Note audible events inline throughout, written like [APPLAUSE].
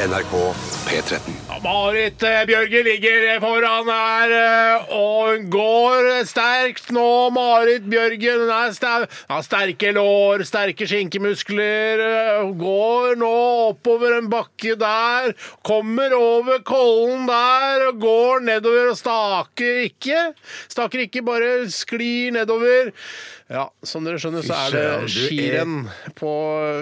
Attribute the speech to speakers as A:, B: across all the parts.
A: NRK P13.
B: Marit eh, Bjørge ligger foran her, eh, og hun går sterkt nå. Marit Bjørge hun er sta- har sterke lår, sterke skinkemuskler. eh, Hun går nå oppover en bakke der, kommer over kollen der, og går nedover og staker ikke. Staker ikke, bare sklir nedover. Ja, som dere skjønner, så er
C: Fy søren,
B: det
C: du er-
B: skirenn på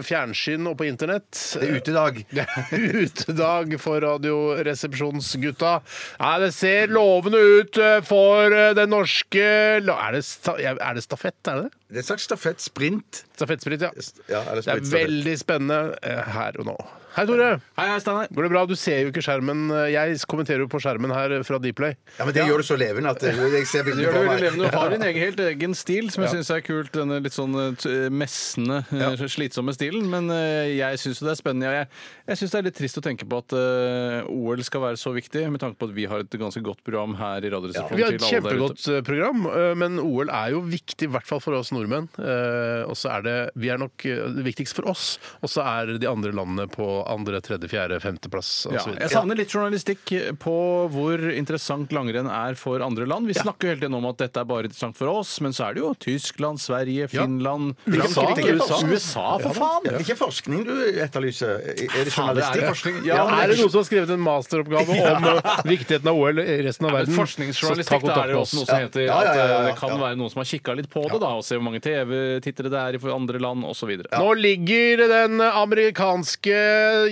B: fjernsyn og på internett.
C: Det er utedag.
B: Det er [LAUGHS] utedag for Radioresepsjonsgutta. Nei, det ser lovende ut eh, for eh, den norske la- Er det, sta- er det stafett, er det det?
C: Det er en slags stafett. Sprint.
B: Stafettsprit, ja.
C: Ja, eller
B: Det er
C: sprintstafett.
B: veldig spennende eh, her og nå. Hei, Tore.
D: Hei, hei, Steinar.
B: Går det bra? Du ser jo ikke skjermen. Eh, Jeg kommenterer jo på skjermen her fra Dplay.
C: Ja, men det gjør du så levende at det- jeg ser
D: Du
C: bildet
D: gjør det veldig
C: på
D: levende
C: meg.
D: og har din egen, helt egen stil, som jeg syns er kult. Denne litt sånn eh, t- messende, eh, slitsomme stilen. Men eh, jeg syns det er spennende. og Jeg, jeg syns det er litt trist å tenke på at eh, OL skal være så viktig, med tanke på at vi har et ganske godt program her i Radioresepsjonen.
B: Vi har et
D: til alle der ute.
B: kjempegodt eh, program, eh, men OL er jo viktig, i hvert fall for oss nordmenn. Eh, Og så er det Vi er nok eh, det viktigst for oss, og så er de andre landene på andre, tredje, fjerde, femteplass
D: Ja,
B: osv.
D: jeg savner litt journalistikk på hvor interessant langrenn er for andre land. Vi snakker jo hele tiden om at dette er bare interessant for oss, men så er det jo Tyskland, Sverige, Finland
B: USA,
D: Frankrike,
C: USA.
D: USA, for faen!
C: Det er ikke forskning du etterlyser. Er
D: Faen, det er
C: det
D: jo
C: journalistikk?
D: forskning.
B: Ja,
D: Ja, men
B: er det noen som har skrevet en [LAUGHS] masteroppgave om eh, viktigheten av OL i resten av verden?
D: Forskningsjournalistikk, da er det jo også noe som heter
C: Ja, ja, ja, ja,
D: at
C: ja.
D: eh, det kan være noen som har kikka litt på det, da, og se hvor mange TV-tittere det er i for andre land, osv. Ja.
B: Nå ligger den amerikanske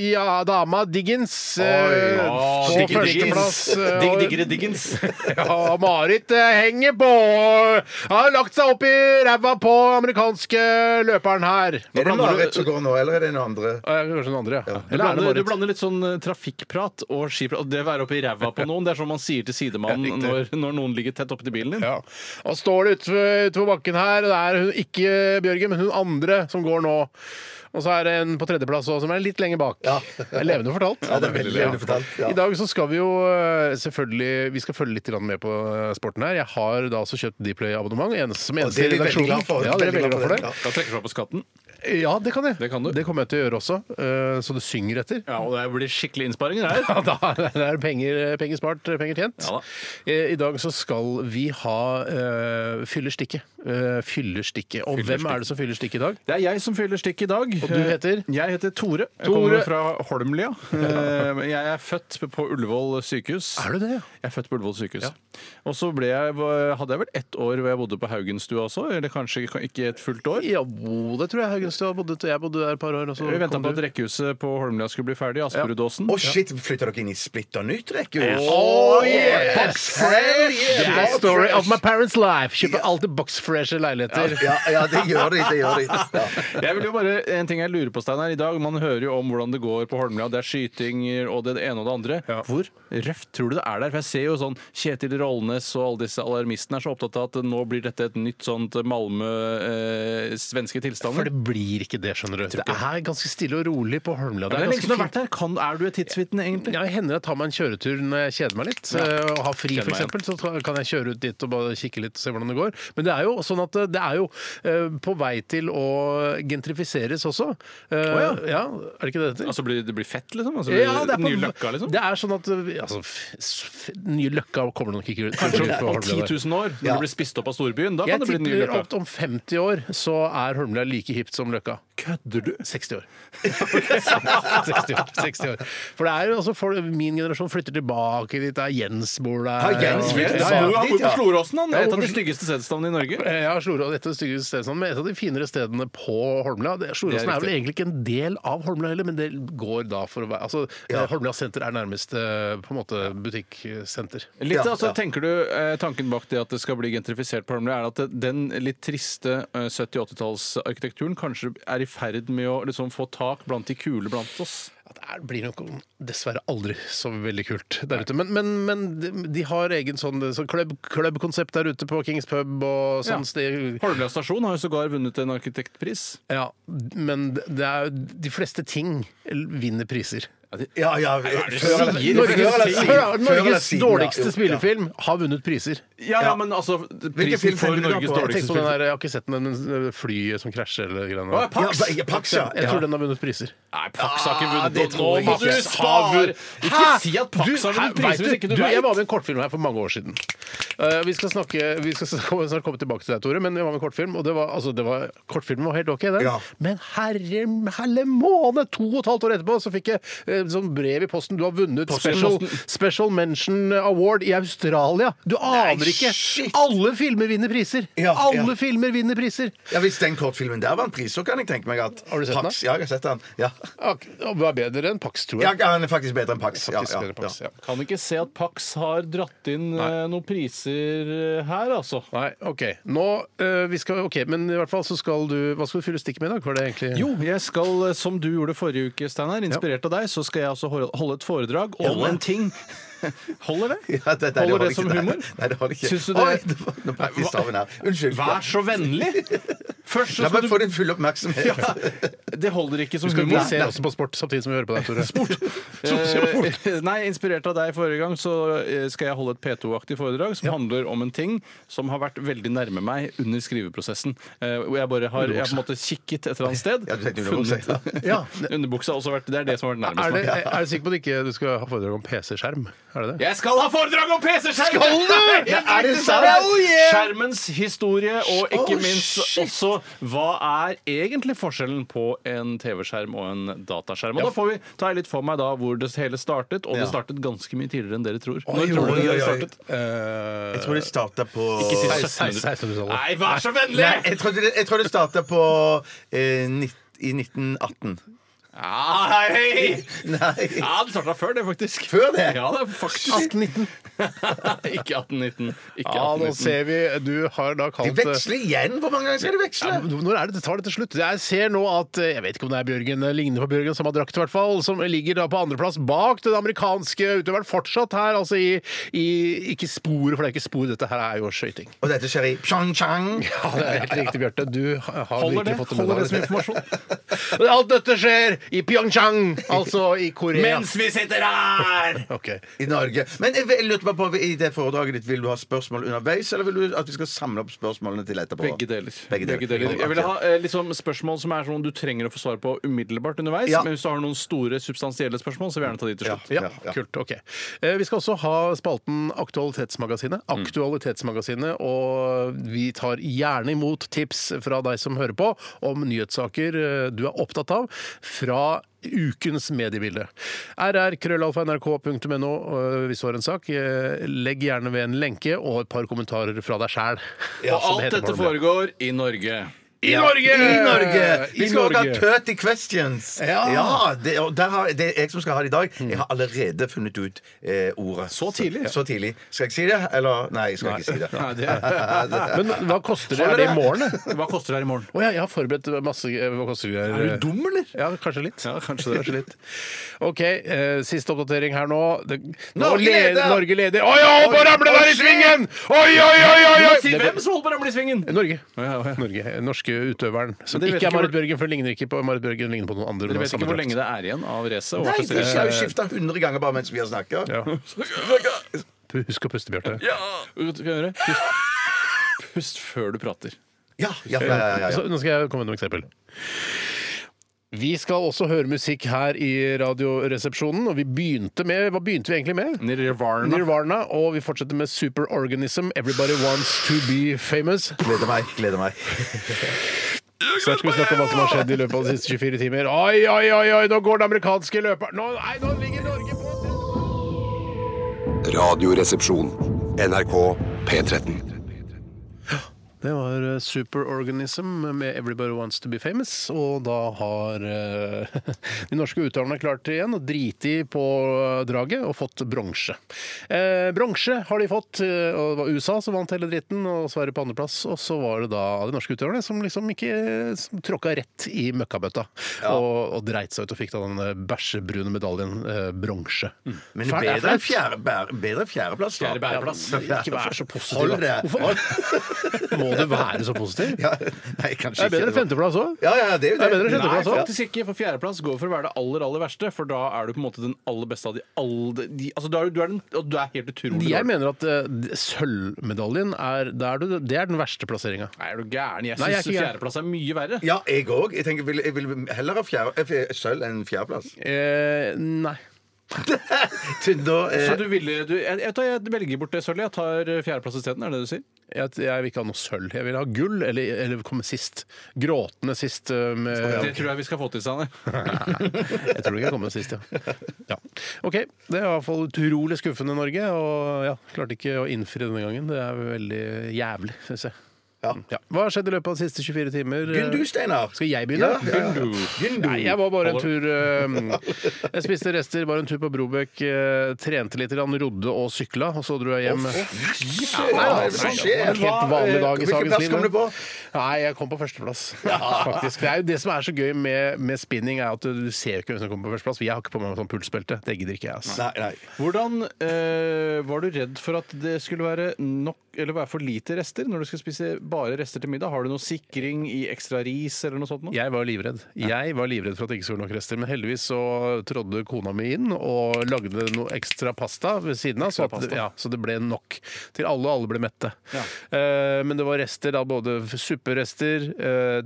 B: ja, dama Diggins eh, på
D: digge Diggins.
B: førsteplass. eh,
D: Digg,
B: og-
D: diggere Diggins.
B: Ja, Marit eh, henger på. Har lagt seg opp i ræva på amerikanske løperen her.
C: Er det Marit som går nå, eller er det noen andre?
B: Eh, Kanskje den andre, ja.
D: [LAUGHS] Du
B: Eller er det
D: blander, du
B: Marit?
D: blander litt sånn eh, trafikkprat og skiprat. og Det å være oppi ræva på noen, det er sånn man sier til sidemannen
B: Ja,
D: når,
B: riktig.
D: når noen ligger tett oppi bilen din.
B: Ja. Og står det utover ut bakken her. Det er hun, ikke Bjørgen, men hun andre som går nå. Og så er det en på tredjeplass også, som er litt lenger bak. Det er levende fortalt.
C: Ja, det er veldig levende fortalt, ja.
B: I dag så skal vi jo eh, selvfølgelig Vi skal følge litt grann med på eh, sporten her. Jeg har da også kjøpt Dplay-abonnement. eneste- Som
C: Og
B: eneste i
C: det er vi veldig
B: redaksjonen.
C: glad for.
B: Ja, dere er veldig glad for det.
C: Ja.
D: Da trekker du deg på skatten.
B: Ja, det kan jeg.
D: Det kan du.
B: kommer jeg til å gjøre også. eh, Så du synger etter.
D: Ja, og det blir skikkelig innsparinger [LAUGHS] her.
B: [LAUGHS] Ja, da er det er penger, penger spart, penger tjent.
D: Ja da.
B: Eh, I dag så skal vi ha uh, fyllerstikket. Eh, fyllerstikket. Og hvem er det som fyller stikket i dag?
D: Det er jeg som fyller stikk i dag. Og
B: du heter?
D: Jeg heter Tore. Jeg
B: Tore.
D: kommer fra Holmlia. Eh, Jeg er født på Ullevål sykehus.
B: Er du det?
D: Jeg er født på Ullevål sykehus. Og så ble jeg, hadde jeg vel ett år hvor jeg bodde på Haugenstua også, eller kanskje ikke et fullt år.
B: Ja, jo, det tror jeg Haugens, du har bodd Jeg bodde der et par år. og så
D: Vi venta
B: kom
D: på
B: du.
D: at rekkehuset på Holmlia skulle bli ferdig, Asperudåsen.
C: Å, shit, flytter dere inn i splitter nytt rekkehus?
B: Oh, yes!
C: Box fresh!
B: The
C: Box
B: story
C: fresh!
B: of my parents' life. Kjøper alltid boxfreshe leiligheter.
C: Ja, ja, det gjør de. Det gjør de. Ja.
D: Jeg vil jo bare, En ting jeg lurer på, Steinar. I dag man hører jo om hvordan det går på Holmlia. Det er skytinger og det ene og det andre. Hvor røft tror du det er der? For jeg ser jo sånn Kjetil Rollnes og alle disse alarmistene er så opptatt av at nå blir dette et nytt sånt Malmö-svenske
B: For
D: tilstander.
B: det blir ikke det, skjønner du. Det er ganske stille og rolig på Holmlia.
D: Det er
B: ganske
D: liksom lenge siden du
B: fint.
D: har vært der. Kan, er du et tidsvitne, egentlig?
B: Ja, jeg hender jeg tar meg en kjøretur når jeg kjeder meg litt. eh, Og har fri,
D: Kjenner meg
B: f.eks. Så ta- kan jeg kjøre ut dit og bare kikke litt og se hvordan det går. Men det er jo sånn at eh, det er jo eh, på vei til å gentrifiseres også. Eh, ja. Er det ikke det det heter?
D: Altså blir det blir fett, liksom? Altså, blir det Nye løkka, liksom?
B: Det er sånn at eh, altså, f- s- f- Nye Løkka kommer nok ikke ut.
D: Kanskje
B: ut på
D: om
B: Holmlia
D: 10
B: der.
D: 000 år, når
C: Ja.
D: du blir spist opp av storbyen, da kan
B: Jeg
D: det bli nye
B: tipper
D: løkka.
B: at om 50 år så er Holmlia like hipt som Løkka. Kødder du? 60 år. 60 år. 60 år. For det er jo altså folk, min generasjon flytter tilbake dit. Det er Jens bor der.
C: Har Jens
B: og-
C: flyttet
B: Ja, ja.
C: tilbake?
D: Han bor på Sloråsen, han.
B: Ja,
D: Et av
B: hvorfor-
D: de styggeste stedsnavnene i Norge.
B: Eh, Ja, Sloråsen et av de styggeste stedene, Sånn, men et av de finere stedene på Holmlia. Det- Sloråsen
D: Det
B: er,
D: er
B: vel egentlig ikke en del av Holmlia heller, men det går da for å være altså, eh, Holmlia senter er nærmest eh, på en måte butikksenter.
D: Litt,
C: Ja,
D: altså,
C: ja.
D: tenker du eh, Tanken bak det at det skal bli gentrifisert på Holmlia, er at det- den litt triste eh, 70-80-tallsarkitekturen kanskje er i ferd med å liksom, få tak blant de kule blant oss?
B: Ja, Det er- blir nok dessverre aldri så veldig kult der ute. Men, men, men de- de har egen sånn så klubb- klubbkonsept der ute på Kings Pub og
D: Ja.
B: sånn sted.
D: Holmlia stasjon har jo sågar vunnet en arkitektpris.
B: Ja, men det er jo de fleste ting vinner priser.
C: Ja, ja. Før eller-
D: sier?
C: Før
B: Norges,
C: eller siden.
B: hør da,
C: Før eller
B: Norges
C: siden, ja. Jo,
B: dårligste
C: ja.
B: spillefilm har vunnet priser.
D: Ja, ja, men altså Prisen
C: film
D: for
C: tenker du da
D: Norges
C: på?
B: Jeg,
D: dårligste
B: tenkte på den
D: film.
B: der, jeg har ikke sett den, men eh, flyet som krasjer eller greiene
D: Å, ja, Ah,
B: der.
D: Pax!
C: Ja, ja, Pax, ja.
B: Jeg tror den har vunnet priser.
D: Nei, Pax har ikke vunnet.
C: det
D: noe.
C: tror jeg
D: Nå må
C: ikke.
D: du spare! Ikke si at Pax har
B: Hæ, vet
D: vunnet priser hvis ikke du
B: du, jeg var med
D: vet!
B: i en kortfilm her for mange år siden. Eh, vi skal snakke Vi skal snakke- snart komme tilbake til deg, Tore, men jeg var med i en kortfilm, og det var, altså, det var, kortfilmen var helt OK, den.
C: Ja.
B: Men herre, herre måne, to og et halvt år etterpå så fikk jeg eh, sånn brev i posten Du har vunnet special, special Mention Award i Australia. Du aner ikke!
C: shit.
B: Alle filmer vinner priser!
C: Ja,
B: Alle
C: ja.
B: filmer vinner priser!
C: Ja, Hvis den kortfilmen der vant pris, så kan jeg tenke meg at
B: Har du sett den da?
C: Pax, Ja, jeg har sett den. Ja.
B: Ak og hva er bedre enn Pax, tror
C: ja,
B: jeg.
C: han er faktisk bedre enn Pax. Ja,
B: Faktisk
C: ja,
B: bedre enn Pax,
C: ja.
B: ja.
D: Kan ikke se at Pax har dratt inn eh, noen priser eh, her, altså.
B: Nei, OK. Nå, eh, vi skal, ok, Men i hvert fall så skal du Hva skal du fylle stikket med i dag? Var det egentlig
D: Jo, jeg skal, eh, som du gjorde forrige uke, Steinar, inspirert av deg, så skal jeg også hol- holde et foredrag om en ting. Holder det?
C: Ja, det, nei,
D: Holder
C: holder
D: det som
C: ikke. Nei,
D: humor?
C: Nei, det holder ikke.
D: Syns du det-
C: Oi, det var, nå brakk vi staven her. Unnskyld.
D: Vær så vennlig! Først så
C: La
D: skal
C: meg
D: du
C: få din fulle oppmerksomhet.
D: Det holder ikke som
B: Du skal
D: humor.
B: ikke se også på sport samtidig som vi hører på deg, Tore. Sport!
D: Eh, [LAUGHS] Nei, Inspirert av deg forrige gang så eh, skal jeg holde et P2-aktig foredrag som handler om en ting som har vært veldig nærme meg under skriveprosessen. Eh, Hvor jeg bare har jeg har på en måte kikket et eller annet sted.
C: Ja, du tenkte underbukse,
D: funnet-
B: ja.
D: [LAUGHS] Underbuksa har også vært Det er det som har vært nærmest
B: Er, det,
D: meg.
B: er du sikker på at du ikke du skal ha foredrag om PC-skjerm? Er det det?
D: Jeg skal ha foredrag om PC-skjerm!
B: Skal du?
D: Helt
C: Er det
D: riktig,
C: sant?
D: Sara.
C: Oh, yeah!
D: Skjermens historie, og ikke
C: Oh,
D: minst også hva er egentlig forskjellen på en TV-skjerm og en dataskjerm? Og da får vi ta litt for meg da hvor det hele startet, og
C: Ja.
D: det startet ganske mye tidligere enn dere tror.
C: Oi,
D: Når tror
C: oi,
D: dere det
C: oi, oi.
D: startet?
C: Jeg tror det starta på
D: Ikke si
B: 1600-tallet.
D: Nei, vær så vennlig!
C: Nei, jeg tror det, jeg tror det starta på eh, nitt- i 1918.
D: Nei!
C: Nei.
D: Ja, det starta før det, faktisk.
C: Før det?
D: Ja, det er faktisk. [LAUGHS]
B: 1819.
D: Ikke 1819. Ikke
B: Ja, nå
D: 1819.
B: ser vi Du har da
C: De
B: kalt det
C: veksler igjen! Hvor mange ganger skal de veksle?
B: Ja, men Når er det det tar det til slutt? Jeg ser nå at eh, jeg vet ikke om det er Bjørgen, eh, ligner på Bjørgen, som har drakt i hvert fall, som ligger da på andreplass bak den amerikanske utøveren fortsatt her, altså i, i Ikke sporet, for det er ikke spor, dette her er jo skøyting.
C: Og dette skjer i pyeongchang
B: Ja, det er helt riktig, Bjarte. Du har
D: Holder det?
B: virkelig fått det med
D: Holder det
B: deg.
D: som informasjon?
B: [LAUGHS] Alt dette skjer i Pyeongchang, altså i Korea.
D: Mens vi sitter her!
B: Ok.
C: i Norge. Men jeg jeg lurte bare på, i det foredraget ditt, vil du ha spørsmål underveis, eller vil du at vi skal samle opp spørsmålene til etterpå?
D: Begge deler.
C: Begge deler.
D: Jeg ville ha eh, liksom spørsmål som er sånn du trenger å få svar på umiddelbart underveis.
C: Ja.
D: Men hvis du har noen store, substansielle spørsmål, så vil jeg gjerne ta de til slutt.
B: Ja,
C: Ja, ja.
B: kult. Ok. Eh, Vi skal også ha spalten Aktualitetsmagasinet.
C: Mm.
B: Aktualitetsmagasinet, og vi tar gjerne imot tips fra deg som hører på om nyhetssaker eh, du er opptatt av fra ukens mediebilde. rr.krøllalfa.nrk.no eh, hvis du har en sak. eh, Legg gjerne ved en lenke og et par kommentarer fra deg sjæl.
D: Og alt dette foregår i Norge.
B: I Norge!
C: I Norge! Vi
B: I
C: skal også ha
B: Norge.
C: 30 questions.
B: Ja.
C: det, og der har, det er jeg som skal ha det i dag. Jeg har allerede funnet ut eh, ordet.
D: Så tidlig?
C: Så, tidlig. Skal jeg ikke si det? Eller nei, jeg skal ikke si det.
D: Nei, det,
B: [LAUGHS] Men hva koster det?
C: Holder
B: Er det i
C: det?
B: morgen? det?
D: hva koster det her i morgen?
B: Å ja, jeg har forberedt masse eh, hva koster det?
D: dum, eller?
B: Ja, kanskje litt.
D: Ja, kanskje det.
B: litt. OK, eh, siste oppdatering her nå. Det,
C: Norge
B: Nå le-
C: leder!
B: Norge leder! Oi, oi, oi, ramle der i svingen! Oi, oi, oi, oi! oi!
D: Si hvem som holder på å ramle i svingen!
B: Norge.
D: ja, ja.
B: Norge. Den Norske utøveren. Som
D: dere vet
B: ikke
D: ikke
B: er Marit
D: hvor-
B: Bjørgen, for hun ligner ikke på Marit Bjørgen. hun ligner på noen andre.
D: Dere vet ikke hvor lenge det er igjen av racet? og
C: Nei,
D: hva
C: for jeg
D: slags-
C: har jo skifta 100 ganger bare mens vi har snakka.
B: Ja. [LAUGHS] Husk å puste, Bjarte.
D: Ja! Vet du hva jeg gjør? Pust- Pust før du prater.
C: Ja, ja, ja, ja, ja,
B: Så, nå skal jeg komme med noen eksempel. Vi skal også høre musikk her i Radioresepsjonen, og vi begynte med Hva begynte vi egentlig med?
D: Nirvana.
B: Nirvana, og vi fortsetter med Superorganism, Everybody Wants To Be Famous.
C: Gleder meg. gleder meg
B: Snart skal vi snakke om hva som har skjedd i løpet av de siste 24 timer. Oi, oi, oi, oi, nå går den amerikanske løperen nå, Nei, nå ligger Norge på
A: Radioresepsjon. NRK P13.
B: Det var eh, Superorganism med 'Everybody Wants To Be Famous'. Og da har eh, [LAUGHS] de norske utøverne klart det igjen og driti på eh, draget og fått bronse. Eh, bronse har de fått, eh, og det var USA som vant hele dritten, og Sverige på andreplass. Og så var det da de norske utøverne som liksom ikke som tråkka rett i møkkabøtta og, og dreit seg ut og fikk da den eh, bæsjebrune medaljen eh, bronse.
C: Mm.
B: Fælt, det
C: Men
B: er
C: bedre enn
B: flaut.
C: fjerde, bære- bedre enn fjerdeplass, da.
D: Fjerde bæreplass.
C: Ja,
B: Ikke vær så positiv,
C: Hold
B: da.
C: det. [LAUGHS]
B: Hvorfor- Må Må du være så positiv?
C: Ja, nei,
B: Det
C: kanskje
B: er bedre enn
C: ikke.
B: femteplass òg.
C: Ja, ja, det er jo
B: Det er
C: det.
B: bedre enn
D: Nei,
B: sjetteplass òg.
D: Altså, faktisk ikke. For fjerdeplass går for å være det aller aller verste. For da er du på en måte den aller beste av de alle de, altså, du, er, du, er den, og du er helt utrolig dårlig.
B: Jeg mener at eh, d- sølvmedaljen er, det er, du- det er den verste plasseringa.
D: Nei, er du gæren? Jeg
B: Nei, jeg er
D: syns
B: ikke gæren.
D: fjerdeplass er mye verre.
C: Ja, jeg òg. Jeg, tenker, vil- jeg vil heller ha fjerde, eh, fj- sølv enn
B: [LAUGHS]
C: fjerdeplass.
B: Eh, nei.
C: Til da, eh,
D: Så du ville du, jeg, jeg, vet hva, jeg velger bort det sølvet. Jeg tar eh, fjerdeplass isteden, er det det du sier?
B: Jeg, jeg vil ikke ha noe sølv. Jeg vil ha gull, eller, eller komme sist. Gråtende sist. eh, Med,
D: Det tror jeg vi skal få til, Steinar.
B: [LAUGHS] Jeg tror ikke jeg kommer sist, ja. ja. OK. Det er i hvert fall utrolig skuffende, Norge. Og ja, klarte ikke å innfri denne gangen. Det er veldig jævlig, syns jeg.
C: Ja.
B: Ja. Hva har skjedd i løpet av de siste 24 timer? Eh,
C: Begynn du, Steinar.
B: Skal jeg begynne?
C: Ja, ja, ja. Begynn du.
B: Nei, jeg var bare en tur eh, Jeg spiste rester, bare en tur på Brobekk, eh, trente litt, grann, rodde og sykla, og så dro jeg hjem.
C: Hva er det som
B: Det
C: skjer?
B: var en helt vanlig dag i
C: Hvilken
B: Sagens
C: plass
B: liv.
C: kom
B: men-
C: du på?
B: Nei, jeg kom på førsteplass. Faktisk. Det, er jo det som er så gøy med, med spinning, er at du ser jo ikke hvem som kommer på førsteplass. Jeg har ikke på meg sånn pulsbelte. Det gidder ikke jeg. ass.
C: Nei, nei.
D: Hvordan eh, Var du redd for at det skulle være nok Eller være for lite rester når du skal spise bare rester til middag? Har du noe sikring i ekstra ris eller noe sånt? Nå?
B: Jeg var livredd. Jeg var livredd for at det ikke skulle være nok rester, men heldigvis så trådde kona mi inn og lagde noe ekstra pasta ved siden av, så, at, det- ja, så det ble nok til alle, og alle ble mette. Eh, men det var rester, da både supperester, eh,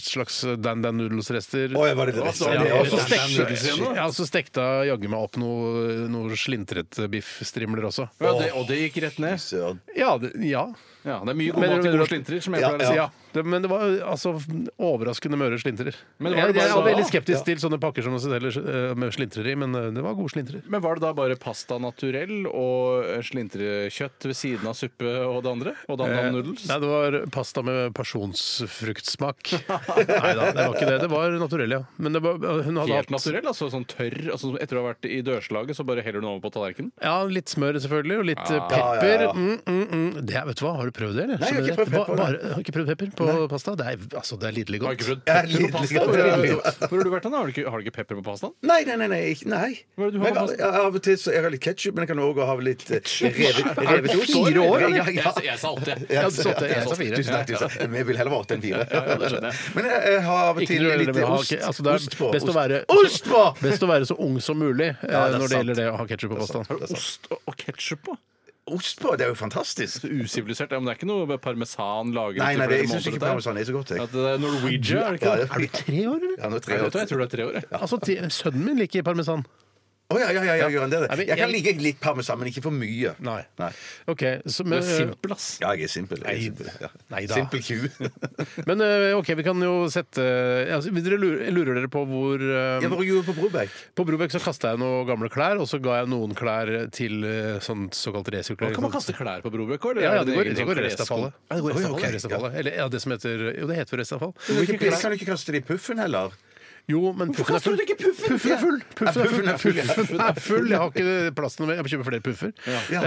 B: slags Dan Dan Noodles-rester
C: Å, ja, var det det?
B: Altså,
C: Ja,
B: ja, og
C: det
B: så
C: er
B: stekte,
C: Dan Dan
B: ja, så stekte jeg jaggu meg opp noe, noe slintret biffstrimler også.
D: Ja, det, og det gikk rett ned?
C: Søren.
B: Ja, det, ja.
D: Ja, Det er mye god
B: Men-
D: mat i
B: men-
D: gode slintrer, som jeg pleier å si.
B: Ja, det, men det var altså overraskende møre slintrer. Men
D: Men var det
B: jeg,
D: bare
B: jeg er
D: da?
B: veldig skeptisk til sånne pakker som man selger eh, med slintrer i, men eh, det var gode slintrer.
D: Men var det da bare pasta naturell og eh, slintrekjøtt ved siden av suppe og det andre? Og dan dan noodles?
B: Nei, det var pasta med pasjonsfruktsmak. [LAUGHS] Nei da, det var ikke det. Det var naturell, ja. Men det var, eh, hun hadde
D: Helt
B: hatt
D: naturell, altså sånn tørr altså, som Etter å ha vært i dørslaget, så bare heller du den over på tallerkenen?
B: Ja, litt smør selvfølgelig, og
C: Ah,
B: litt eh, pepper. Mm, mm, mm. Det, er- vet du hva, har du prøvd det, eller?
C: Nei, jeg har ikke
B: Skjønner du det?
C: prøvd pepper,
B: Ba- Bare, har ikke prøvd pepper på pasta? Det er, altså, det er lidderlig
D: Har
B: godt.
D: ikke prøvd
C: Jeg er
D: pepper på
C: litt-
D: pasta? Hvor
C: litt-
D: har du-
C: litt-
D: hvor har du vært hen? Har du ikke, har du ikke pepper på pastaen?
C: Nei, nei, nei. nei. ikke- nei.
D: Hva er det du har
C: Men
D: på
C: jeg- Av og til så jeg har litt ketsjup, men jeg kan òg ha litt eh, revet, revet ost.
B: fire år,
C: Ja,
B: eller?
C: ja, ja.
D: Jeg, jeg sa åtte.
C: Ja,
B: Ja,
C: så-
B: du satte-
C: ja,
B: jeg sa
C: så-
B: fire.
C: Tusen takk. tusen takk. Vi vil heller ha åtte enn fire.
D: ja, det skjønner jeg.
C: Men jeg, jeg har av og
B: Ikke
C: til
B: noe
C: litt
B: eller med
C: ost,
B: hake. Altså, det er
C: ost på.
B: best,
C: ost.
B: Å være,
C: Ost på!
B: [LAUGHS] best å være så ung som mulig eh,
C: Ja, det er
B: når det
C: sant.
B: gjelder det å ha ketsjup på
D: Har
B: pastaen.
D: du ost og- og ketsjup på?
C: Ost på, det er jo fantastisk.
D: Så usivilisert. Ja, men det er ikke noe parmesan lagret
C: Nei,
D: i
C: nei,
D: flere
C: det, jeg syns
D: måneder,
C: ikke
D: dette her.
C: parmesan sånn er så godt, jeg.
D: At det er Norwegia, er det ikke
C: Ja,
D: det?
C: det er
B: Tre år, eller?
C: ja, nå er
D: Nei,
C: tre år.
D: vet du hva, jeg tror det er tre år, jeg.
B: Altså, ti- sønnen min liker parmesan.
C: Å ja, ja, ja, ja, gjør han det?
B: Nei, men
C: Jeg kan
B: jeg-
C: like litt parmesan, men ikke for mye.
B: Nei.
C: Nei.
B: Ok, så, men, eh,
D: Det er simpel, ass.
C: Ja, jeg er simpel. Jeg er simpel, ja.
B: Nei da.
C: simpel ku.
B: men eh, ok, vi kan jo sette altså, vil dere lurer, lurer dere på hvor eh,
C: Jeg var jo på Broberg.
B: På Brobekk så kasta jeg noen gamle klær, og så ga jeg noen klær til eh, sånn såkalt resirkulering.
D: Kan man kaste klær på Brobøk? eller
B: Ja,
D: er
B: ja, det
D: din
B: går,
D: egen
B: det
D: sånn
B: går restavfallet.
D: klesskål?
B: Ja, det går
C: Oi,
B: restavfallet.
C: ok, ja.
B: restavfallet. Eller ja, det som heter Jo, det heter vel restavfall.
C: Kan du ikke kaste det i puffen heller?
B: Jo, men puffen er
D: kaster
B: full.
D: du ikke puffen?
B: er full! Puffen
C: Ja,
B: er full.
C: puffen er full, ja.
B: Puffen er full. Jeg har ikke plass til noe mer. Jeg må kjøpe flere puffer.
C: Ja.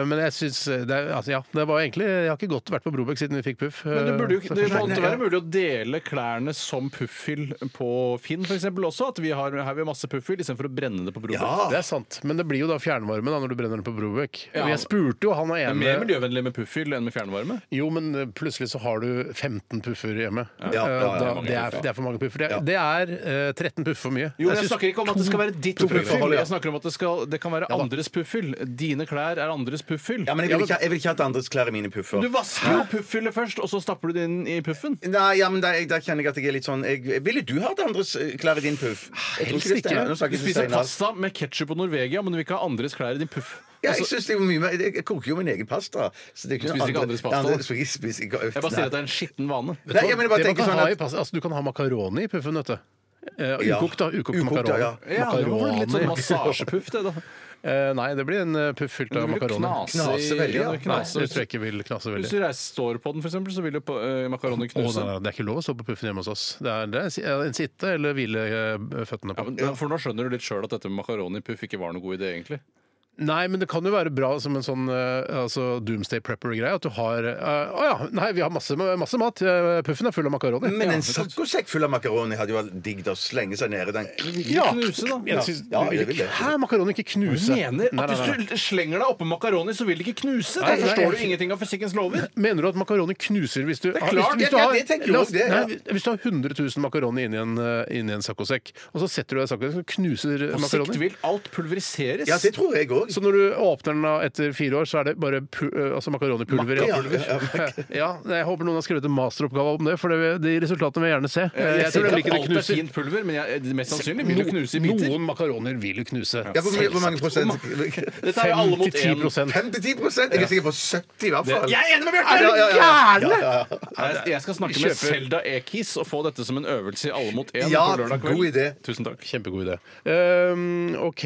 B: Eh, men jeg syns det, er- altså, ja, det var egentlig Jeg har ikke godt vært på Brobekk siden vi fikk puff. Eh,
D: Men det burde jo Eh, ikke- det
B: Så-
D: måtte være mulig å dele klærne som puffyll på Finn for eksempel også. At vi har, her har vi masse puffyll istedenfor å brenne det på Brobøk.
C: Ja.
B: Det er sant, men det blir jo da fjernvarme da når du brenner den på Brobekk.
D: Ja.
B: Og Jeg spurte jo han og
D: Det er mer
B: ene
D: miljøvennlig med puffyll enn med fjernvarme.
B: Jo, men eh, plutselig så har du 15 puffer hjemme.
C: ja,
B: Eh,
C: ja,
B: da-
C: mange
B: det, er,
C: puffer, ja.
B: det er for mange puffer. Det er, det er eh, 13 puffer for mye.
D: Jo, jeg,
B: synes
D: snakker ikke om at det skal være ditt puffyll.
C: puffyll, ja.
D: Jeg snakker om at det, skal, det kan være andres puffyll. Dine klær er andres puffyll.
C: Ja, men jeg vil ikke, jeg vil ikke ha andres klær i mine puffer.
D: Du vasker jo puffhyllet først, og så stapper du det inn i puffen.
C: Nei, ja, men da, jeg, da kjenner jeg at jeg er litt sånn jeg, Ville du hatt andres eh, klær i din puff? Jeg tror
B: Helst
C: det er
B: ikke.
D: Ah,
C: Steinar. Nå
D: Du
C: snakker jeg til
D: spiser
C: Steinar.
D: pasta med ketsjup og Norvegia, men du vil ikke ha andres klær i din puff.
C: Ja, jeg
D: Altså,
C: synes det er mye mer Jeg jeg koker jo min egen pasta. Så det er
D: Du
C: noe
D: spiser ikke
C: andre-
D: andres pasta,
C: Andre,
D: da?
C: spiser, spiser ikke,
D: jeg bare sier at det er en skitten vane.
C: Nei, jeg, men jeg bare
B: det man
C: tenker
B: kan
C: sånn
B: ha i
C: at
B: pasta- altså, du kan ha makaroni i puffen, vet du. Eh,
C: Ja.
B: ukokt, da. Ukokt
C: Ukokt,
B: makaroni.
C: ja,
D: Ja, det var litt sånn massasjepuff, det, da.
B: [LAUGHS] Eh, nei, det blir en eh, puff fylt
D: Du
B: av
D: vil jo
B: makaroni.
D: knase,
C: Knase
D: i-
C: veldig, ja.
D: du vil knase.
B: Nei, det tror jeg ikke vil knase
D: Hvis
B: veldig.
D: du reiser, står på den, for eksempel, så vil jo uh, makaronen
B: Å,
D: knuse.
B: nei, nei, det er ikke lov å stå på puffen hjemme hos oss. Det er, det er si- en sitte eller hvile eh, føttene
D: ja,
B: på.
D: men, For nå skjønner du litt sjøl at dette med makaroni i puff ikke var noe god idé, egentlig.
B: Nei, men det kan jo være bra som en sånn eh, altså doomsday prepper-greie. At du har eh, Å ja, nei, vi har masse, masse mat. Eh, Puffen er full av makaroni.
C: [LAUGHS] Men en saccosekk full av makaroni hadde jo vært digg å slenge seg nedi den.
B: Ja.
D: knuse, da.
B: Jeg synes-
C: Ja, det vil jeg.
B: Hæ, makaroni ikke knuse?
D: Mener
B: Nei,
D: at
B: nei, nei.
D: hvis du slenger deg oppå makaroni, så vil det ikke knuse?
B: Nei,
D: Da
B: nei,
D: forstår
B: jeg-
D: du ingenting av fysikkens lover.
B: Mener du at makaroni knuser hvis du,
C: er
B: hvis,
C: klart,
B: hvis du
C: ja,
B: har,
C: det tenker jeg
B: la oss-
C: også, det, ja.
B: nei, hvis du har 100 000 makaroni inni en, eh, inni en saccosekk, og så setter du deg i saccosekken og knuser
D: På sikt
B: makaroni
D: vil alt pulveriseres.
C: Ja, det tror jeg òg.
B: Så når du åpner den da etter fire år, så er det bare pu eh, altså makaronipulver? i.
C: Ja, ja, ja.
B: [LAUGHS] Ja, jeg håper noen har skrevet en masteroppgave om det, for det, de resultatene vil jeg gjerne se.
D: jeg,
B: Jeg tror
D: tror ikke
B: nemlig
D: at
B: ikke det
D: alt er
B: knuser.
D: fint pulver, men jeg, det mest sannsynlig vil det knuse i biter.
B: Noen makaroner vil jo knuse.
C: Ja, hvor, mye- hvor mange prosent? [LAUGHS]
D: Dette er jo alle mot én.
B: 10
C: 5-10 prosent? Jeg er sikker på 70 i hvert fall.
D: Jeg er enig med
C: Ja, ja,
D: Bjørte!
C: ja, ja.
D: Jeg, jeg skal snakke med
B: Kjøper.
D: Selda Ekiz og få dette som en øvelse i Alle mot én
C: Ja,
D: på lørdag kveld.
C: god idé.
D: Tusen takk.
B: Kjempegod idé. Ehm, OK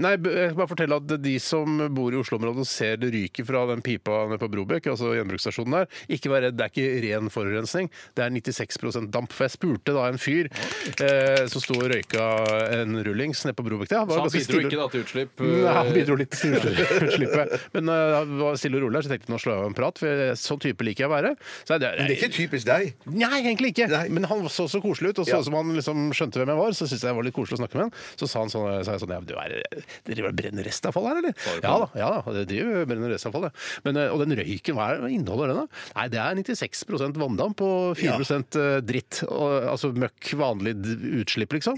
B: Nei, b- jeg skal bare fortelle at de som bor i Oslo-området og ser det ryker fra den pipa nede på Brobekk, altså gjenbruksstasjonen der, ikke vær redd, det er ikke ren forurensning. Det er 96 damp. For jeg spurte da en fyr eh, som sto og røyka en rullings nede på Brobekk. Det var
D: Så han
B: ganske
D: bidro
B: stille-
D: ikke da til utslipp?
B: Nei, han bidro litt til utslippet. Men eh, han var stille og rolig her, så jeg tenkte nå slår jeg av en prat, for jeg- sånn type liker jeg å være. Så jeg-
C: Men det er ikke typisk deg.
B: Nei, egentlig ikke.
C: Nei.
B: Men han så så koselig ut, og så
C: Ja.
B: ut som han liksom skjønte hvem jeg var. Så syntes jeg det var litt koselig å snakke med han. Så sa han sånn, sa jeg sånn ja, men du er, Dere driver og brenner restavfall her, eller? Ja da, ja da, det driver og brenner restavfall, ja. Men, eh, og den røyken, hva er- hva inneholder den, da? Nei, det er 96 vanndamp og 4 dritt. Og, altså møkk, vanlig d- utslipp, liksom.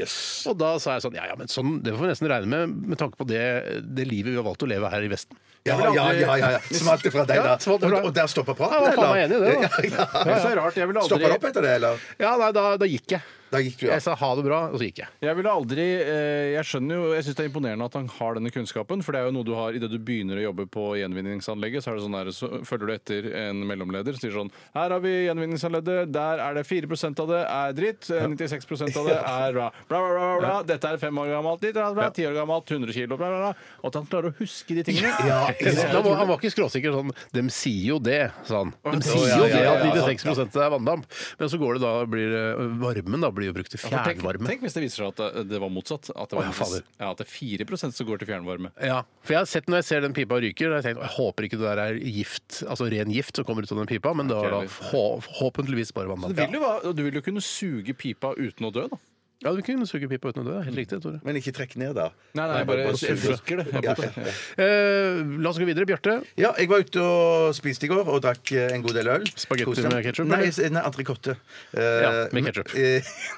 B: Og da sa jeg sånn ja ja, men sånn, det får vi nesten regne med med tanke på det, det livet vi har valgt å leve her i Vesten.
C: Ja, ja, ja, ja, ja. Smalt det fra deg,
B: Ja,
C: da.
B: smalt det fra
C: Og,
B: deg.
C: og der stopper praten,
B: Ja, jeg var faen meg enig i det, da.
C: Ja, ja.
D: Det er så rart. Jeg ville
C: Stopper det
D: aldri
C: opp etter det, eller?
B: Ja, nei, da, da gikk jeg.
C: Da gikk du, ja.
B: Jeg sa ha det bra, og så gikk jeg.
D: Jeg ville aldri, eh, jeg skjønner jo, jeg syns det er imponerende at han har denne kunnskapen. For det er jo noe du har idet du begynner å jobbe på gjenvinningsanlegget. Så, er det sånn der, så følger du etter en mellomleder som sier sånn Her har vi gjenvinningsanlegget. Der er det 4 av det er dritt. eh, 96
B: [LAUGHS]
D: av det er bra. Bla, bla, bla, bla, bla. Dette er fem år gammelt. Litt, bla, bla, ti år gammelt. 100 kilo. Bla, bla, bla. Og at han klarer å huske de tingene.
B: [LAUGHS] Da var, han var ikke skråsikker sånn Dem sier jo det, sa han. De sier
C: ja,
B: jo
C: ja,
B: det
C: ja,
B: at
C: ja,
B: 96 er vanndamp. Men så går det da blir eh, varmen da blir jo brukt til
D: For Tenk,
B: fjernvarme.
D: tenk hvis det viser seg at eh, det- det var motsatt. At det,
B: Å,
D: var,
B: ja, fader.
D: ja, at det er 4 som går til fjernvarme.
B: Ja, for jeg har sett Når jeg ser den pipa ryker, har jeg tenkt, jeg håper ikke det der er gift, altså ren gift som kommer ut av den pipa, men det var da hå- forhåpentligvis bare
D: Det
B: vanndamp.
D: vil jo, være- du vil jo kunne suge pipa uten å dø, da.
B: Ja, du kunne suge pipa uten å dø. Helt riktig, Tore.
C: Men ikke trekk ned, da.
D: Nei, nei, jeg bare jeg flikker det. Jeg bare-
B: Eh, la oss gå videre. Bjarte.
C: Ja, jeg var ute og spiste i går og drakk eh, en god del øl.
B: Spagetti
C: Koste meg.
B: med ketchup,
C: Nei,
B: eller?
C: s- nei entrecôte. Uh,
B: Ja, med ketchup.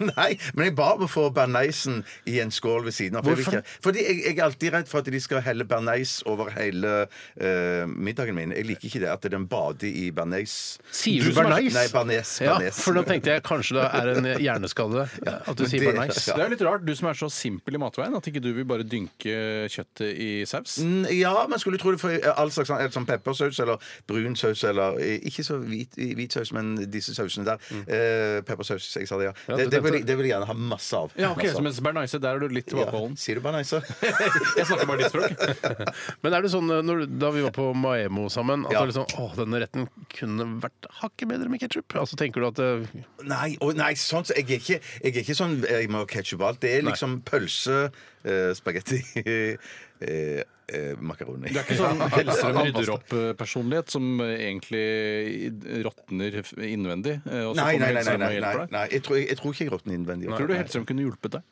C: [LAUGHS] nei, men jeg ba om å få bearnéisen i en skål ved siden av. for jeg vil
B: Hvorfor?
C: ikke- Fordi jeg, jeg er alltid redd for at de skal helle bearnés over hele eh, middagen min. Jeg liker ikke det at den bader i bearnés.
B: Sier
C: Du
B: du som er
C: bearnais?
B: nice?
C: Nei, bearnés.
B: Ja,
C: bearnés.
B: for nå tenkte jeg kanskje det er en hjerneskade
C: [LAUGHS]
B: at du
C: men
B: sier
C: det-
B: bare nice.
D: Det er jo litt rart, du som er så simpel i matveien, at ikke du vil bare dynke kjøttet i saus.
C: Mm, Ja, man skulle tro det for all slags sånn- sånn peppersaus eller brun saus eller eh, Ikke så hvit, hvit saus, men disse sausene der.
D: Mm.
C: Eh, peppersaus, jeg sa det, ja. det, det, vil, jeg- det vil jeg gjerne ha masse av.
D: Ja, ok,
C: Masse
D: så
C: av.
D: Mens bearnaise, Altså, der er du litt
C: ja.
D: tilbakeholden.
C: Sier du bare nei, så? [LAUGHS]
D: Jeg snakker bare ditt språk.
B: Men er det sånn eh, når, da vi var på Maemo sammen, at
C: Ja.
B: det liksom, å, denne retten kunne vært hakket bedre med ketsjup? Altså, tenker du at eh,
C: Nei, å, nei sånn, så jeg, er ikke, jeg er ikke sånn Jeg må ha ketsjup og alt. Det er liksom pølse, eh, spagetti [LAUGHS] eh, eh, Makaroni.
D: Du er ikke sånn
B: Altså,
D: Hellstrøm rydder opp-personlighet som eh, egentlig råtner innvendig. eh, Og så
C: [LAUGHS] Nei,
D: kommer
C: nei, nei. nei,
D: Hellstrøm og
C: nei, nei,
D: hjelper deg.
C: nei. Jeg, tror, jeg, jeg tror ikke jeg råtner innvendig.
D: Tror du Hellstrøm kunne hjulpet deg?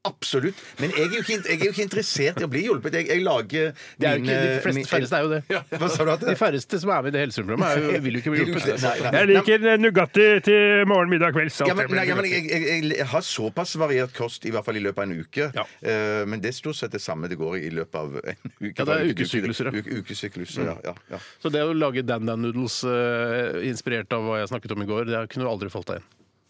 C: Absolutt. Men jeg er jo ikke, jeg er jo ikke interessert i å bli hjulpet. Jeg, jeg lager
B: det er jo ikke, De fleste, færreste er jo det. [LAUGHS]
C: Hva sa du at
B: De færreste som er med i det helseprogrammet, er jo- [LAUGHS] vil jo ikke bli hjulpet.
C: Nei, nei.
E: Nugatti til morgen, middag, kveld.
C: Ja, men, nei, ja, men jeg, jeg, jeg, jeg har såpass variert kost, i hvert fall i løpet av en uke. Eh, men det er stort sett det samme det går i i løpet av en uke.
B: Ja, det er ukesykluser, ja.
C: Uke- ukesykluser, ja, ja, ja.
B: Så det å lage Dan Dan Noodles eh, inspirert av hva jeg snakket om i går, det kunne jo aldri falt deg inn.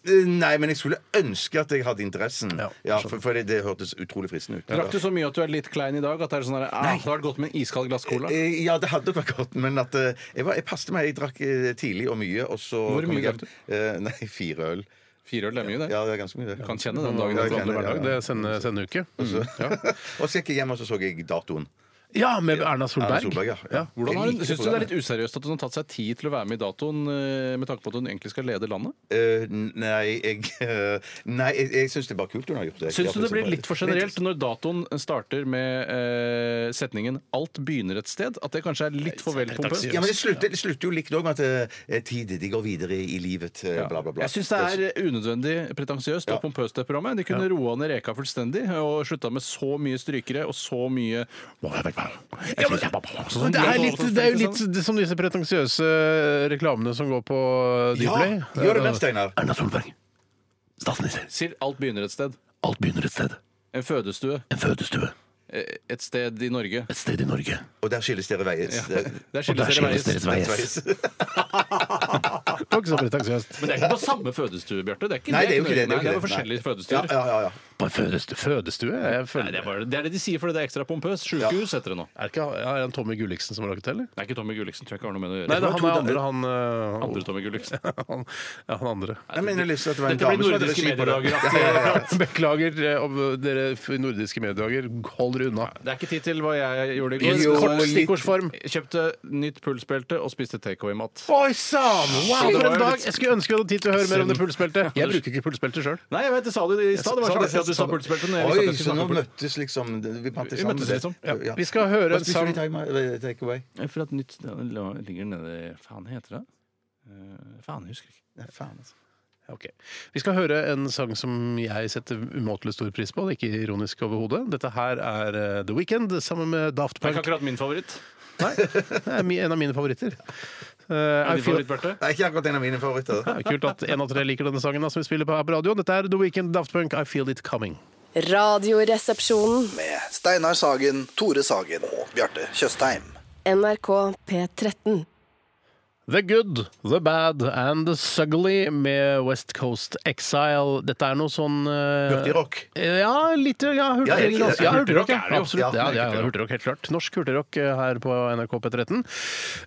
C: Eh, Nei, men jeg skulle ønske at jeg hadde interessen. Ja, for, for det, det hørtes utrolig fristende ut.
D: Drakk du så mye at du er litt klein i dag at det er sånn der, ah, det har vært godt med en iskald glass cola?
C: Eh, Ja, det hadde vært godt, men at eh, jeg, var, jeg passet meg. Jeg drakk eh, tidlig og mye, og så
D: Hvor
C: kom
D: mye
C: jeg hjem-
D: drakk
C: Eh, Nei, fire øl.
D: Fire øl det er mye, det.
C: Ja, det er ganske mye, det.
D: Kan kjenne den dagen. at
C: Ja, jeg
D: du
C: kjenner
D: handler
C: det,
D: hver dag.
B: Altså,
C: ja.
B: Det er sende, sendeuke.
C: og så gikk jeg hjem, og så så jeg datoen.
B: Mm. Ja, med Erna Solberg.
C: Erna Solberg, ja. Ja.
D: Hvordan har
C: Jeg
D: hun,
C: liker
D: synes du det er
C: programmet.
D: litt useriøst at hun har tatt seg tid til å være med i datoen eh, med tanke på at hun egentlig skal lede landet?
C: Eh, nei, jeg, eh, nei, jeg, jeg syns det er bare kult hun har gjort det.
D: Syns du
C: Ja,
D: det blir litt for generelt når datoen starter med eh, setningen 'alt begynner et sted'? At det kanskje er litt for vel pompøst?
C: Ja, men det slutter, det slutter jo likt òg med at eh, tid de går videre i livet, eh, bla, bla, bla.
D: Jeg syns det er unødvendig pretensiøst og pompøst, det programmet. De kunne roa ned reka fullstendig og slutta med så mye strykere og så mye
B: Ja, men,
C: sånn
B: men det, er litt, det er jo litt det som disse pretensiøse reklamene som går på
C: Ja,
B: Dplay.
C: gjør det mer, Steinar.
A: Eh, Erna Solberg. Statsminister.
D: Sier alt begynner et sted.
A: Alt begynner et sted.
D: En fødestue.
A: En fødestue.
D: eh, Et sted i Norge.
A: Et sted i Norge.
C: Og der skilles dere eh, veier.
D: [LAUGHS]
C: Det-
D: Der skilles dere veier. Men [LAUGHS]
A: veies.
B: Det var ikke så pretensiøst.
A: [LAUGHS]
D: det er ikke på samme fødestue, Bjarte. Det er ikke
C: Nei, det er jo ikke det.
D: Nei,
C: jo
D: det er
C: ikke
D: jo forskjellige
C: Nei.
D: fødestuer.
C: Ja, ja, ja, ja.
B: På en fødestue? fødestue? Jeg
D: Nei,
B: føler,
D: det, er bare, det er det de sier fordi det er ekstra pompøst. Sjukehus heter det nå.
B: er det ikke ja, er det han Tommy Gulliksen som har laget det, eller?
D: Det er ikke Tommy Gulliksen. Tror jeg ikke har noe med det å gjøre.
B: Nei, det er han er
D: andre.
B: andre, han, øh,
D: andre Tommy Gulliksen.
B: [LAUGHS] han Ja, han andre.
C: Jeg mener lyst til at det var en
D: Dette blir
C: dame som hadde
D: nordiske
C: regi på det.
D: mediedager.
B: [LAUGHS] Beklager, eh, om dere f- nordiske mediedager. Hold dere unna.
D: Det er ikke tid til hva jeg gjorde
B: I
D: i går.
C: Jo,
B: kort
C: litt-
B: stikkordsform.
D: Jeg Kjøpte nytt pulsbelte og spiste takeaway-mat.
B: Oi sann! Wow, for en dag! Jeg skulle ønske vi hadde tid til å høre mer om det pulsbeltet. Jeg bruker ikke pulsbelte sjøl.
D: Nei, jeg vet, det sa du i stad. Det var så artig at du sa pulsbelte. når jeg visste at
C: Oi,
D: jeg
C: så
D: skulle
C: nå
D: snakke om
C: møttes liksom Vi plantet
D: Vi
C: sammen.
D: møttes liksom.
C: Ja.
B: Vi skal høre
C: Hva
B: en
C: spiser
B: sang
C: vi time, eller eh, take away?
D: pul- For at nytt det ligger nede Faen, heter det? Eh, Faen, jeg husker ikke.
C: Nei, faen, altså.
B: Ok. Vi skal høre en sang som jeg setter umåtelig stor pris på. Det er ikke ironisk overhodet. Dette her er eh, The Weeknd sammen med Daft
D: Det er ikke
B: Punk.
D: akkurat min favoritt.
B: Nei, det er mi- en av mine favoritter. Eh,
D: Er
B: I
D: det din
B: feel
D: favoritt, Bjarte?
C: Det er ikke akkurat en av mine favoritter.
B: Det er Kult at en av tre liker denne sangen da, som vi spiller på her på radioen. Dette er The Weekend, Daft Punk, I Feel It Coming.
F: Radioresepsjonen.
G: med Steinar Sagen, Tore Sagen og Bjarte Tjøstheim.
F: NRK P13.
B: The Good, The Bad and The Sugly med West Coast Exile. Dette er noe sånn eh,
C: Hurtigrock.
B: Ja, litt. Ja,
C: Ja,
B: hurtigrock.
C: jeg liker det.
B: Ja, hurtigrock, ja.
C: Hurtigrock er det jo.
B: Absolutt. Ja,
C: Ja,
B: ja, ja, hurtigrock, helt klart. Norsk hurtigrock eh, her på NRK P13.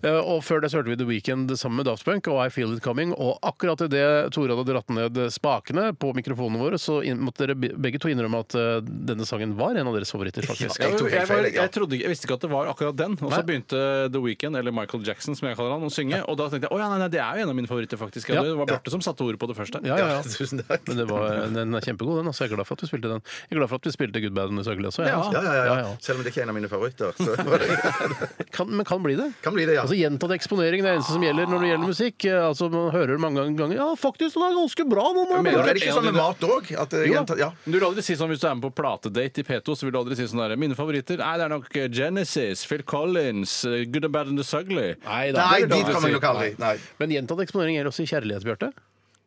B: Eh, Og før det så hørte vi The Weekend sammen med Daft Punk og I Feel It Coming. Og akkurat idet Tore hadde dratt ned spakene på mikrofonene våre, så inn- måtte dere be- begge to innrømme at eh, denne sangen var en av deres favoritter, faktisk.
D: Jeg,
C: Ja, Jeg tok helt
D: jeg, var,
C: feil, ja.
D: jeg, trodde, ikke- jeg visste ikke at det var akkurat den. Og så begynte The Weeknd, eller Michael Jackson, som jeg kaller han, å synge. Og da tenkte jeg å ja, nei, nei, det er jo en av mine favoritter, faktisk. Ja,
B: Ja.
D: Det var Bjarte som satte ordet på det først der.
B: Ja, ja, ja.
C: [LAUGHS] Tusen takk.
B: Men det var, den er kjempegod, den. Altså, jeg er glad for at vi spilte den. Jeg er glad for at vi spilte Good Bad News Ugly også. jeg,
D: Ja.
B: altså.
C: Ja, ja, ja,
B: Ja,
C: ja. Selv om det ikke er en av mine favoritter.
B: [LAUGHS]
C: Så
B: Kan, men kan bli det.
C: kan bli det, ja.
B: Altså Gjentatt eksponering det er det eneste som gjelder når det gjelder musikk. Eh, Altså Man hører det mange ganger. Ja, faktisk, den er ganske bra. nå, Man,
C: Men
D: mener
C: er det ikke sånn med mat òg? Ja.
D: Men Du vil aldri si sånn Hvis du er med på platedate i P2, så vil du aldri si sånn der Mine favoritter? Nei, det er nok eh, Genesis, Phil Collins, eh, Good and Bad and the Sugly.
B: Nei, da,
C: Nei,
B: det vil
C: dit
B: jeg
C: kommer
B: aldri si.
C: jeg nok aldri. Nei.
B: Men gjentatt eksponering gjelder også i kjærlighet, Bjarte.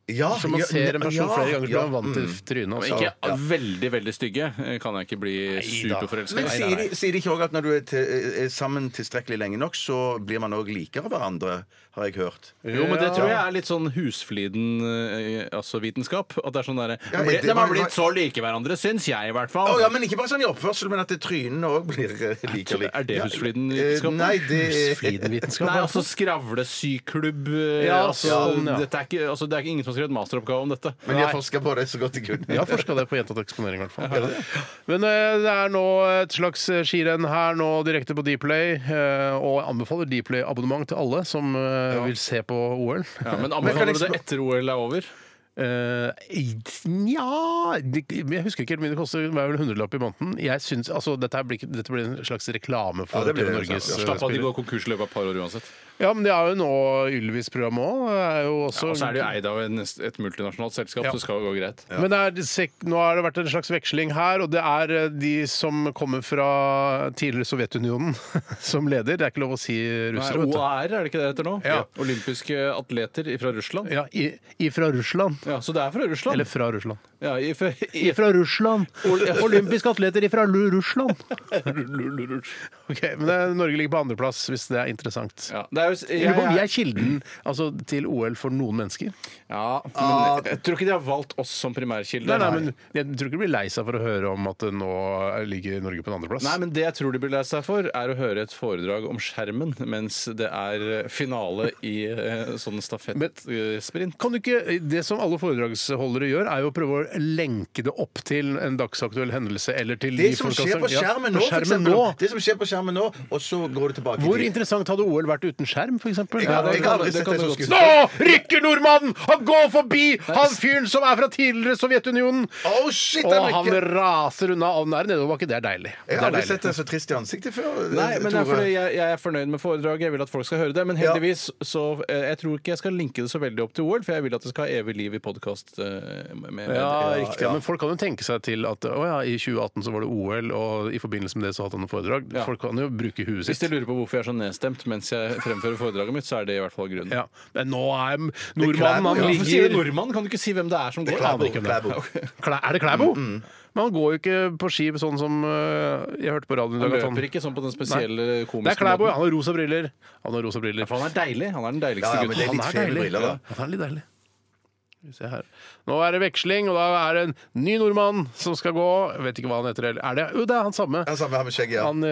C: Ja,
B: Så man
C: ja,
B: ser en person
C: ja, Mm.
B: flere ganger, blir
C: ja,
B: man vant til trynet.
D: Men
B: Altså.
D: ikke
C: Ja.
D: veldig, veldig stygge. Eh, Kan jeg ikke bli
B: da.
D: superforelska?
C: Men
D: Nei,
C: sier
D: nei,
C: de,
D: nei.
C: sier de ikke òg at når du er, til, er sammen tilstrekkelig lenge nok, så blir man òg likere hverandre, har jeg hørt.
D: Jo, men det tror jeg er litt sånn husfliden eh, Altså vitenskap. At det er sånn derre
C: Ja,
D: De
C: det
D: har
C: var-
D: blitt så like hverandre, syns jeg i hvert
C: Å
D: fall.
C: ja, men ikke bare sånn i oppførsel, men at det trynene òg blir eh, like like.
D: Er det husfliden
C: Ja, eh,
D: vitenskap?
C: Nei, det er
B: Flidenvitenskap.
D: Nei, altså skravlesyklubb eh,
B: Ja,
D: altså,
B: sånn, ja.
D: Dette er ikke, altså, det er ikke ingen som har skrevet masteroppgave om dette.
C: Men de har forska på det så godt de kunne.
B: Jeg har forska det på gjentatt eksponering, i hvert fall. Men eh, det er nå et slags eh, skirenn her nå direkte på Dplay, eh, og jeg anbefaler Dplay-abonnement til alle som eh, vil se på OL.
D: Ja,
B: [LAUGHS]
D: men liksom-
C: kan
D: anbefaler
C: jeg
D: du det
B: liksom-
D: etter OL er over?
B: Eh, Nja det- Jeg husker ikke helt mye det koster. Det er vel en hundrelapp i måneden. Jeg synes, altså, dette, her blir, ikke- dette blir en slags reklame for
C: Ja, det blir
B: TV
C: det,
B: Norges
C: sant.
B: eh,
D: Slapp av, de
B: spillere.
D: går konkurs i løpet av et par år uansett.
B: Ja, men det er jo nå Ylvis-programmet òg. Og
D: Og så er det jo eid av en, et multinasjonalt selskap,
B: Ja.
D: så det skal jo gå greit.
B: Men det er, sek- nå har det vært en slags veksling her, og det er eh, de som kommer fra tidligere Sovjetunionen [LAUGHS] som leder. Det er ikke lov å si
D: Nei,
B: russere, vet du.
D: OAR, er det ikke det det heter nå?
B: Ja.
D: Olympiske atleter fra Russland.
B: Ja, i, ifra Russland.
D: Ja, Så det er fra Russland?
B: Eller fra Russland.
D: Ja,
B: [LAUGHS]
D: i, i,
B: Ifra Russland! Olympiske atleter ifra Lu- Russland! Ok, Men det, Norge ligger på andreplass, hvis det er interessant.
D: ja, det er jo,
B: Jeg lurer på om vi er kilden altså, til OL for noen mennesker.
D: Ja, men jeg tror ikke de har valgt oss som primærkilde.
B: Ah. Nei, nei, men Jeg tror ikke du blir lei seg for å høre om at eh, nå ligger Norge på en andreplass.
D: Nei, men Det jeg tror de blir lei seg for, er å høre et foredrag om skjermen mens det er finale i eh, sånn
B: Men-
D: stafettsprint.
C: eh,
B: Kan du ikke, eh, Det som alle alle foredragsholdere gjør, er jo å prøve å lenke det opp til en dagsaktuell hendelse eller til
C: Det
B: de
C: som
B: folka
C: skjer på
B: ja,
C: skjermen
B: på
C: nå, for
B: skjermen
C: eksempel,
B: nå.
C: Det som skjer på skjermen nå, og så går det tilbake
B: Hvor
C: i tid.
B: interessant hadde OL vært uten skjerm, f.eks.?
C: Jeg har jeg har aldri
D: det
C: sett
D: kan
C: det
D: du
C: så
D: godt si.
C: skummelt.
B: Nå rykker nordmannen! Han går forbi han fyren som er fra tidligere Sovjetunionen!
C: Oh, shit,
B: Og
C: han
B: han
C: rykker!
B: raser unna og den er i nedoverbakke. Det er deilig.
C: Jeg
B: Det
C: har
B: er
C: aldri
B: deilig.
C: sett deg så trist i ansiktet før. eh,
D: Nei, men det er
C: Tore.
D: fordi jeg, jeg er fornøyd med foredraget. Jeg vil at folk skal høre det. Men heldigvis så eh, Jeg tror ikke jeg skal linke det så veldig opp til OL, for jeg vil at det skal ha evig liv i eh, podkast.
B: Ja,
D: Ja,
B: riktig. Men folk kan jo tenke seg til at å ja, i 2018 så var det OL, og i forbindelse med det så hadde han noen foredrag.
D: Ja.
B: Folk kan jo bruke huet
D: Hvis de
B: sitt.
D: lurer på hvorfor jeg er så nedstemt mens jeg fremfører foredraget mitt, så er det i hvert fall grunnen.
B: Ja. Men nå er
C: Klæbo,
B: nordmannen han
C: ja.
D: Hvorfor sier du
B: ligger
D: nordmann? Kan du ikke si hvem det er som går?
C: Klæbo,
D: Aner ikke hvem det er.
C: Klæbo.
B: Klæ- Er det Klæbo?
C: Mm,
B: Men han går jo ikke på ski sånn som øh, jeg hørte på radioen i
D: Han
B: dag. at
D: løper ikke sånn på den spesielle
B: Det er
D: komiske
B: Klæbo. ja.
D: måten.
B: Han har rosa briller. Han har rosa briller.
D: For han er deilig. Han er den deiligste
C: Ja, ja, men
D: gutten. Han
C: det er litt
D: er
C: feil
D: deilig.
C: briller, da.
B: Ja, det er litt deilig. Skal vi se her. Nå er det veksling, og da er det en ny nordmann som skal gå. Jeg vet ikke hva han heter. eller- Er det? Jo, det er han samme.
C: Ja, samme her med skjegget, ja.
B: Han eh,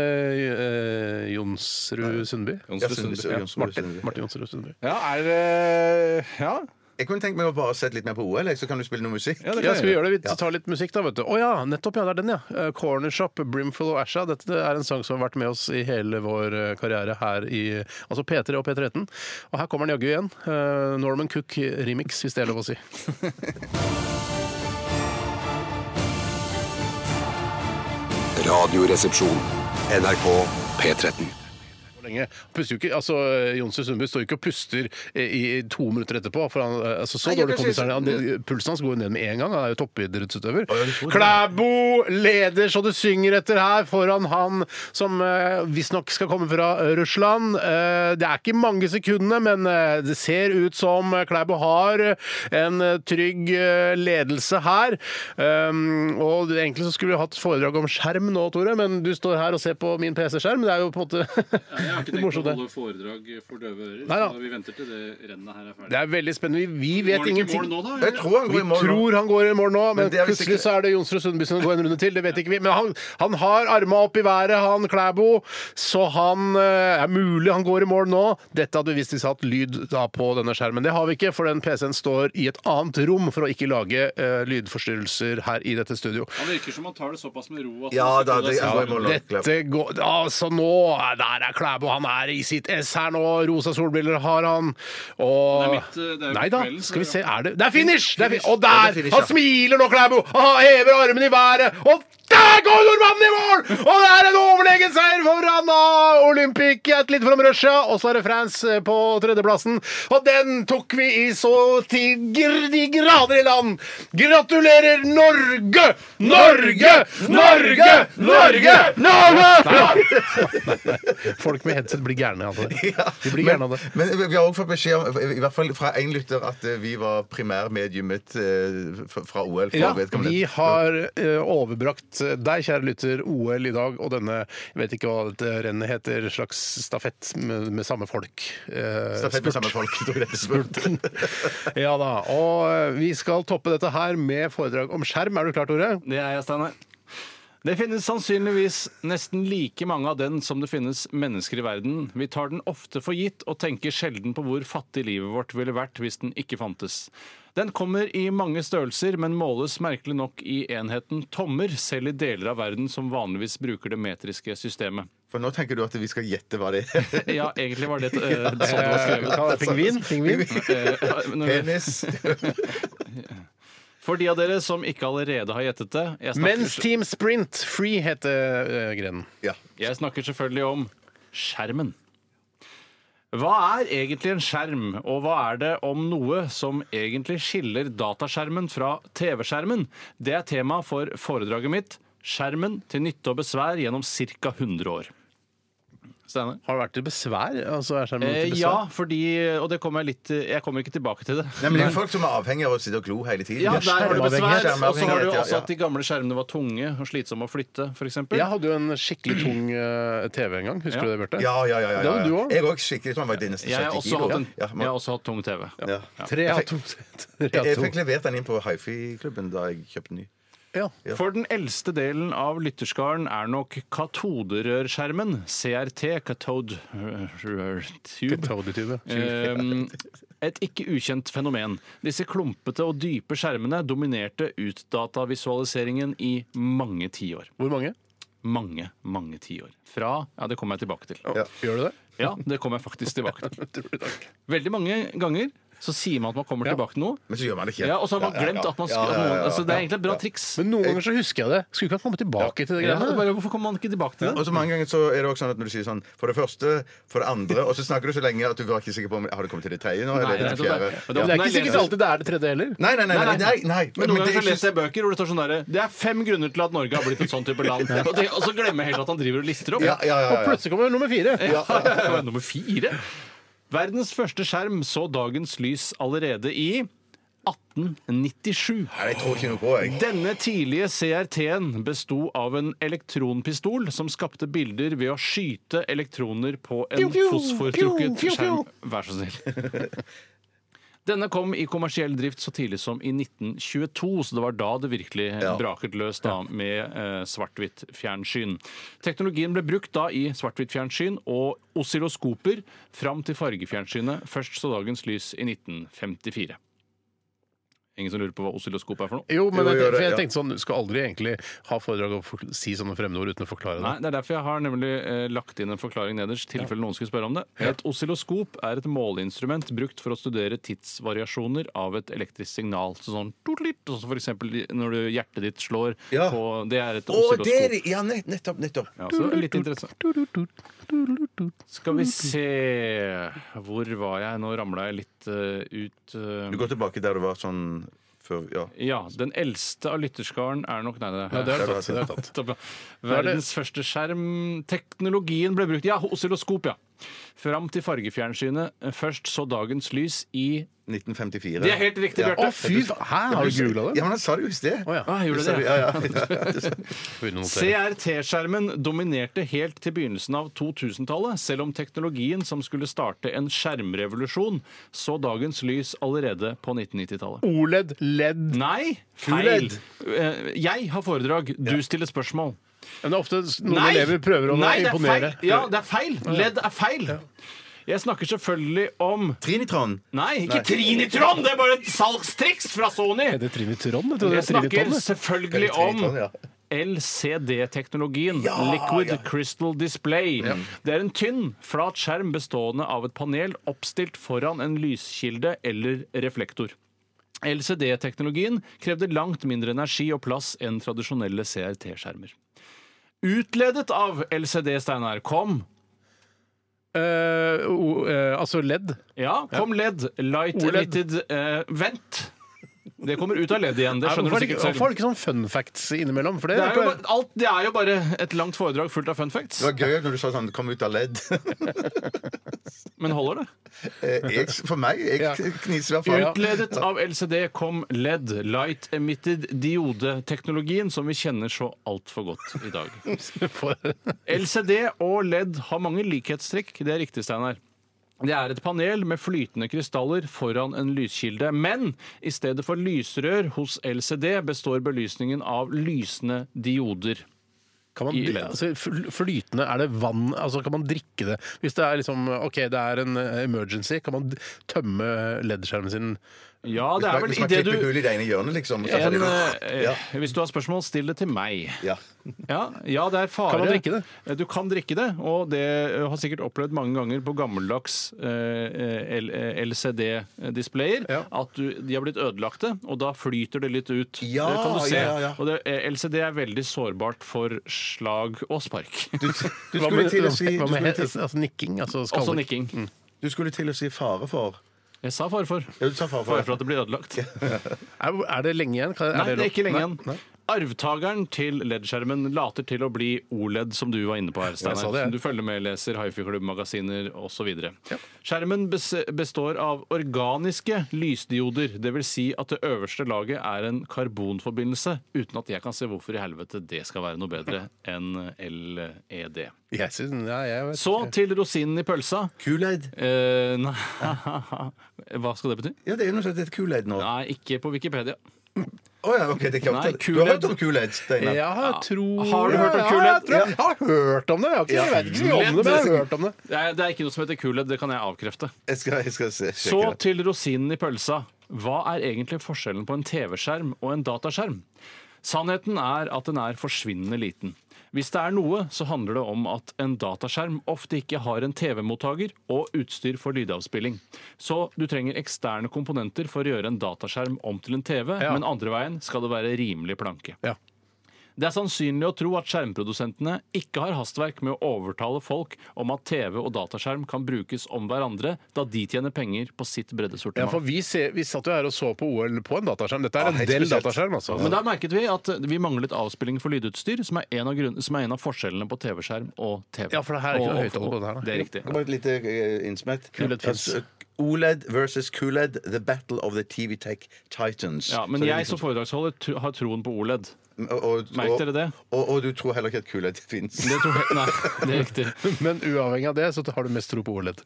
B: eh, Jonsrud Sundby.
C: Ja, Sundby, ja, Jonsrud,
B: Martin,
C: Sundby.
B: Martin Jonsrud Sundby.
D: Ja, er det Ja.
C: Jeg kunne tenkt meg å bare sette litt mer på OL, jeg, så kan du spille noe musikk.
D: ja det
B: Ja,
D: kan
B: skal vi
D: jeg gjøre.
B: gjøre det? Vi tar litt musikk, da. vet du. Å ja, nettopp. ja, Det er den, ja. Eh, Corner Shop, Brimful of Asha. Dette er en sang som har vært med oss i hele vår eh, karriere her i altså P3 og P13. Og her kommer den jaggu igjen. Eh, Norman Cook remix, hvis det er lov å si.
H: Radioresepsjon. NRK P13.
B: Hvor lenge. Han Puster jo ikke, altså, Jonsrud Sundby står jo ikke og puster i, i to minutter etterpå. For han, eh, altså, så
C: Nei, jeg
B: dårlig
C: kan
B: kondis
C: si-
B: er han. Det- Pulsen hans går jo ned med en gang. Han er jo toppidrettsutøver.
C: tror det.
B: Klæbo leder så det synger etter her foran han som eh, visstnok skal komme fra eh, Russland. Eh, Det er ikke mange sekundene, men eh, det ser ut som eh, Klæbo har en eh, trygg eh, ledelse her. Um, Og det- egentlig så skulle vi hatt foredrag om skjerm nå, Tore, men du står her og ser på min PC-skjerm. Det er jo på en måte [LAUGHS]
I: Jeg har ikke tenkt
B: Det er
I: å
B: morsomt, det.
I: holde foredrag for døve ører,
B: Nei da.
I: så vi venter til det rennet her er ferdig.
B: Det er veldig spennende. Vi vi vet
I: Går det ikke i
B: ingenting.
I: mål nå, da?
C: Jeg
I: eller?
C: tror han går
B: Vi
C: i mål nå. [LAUGHS]
B: tror han går i mål nå, men,
C: Men det er vi
B: plutselig
C: sikre-
B: så er det Jonsrud Sundby som går en runde til. Det vet ikke vi. Men han, han har arma opp i været, han Klæbo. Så han eh, er mulig han går i mål nå. Dette hadde vi visst hvis hatt lyd da på denne skjermen. Det har vi ikke, for den PC-en står i et annet rom for å ikke lage eh, lydforstyrrelser her i dette studio.
I: Han virker som han tar det såpass med ro at
C: Ja
I: han
C: da,
I: sitter
C: det
I: der
C: går i mål. nå.
B: Dette går Altså, nå Der er Klæbo. Han er i sitt ess her nå. Rosa solbriller har han.
I: Det er
B: Og
I: midt, det er jo
B: Nei da,
I: kvelden, så
B: skal vi
I: ja.
B: se Er det Det er finish! Det er fin- Og
C: Ja, det
B: der!
C: er finish,
B: Han
C: ja.
B: smiler nå, Klæbo! Og Han hever armene i været! Og der går nordmannen i mål! Og det er en overlegen seier foran ah, Olympic Athlete from Russia. Og så er det France eh, på tredjeplassen. Og den tok vi i så til gr- de grader i land! Gratulerer, Norge! Norge! Norge! Norge! Norge! [LAUGHS] Folk med headset blir gærne av det. De blir gærne av det.
C: Men vi har også fått beskjed om, i hvert fall fra én lytter, at eh, vi var primærmediumet eh, f- fra OL. for
B: Ja,
C: vedkommende.
B: vi har eh, overbrakt deg, kjære lytter, OL i dag og denne jeg vet ikke hva dette rennet heter, slags stafett med, med samme folk. Eh,
C: Stafett med samme folk. tror jeg det er spurt.
B: [LAUGHS] ja da. Og eh, vi skal toppe dette her med foredrag om skjerm. Er du klar, Tore?
D: Det er jeg, Steinar. Det finnes sannsynligvis nesten like mange av den som det finnes mennesker i verden. Vi tar den ofte for gitt og tenker sjelden på hvor fattig livet vårt ville vært hvis den ikke fantes. Den kommer i mange størrelser, men måles merkelig nok i enheten tommer, selv i deler av verden som vanligvis bruker det metriske systemet.
C: For nå tenker du at vi skal gjette hva
D: [LAUGHS]
C: det er.
D: Ja, egentlig var det et, eh, sånn det var
B: Eh, [LAUGHS]
D: skrevet.
B: hva er det, Pingvin? Pingvin?
D: Eh, når-
C: Penis.
D: For de av dere som ikke allerede har gjettet det jeg snakker-
B: Men's Team Sprint Free heter eh, grenen.
C: Ja.
D: Jeg snakker selvfølgelig om skjermen. Hva er egentlig en skjerm, og hva er det om noe som egentlig skiller dataskjermen fra TV-skjermen? Det er tema for foredraget mitt 'Skjermen til nytte og besvær gjennom ca. 100 år'. Steinar?
B: Har det vært til besvær? Altså, er skjermen
D: Eh,
B: til besvær?
D: ja, fordi Og det kommer jeg litt Jeg kommer ikke tilbake til det.
C: Nei, men det er jo folk som er avhengig av å sitte og glo hele
D: [LAUGHS]
C: tiden.
D: Ja, der har du besvær.
C: Skjermavhengighet,
D: Og så har du
C: ja,
D: også
C: ja.
D: at de gamle skjermene var tunge og slitsomme å flytte, f.eks.
B: Jeg hadde jo en skikkelig tung eh, TV en gang. Husker
D: Ja.
B: du det, Bjarte?
C: Ja, ja, ja. ja,
B: Det
C: ja.
B: hadde du også.
C: Jeg òg skikkelig sånn. Var det nesten
D: Jeg har
C: 70
D: også
C: kilo.
D: hatt, en,
C: Ja,
D: jeg
C: man-
D: har også hatt tung TV.
C: ja.
B: Tre av
C: Jeg
B: to.
C: fikk-
B: Tre av
C: Jeg jeg
B: to.
C: fikk levert den inn på hifi-klubben da jeg kjøpte ny.
B: Ja.
D: For den eldste delen av lytterskaren er nok katoderørskjermen, CRT, cathode rør tube.
B: Toadie-tube.
D: Ehm, et ikke ukjent fenomen. Disse klumpete og dype skjermene dominerte utdatavisualiseringen i mange tiår.
B: Hvor mange?
D: Mange, mange tiår. Fra Ja, det kommer jeg tilbake til.
B: Gjør du det?
D: Ja, det kommer jeg faktisk tilbake til.
B: Tusen takk.
D: Veldig mange ganger så sier man at man kommer tilbake til noe.
C: Men så gjør man det ikke.
D: Ja, og så har man
C: Ja, ja,
D: glemt
C: ja.
D: at man
C: Ja,
D: skulle
C: ja, ja, ja, ja.
D: altså, Det er egentlig et bra triks.
B: Men noen ganger så husker jeg det. Skulle ikke ha kommet tilbake til det
D: Ja,
B: greiene.
D: bare, hvorfor kommer man ikke tilbake til det?
C: Og så mange ganger så er det også sånn at når du sier sånn For det første, for det andre, og så snakker du så lenge at du var ikke sikker på om Har det kommet til det tredje
D: Nei,
C: nå? Eller
D: det
C: det
D: er
C: fjerde?
D: sånn der-
C: Ja.
B: Men det er ikke sikkert alltid det er det tredje heller.
C: Nei, nei, nei. nei, nei, nei.
D: Men Noen ganger så
C: synes-
D: leser jeg bøker hvor det står sånn derre Det er fem grunner til at Norge har blitt et sånn type land. Og, det, og så glemmer jeg helt at han driver og lister opp.
C: ja, ja,
B: Og
C: ja, ja.
B: plutselig kommer nummer fire.
D: [LAUGHS] Ja, Nummer fire. Verdens første skjerm så dagens lys allerede i 1897.
C: Nei, jeg tror ikke noe på, jeg.
D: Denne tidlige CRT-en besto av en elektronpistol som skapte bilder ved å skyte elektroner på en
B: Pew, pew, pew,
D: fosfortrukket
B: pew,
D: skjerm.
B: pew.
D: Vær så snill. [LAUGHS] Denne kom i kommersiell drift så tidlig som i 1922, så det var da det virkelig braket løs da, med eh, svart-hvitt fjernsyn. Teknologien ble brukt da i svart-hvitt fjernsyn og oscilloskoper fram til fargefjernsynet først så dagens lys i 1954. Ingen som lurer på hva oscilloskop er for noe?
B: Jo, men
C: Jo,
B: jeg,
C: gjør det,
B: for jeg
C: ja.
B: tenkte sånn, Du skal aldri egentlig ha foredrag og forkl- si sånne fremmedord uten å forklare det.
D: Nei, Det er derfor jeg har nemlig eh, lagt inn en forklaring nederst. tilfelle noen skulle spørre om det. Et oscilloskop er et måleinstrument brukt for å studere tidsvariasjoner av et elektrisk signal. Så sånn tutlitt, sånn som for eksempel når du, hjertet ditt slår
C: Ja.
D: på Det er et
C: Å, det er
D: oscilloskop.
C: det! Ja, nett, nettopp, nettopp.
D: Ja, så litt interessant. Skal vi se Hvor var jeg? Nå ramla jeg litt eh, ut. eh,
C: Du går tilbake der du var sånn før Ja.
D: ja, Den eldste av lytterskaren er nok Nei, det,
B: det er
C: det
D: [LAUGHS]
B: tatt. Det er tatt.
D: Topp, ja. Verdens første skjerm. Teknologien ble brukt Ja, oscilloskop, ja. Fram til fargefjernsynet. Først så dagens lys i
C: 1954.
D: Det er helt riktig,
C: Ja.
D: Bjarte.
B: Å, fy faen! Hæ, har du googla
C: Ja,
B: det?
C: men han sa det jo i sted.
B: Å, ja.
D: Ah, gjorde
C: Ja,
D: det?
C: ja, ja.
B: Begynner å notere.
D: CRT-skjermen dominerte helt til begynnelsen av 2000-tallet, selv om teknologien som skulle starte en skjermrevolusjon, så dagens lys allerede på 1990-tallet.
B: OLED, LED
D: Nei, feil!
B: OLED.
D: Eh, Jeg har foredrag, du stiller spørsmål.
B: Men det er ofte s- noen elever prøver å
D: Nei, det er
B: imponere.
D: Feil. Ja, det er feil. Ledd er feil. Jeg snakker selvfølgelig om
C: Trinitron.
D: Nei, ikke Trinitron! Det er bare et salgstriks fra Sony!
B: Er det Trinitron? Jeg trodde
D: Jeg
B: det var
D: snakker
B: Trinitron.
D: selvfølgelig om
C: Trinitron, ja.
D: LCD-teknologien, Liquid Crystal Display. Det er en tynn, flat skjerm bestående av et panel oppstilt foran en lyskilde eller reflektor. LCD-teknologien krevde langt mindre energi og plass enn tradisjonelle CRT-skjermer. Utledet av LCD, Steinar, kom
B: Eh, o- eh, altså LED.
D: Ja, kom ledd. Light
B: OLED.
D: emitted eh, Vent! Det kommer ut av ledd igjen. Det skjønner
B: Hvorfor
D: du
B: er det ikke-
D: sikkert
B: hvorfor
D: selv.
B: er det ikke sånn fun facts innimellom? For det,
D: Det er, jo bare, alt, det er jo bare et langt foredrag fullt av fun facts.
C: Det var gøy når du sa sånn 'kom ut av ledd'. [LAUGHS]
D: Men holder det?
C: Eh, Jeg, for meg
B: Ja.
C: jeg kniser i hvert fall.
D: Utledet av LCD kom LED, Light Emitted Diode-teknologien, som vi kjenner så altfor godt i dag.
B: [LAUGHS]
D: LCD og LED har mange likhetstrekk. Det er riktig, Steinar. Det er et panel med flytende krystaller foran en lyskilde. Men i stedet for lysrør hos LCD består belysningen av lysende dioder.
B: kan man,
D: i LED.
B: altså, fl- flytende, er det vann? Altså, kan man drikke det? Hvis det er liksom, ok, det er en eh, emergency, kan man d- tømme LED-skjermen sin?
D: Ja, det er vel
C: Hvis man
D: idet du
C: klipper hull i det ene hjørnet, liksom. og så-
D: en, eh,
C: Ja.
D: Hvis du har spørsmål, still det til meg.
C: Ja.
D: Ja, ja, det er fare. Eh,
B: Kan man drikke
D: Du kan drikke det, og det eh, har sikkert opplevd mange ganger på gammeldags eh, LCD-displayer
B: Ja.
D: at du, de har blitt ødelagte, og da flyter det litt ut.
C: Ja,
D: det kan du se.
C: ja, ja.
D: Og det, eh, LCD er veldig sårbart for slag og spark.
C: Du, du, skulle til å si, du,
B: Hva med
C: skulle
B: he-
C: til,
B: altså, nikking? Altså, skaller.
D: [LAUGHS] Også nikking.
C: du skulle til å si fare for.
D: Jeg sa fare for.
C: Mm. Ja, du sa fare for.
D: Fare for at det blir ødelagt.
B: Er, er det lenge igjen? Kan,
D: Nei, det er
B: lov?
D: ikke lenge
B: Nei,
D: igjen.
B: nei.
D: Arvtakeren til LED-skjermen later til å bli OLED, som du var inne på her, Steinar.
B: sa det, jeg.
D: Som du følger med, leser hifi-klubb-magasiner osv. Skjermen bes består av organiske lysdioder, dvs. Si at det øverste laget er en karbonforbindelse, uten at jeg kan se hvorfor i helvete det skal være noe bedre enn LED.
B: Jeg synes, ja, jeg vet.
D: Så til rosinen i pølsa.
C: Kool-Aid.
D: Eh, nei [LAUGHS] Hva skal det bety?
C: Ja, det er noe som heter Kool-Aid nå.
D: Nei, ikke på Wikipedia.
C: Å ja, ok, det er ikke
D: Nei,
C: opptatt. Du har
D: Kool-Aid.
C: hørt om Kool-Aid, Steinar?
B: Ja, jeg tror
D: Har du hørt om Kool-Aid?
B: Ja, jeg, tror, jeg har hørt om det. Jeg, har ikke, jeg vet ikke så mye om det, men jeg har hørt om det.
D: Det er, det er ikke noe som heter kulhet, det kan jeg avkrefte.
C: Jeg skal, jeg skal se, sjekke
D: Så
C: det.
D: til rosinen i pølsa. Hva er egentlig forskjellen på en TV-skjerm og en dataskjerm? Sannheten er at den er forsvinnende liten. Hvis det er noe, så handler det om at en dataskjerm ofte ikke har en TV-mottaker og utstyr for lydavspilling. Så du trenger eksterne komponenter for å gjøre en dataskjerm om til en TV,
B: Ja.
D: men andre veien skal det være rimelig planke.
B: Ja.
D: Det er sannsynlig å tro at skjermprodusentene ikke har hastverk med å overtale folk om at TV og dataskjerm kan brukes om hverandre, da de tjener penger på sitt
B: Ja,
D: breddesortiment.
B: for vi, ser, vi satt jo her og så på OL på en dataskjerm. Dette er
C: Ja,
B: en
C: helt
B: del
C: spesielt.
B: dataskjerm, altså.
D: Men da merket vi at vi manglet avspilling for lydutstyr, som er en av, grunn- som er en av forskjellene på TV-skjerm og TV.
B: Ja, for det her er ikke noe
D: Og- og-
B: høyttaler på det her, da.
D: Det er riktig.
C: Det var et lite eh, innsmett.
D: Kullet fins.
C: Altså, OLED versus Kool-Aid, The Battle of the TV Tech Titans.
D: Ja, men
C: Så det er
D: jeg som
C: liksom-
D: foredragsholder tr- har troen på OLED.
C: og, og,
D: Merk dere det?
C: Og, og du tror heller ikke at Kool-Aid fins.
D: Det tror jeg, nei, [LAUGHS] det er riktig.
B: Men uavhengig av det, så har du mest tro på OLED.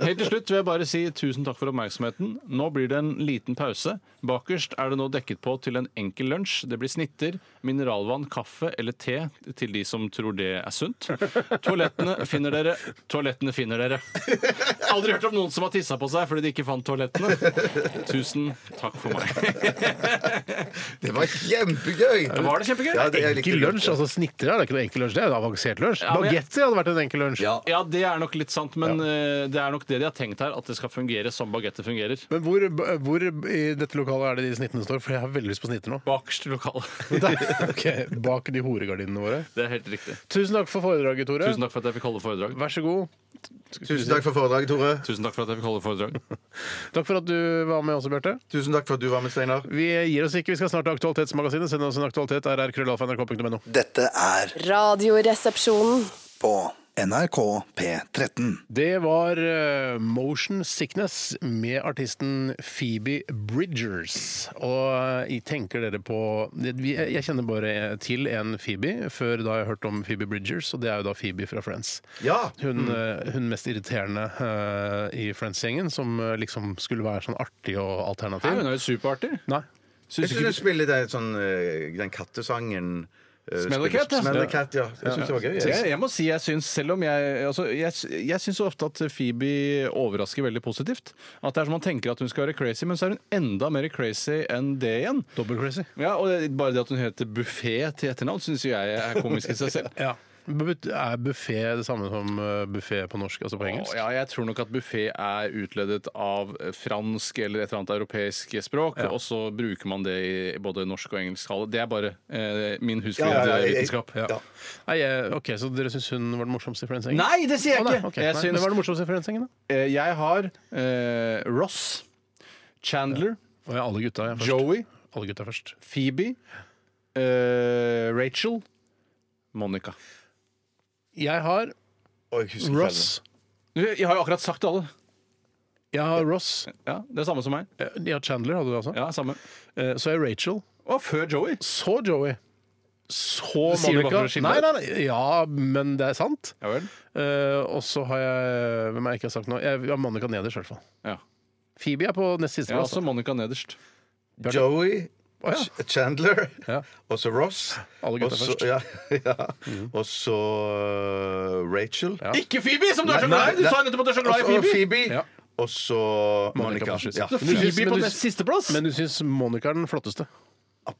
D: Helt til slutt vil jeg bare si tusen takk for oppmerksomheten. Nå blir det en liten pause. Bakerst er det nå dekket på til en enkel lunsj. Det blir snitter, mineralvann, kaffe eller te til de som tror det er sunt. Toalettene finner dere. Toalettene finner dere. Aldri hørt om noen som har tissa på seg fordi de ikke fant toalettene. Tusen takk for meg.
C: [LAUGHS] Det var kjempegøy!
D: Var det kjempegøy?
C: Ja, det, jeg likte
B: Enkel
C: det.
B: lunsj, altså snitter er det ikke noe enkel lunsj, det er en avansert lunsj.
D: Ja, men jeg-
B: Bagetti hadde vært en enkel lunsj.
C: Ja.
D: Ja, det er nok litt sant, men eh, det er nok det de har tenkt her, at det skal fungere som bagetter fungerer.
B: Men hvor, hvor i dette lokalet er det de snittene står? For jeg har veldig lyst på snitter nå.
D: Bakerst i lokalet.
B: Der, ok, Bak de horegardinene våre.
D: Det er helt riktig.
B: Tusen takk for foredraget, Tore.
D: Tusen takk for at jeg fikk holde foredrag.
B: Vær så god.
C: Tusen takk for foredraget, Tore.
D: Tusen takk for at jeg fikk holde foredrag.
B: Takk for at du var med også, Bjarte.
C: Tusen takk for at du var med, Steinar.
B: Vi gir oss ikke. Vi skal snart til Aktualitetsmagasinet. Send oss en aktualitet. rrkrøllalfa.nrk.no.
G: Dette er
F: Radioresepsjonen.
G: på NRK P13.
B: Det var eh, Motion Sickness med artisten Phoebe Bridgers. Og eh, jeg tenker dere på vi- Jeg kjenner bare til en Phoebe før da jeg hørte om Phoebe Bridgers, og det er jo da Phoebe fra Friends.
C: Ja!
B: Hun,
D: Mm.
B: eh, hun mest irriterende eh, i Friends-gjengen, som eh, liksom skulle være sånn artig og
D: Nei,
B: alternativ.
D: hun er jo superartig.
B: Nei.
C: Jeg syns du spiller den, sånn, eh, den kattesangen eh,
D: Smell the
C: spiller-
D: Cat, ja.
C: Smell the Cat, ja. Jeg syns det var gøy.
D: Så jeg,
C: Jeg.
D: jeg må si, jeg syns selv om jeg altså, Jeg, jeg syns ofte at Phoebe overrasker veldig positivt. At det er som man tenker at hun skal være crazy, men så er hun enda mer crazy enn det igjen.
B: Double crazy.
D: Ja, og det, Bare det at hun heter Buffé til etternavn, syns jo jeg er komisk i seg selv.
B: [LAUGHS] Ja. But- Er buffé det samme som eh, buffé på norsk, altså på engelsk?
D: Å, ja, jeg tror nok at buffé er utledet av eh, fransk eller et eller annet europeisk språk, og så bruker man det i både norsk og engelsk tale. Det er bare eh, min
C: Ja, ja, ja, jeg-
D: husflidsvitenskap.
C: ja.
B: Nei, jeg- ok, Så dere syns hun var den morsomste i Friends-gjengen?
D: Nei, det sier
B: Å,
D: jeg
B: nei,
D: ikke!
B: ok.
D: Jeg
B: Nei,
D: syns-
B: Hvem var den morsomste i Friends-gjengen, da?
D: Eh, Jeg har eh, Ross, Chandler,
B: Å, ja, alle gutta er først.
D: Joey,
B: Alle gutta er først.
D: Phoebe, eh, Rachel, Monica.
B: Jeg har
C: Å, jeg husker ikke alle.
B: Ross.
D: Du, Jeg har jo akkurat sagt alle.
B: Jeg har Ross.
D: Ja, Det er samme som meg.
B: Eh, Ja, Chandler hadde du altså.
D: Ja, samme.
B: Eh, Så er jeg Rachel.
D: Og før Joey.
B: Så Joey. Så
D: Sier du bare for å
B: Monica.
D: skille
B: Nei,
D: deg?
B: nei, nei. Ja, men det er sant.
D: Ja vel.
B: Eh, Og så har jeg Hvem er jeg ikke har sagt noe? Jeg har Monica nederst, i hvert fall.
D: Ja. altså.
B: Phoebe er på nest siste.
D: Jeg har
B: plass,
D: også
B: da.
D: Monica nederst.
C: Joey, Ch- Chandler,
B: Ja.
C: og så Ross.
B: Alle gutta
C: og så-
B: først.
C: Ja, [LAUGHS] ja. Og så uh, Rachel.
D: Ikke Phoebe, som du er så
C: Nei,
D: glad i! Du
C: nei.
D: sa jo nettopp at du er så glad i
C: Og- og
D: Altså, Phoebe.
C: Phoebe.
B: Ja.
C: Og så Monica.
B: Monica.
C: Ja.
D: Så Phoebe på nest sisteplass!
B: Men du syns Monica er den flotteste?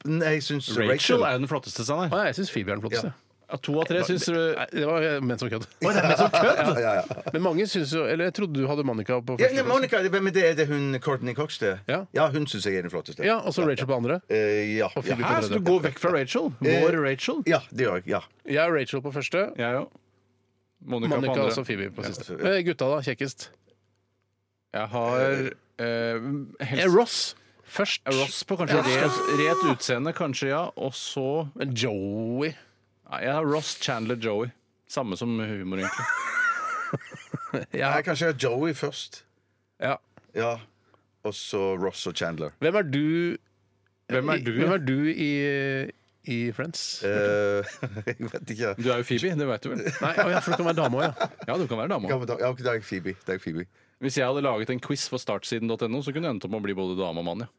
C: Nei, jeg syns Rachel,
D: Rachel er jo den flotteste, sa han.
B: Å, jeg syns Phoebe er den flotteste.
C: Ja.
D: Ja, To av tre syns du
B: Nei, det var eh, ment som kødd.
C: ja, ja, ja.
B: Men mange syns jo Eller jeg trodde du hadde Monica på
C: Ja,
B: første
C: nei, Monica, hvem er det? Er det hun Courtney Cox, det?
B: Ja.
C: hun syns jeg er den flotteste.
B: Ja, og så Rachel på andre.
C: Eh, ja.
B: Og Phoebe
C: ja.
B: på
D: Her, så du går vekk fra Rachel. Vår Rachel.
C: ja, det gjør jeg. Ja.
B: Jeg er Rachel på første.
D: Jeg òg. Monica,
B: Monica
D: på
B: og
D: andre.
B: så Phoebe på siste.
C: så-
B: Eh, Gutta, da? Kjekkest?
D: Jeg har eh, helst-
B: Eh, Ross først.
D: Ross på kanskje ret, ret utseende, kanskje, ja. Og så
B: Men Joey
D: Nei, Jeg har Ross Chandler Joey. Samme som humor, egentlig.
C: Nei, kanskje jeg har Joey først.
B: Ja.
C: Ja. Og så Ross og Chandler.
B: Hvem er du
D: Hvem er du?
B: Hvem er du i, i Friends?
C: Eh, [LAUGHS] jeg vet ikke.
D: Du er jo Phoebe, det vet du vel?
B: Nei, å ja, for du kan være dame
C: [LAUGHS]
B: òg, ja.
D: Ja, du kan være dame
C: Ja,
D: også.
C: men da- ja, ok, det er
B: [LAUGHS]
C: Phoebe. Det er Phoebe.
D: Hvis jeg hadde laget en quiz for startsiden.no, så kunne jeg endt opp med å bli både dame og mann, ja.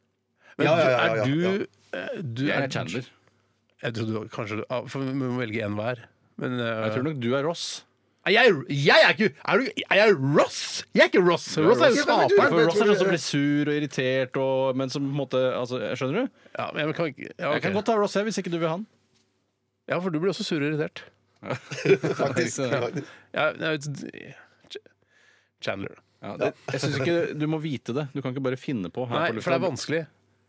B: Men
C: Ja, ja, ja, ja, ja.
B: er du, eh, du
D: Jeg
B: er-
D: er Chandler.
B: Jeg tror du kanskje du- ah, for Vi må velge én hver. Men eh,
D: Jeg tror nok du er Ross.
B: er jeg, jeg er ikke er du, er jeg Ross! Jeg er ikke Ross! Ross er jo
C: Ja, men du-
B: skaperen.
D: For
C: jeg
D: Ross er
C: tror
D: sånn
C: du-
D: som blir sur og irritert og Men som på en måte altså, Skjønner du?
B: Ja, men jeg kan, ikke- ja,
D: Jeg kan
B: ok.
D: godt ta Ross her hvis ikke du vil han.
B: ja, for du blir også sur og irritert.
C: Faktisk.
B: Ja, nei, vet- Ch- Chandler.
D: Ja, det, jeg synes ikke Du må vite det. Du kan ikke bare finne på her på
B: Nei,
D: lufta.
B: for det er vanskelig.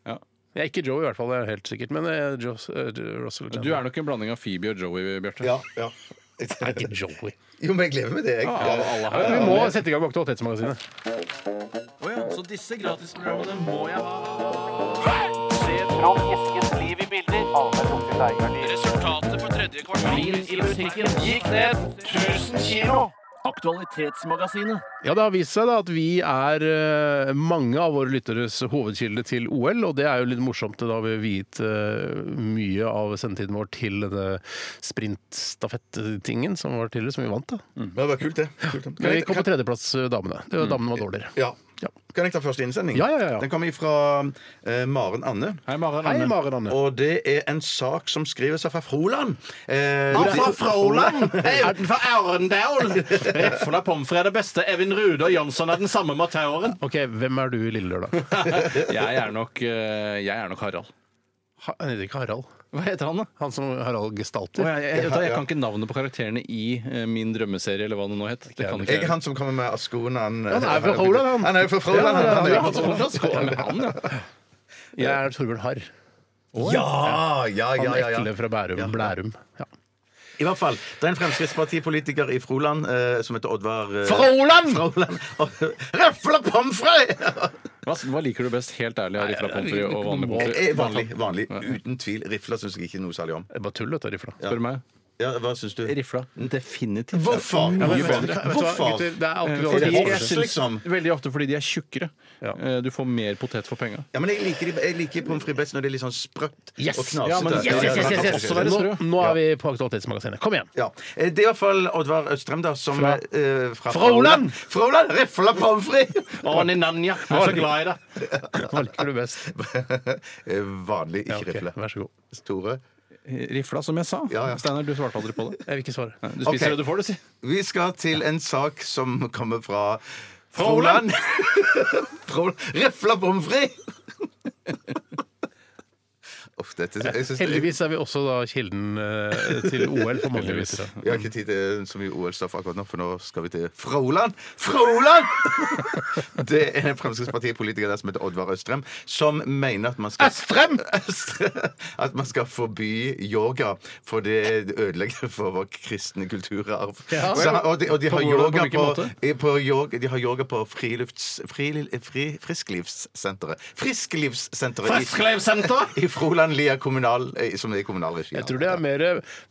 D: Ja.
B: Jeg er ikke Joe, i hvert fall. Det er helt sikkert. Men eh, Jos- eh, Russell Chandler.
D: Du er nok en blanding av Phoebe og Joey, Bjarte.
C: Ja, ja.
B: Jeg er ikke Joey.
C: [LAUGHS] Jo, men jeg lever med det, jeg.
D: Av alle her.
B: Vi må sette i gang Bakte Otettsmagasinet.
D: Så disse gratisprogrammene må jeg ha.
B: Ja, Det har vist seg da at vi er eh, mange av våre lytteres hovedkilde til OL. Og det er jo litt morsomt. Da har vi viet eh, mye av sendetiden vår til denne sprintstafettingen som var tidligere, som vi vant. da.
C: Men det var kult, det. Kult, det.
B: Men vi kom på tredjeplass, eh, damene. Det var damene var dårligere.
C: Ja.
B: Ja.
C: Kan jeg ta første innsending?
B: Ja, ja, ja, ja.
C: Den kommer fra eh, Maren Anne.
D: Hei, Maren.
B: Hei,
D: Anne.
B: Maren Anne.
C: Og det er en sak som skriver seg fra Froland. Eh, det-
D: Utenfor Arendal! Efla Pomfrey er det beste. Evin Rude og Jonsson er den samme matauren.
B: Ok, Hvem er du i Lille Lørdag?
D: Jeg er nok, eh, jeg er nok Harald.
B: Ha- Nei, det er ikke Harald.
D: Hva heter han, da?
B: Han som Harald
D: Å,
B: gestalter.
D: jeg, jeg, jeg, jeg kan ikke navnet på karakterene i eh, min drømmeserie, eller hva det nå het. Det kan ikke
C: Jeg er
D: jeg.
C: han som kommer med av skoene Han
B: Han er fra Froland, han.
C: Han er jo fra Froland, han.
B: Ja,
C: han,
B: ja,
C: er
B: han som
C: jo-
B: kommer fra Skåne.
D: Men han, ja.
B: Jeg er Torbjørn Harr.
C: Ja, ja,
B: Han
C: ja, ja, ja.
B: ekle fra Bærum. Blærum. Ja.
C: I hvert fall, Det er en Fremskrittspartipolitiker i Froland eh, som heter Oddvar eh,
B: Froland!
C: Froland. [LAUGHS] Røfla pomfrey!
D: Hva, hva liker du best, helt ærlig, av rifla pommes frites og vanlig pommes
C: Eh, eh,
D: frites?
C: Vanlig. vanlig, Uten tvil. Rifla syns jeg ikke noe særlig om.
B: Det er bare tull, dette, Rifla.
D: Spør meg.
C: Ja, Hva syns du?
D: Rifla. Definitivt.
C: Hvorfor?
B: Ja, men
C: Mye
B: vet du-
C: bedre.
B: vet du hva,
C: Hvorfor?
B: gutter? Det er
D: Eh,
B: alltid
C: Fordi
B: lov til å
C: jeg
B: forskjell.
C: synes- Liksom.
D: Veldig ofte fordi de er tjukkere.
B: Ja.
D: Eh, Du får mer potet for penga.
C: Ja, men jeg liker, de- jeg liker pommes frites best når det er litt sånn sprøtt
B: Yes!
C: og knasete.
D: Ja, men-
C: Ja,
D: yes,
C: ja,
D: yes, yes,
C: ja,
D: yes.
C: ja, ja, ja.
D: Også være
B: Nå, nå er vi på Aktualitetsmagasinet. Kom igjen!
C: Ja. Eh, Det er iallfall Oddvar Østrem, da, som
B: Fra?
C: eh, fra
B: Froland!
C: Froland! Rifla pommes frites!
D: Å, Ninanja! Jeg er så glad i deg!
B: Hva liker du best?
C: [LAUGHS] Eh, Vanlig, ikke
B: Ja, ok,
C: rifle.
B: Vær så god.
C: Store.
D: Rifla, som jeg sa.
C: Ja, ja.
D: Steinar, du svarte aldri på det.
B: Jeg vil ikke svare.
D: Du spiser
C: Ok.
D: det du får, du, si.
C: Vi skal til en sak som kommer fra [LAUGHS] Froland! Froland. Rifla pommes frites! [LAUGHS] Uff, dette jeg synes,
B: Heldigvis er vi også da kilden eh, til OL for mange lyttere.
C: Vi har ikke tid til så mye OL-stoff akkurat nå, for nå skal vi til Froland! Froland! [LAUGHS] Det er en Fremskrittspartipolitiker der som heter Oddvar Østrem, som mener at man skal [LAUGHS]
B: Østrem!
C: At man skal forby yoga, for det ødelegger for vår kristne kulturarv.
B: Ja.
C: Så, og, de, og de
D: På hvordan-
C: har
D: på
C: yoga
D: hvilken
C: på,
D: måte?
C: i- på, yoga, de har yoga på frilufts... Fri, fri, frisklivssenteret. Frisklivssenteret i,
D: Frisklevsenter!
C: i Froland lia kommunal, eh, som er i kommunal regi.
B: Jeg tror det er mer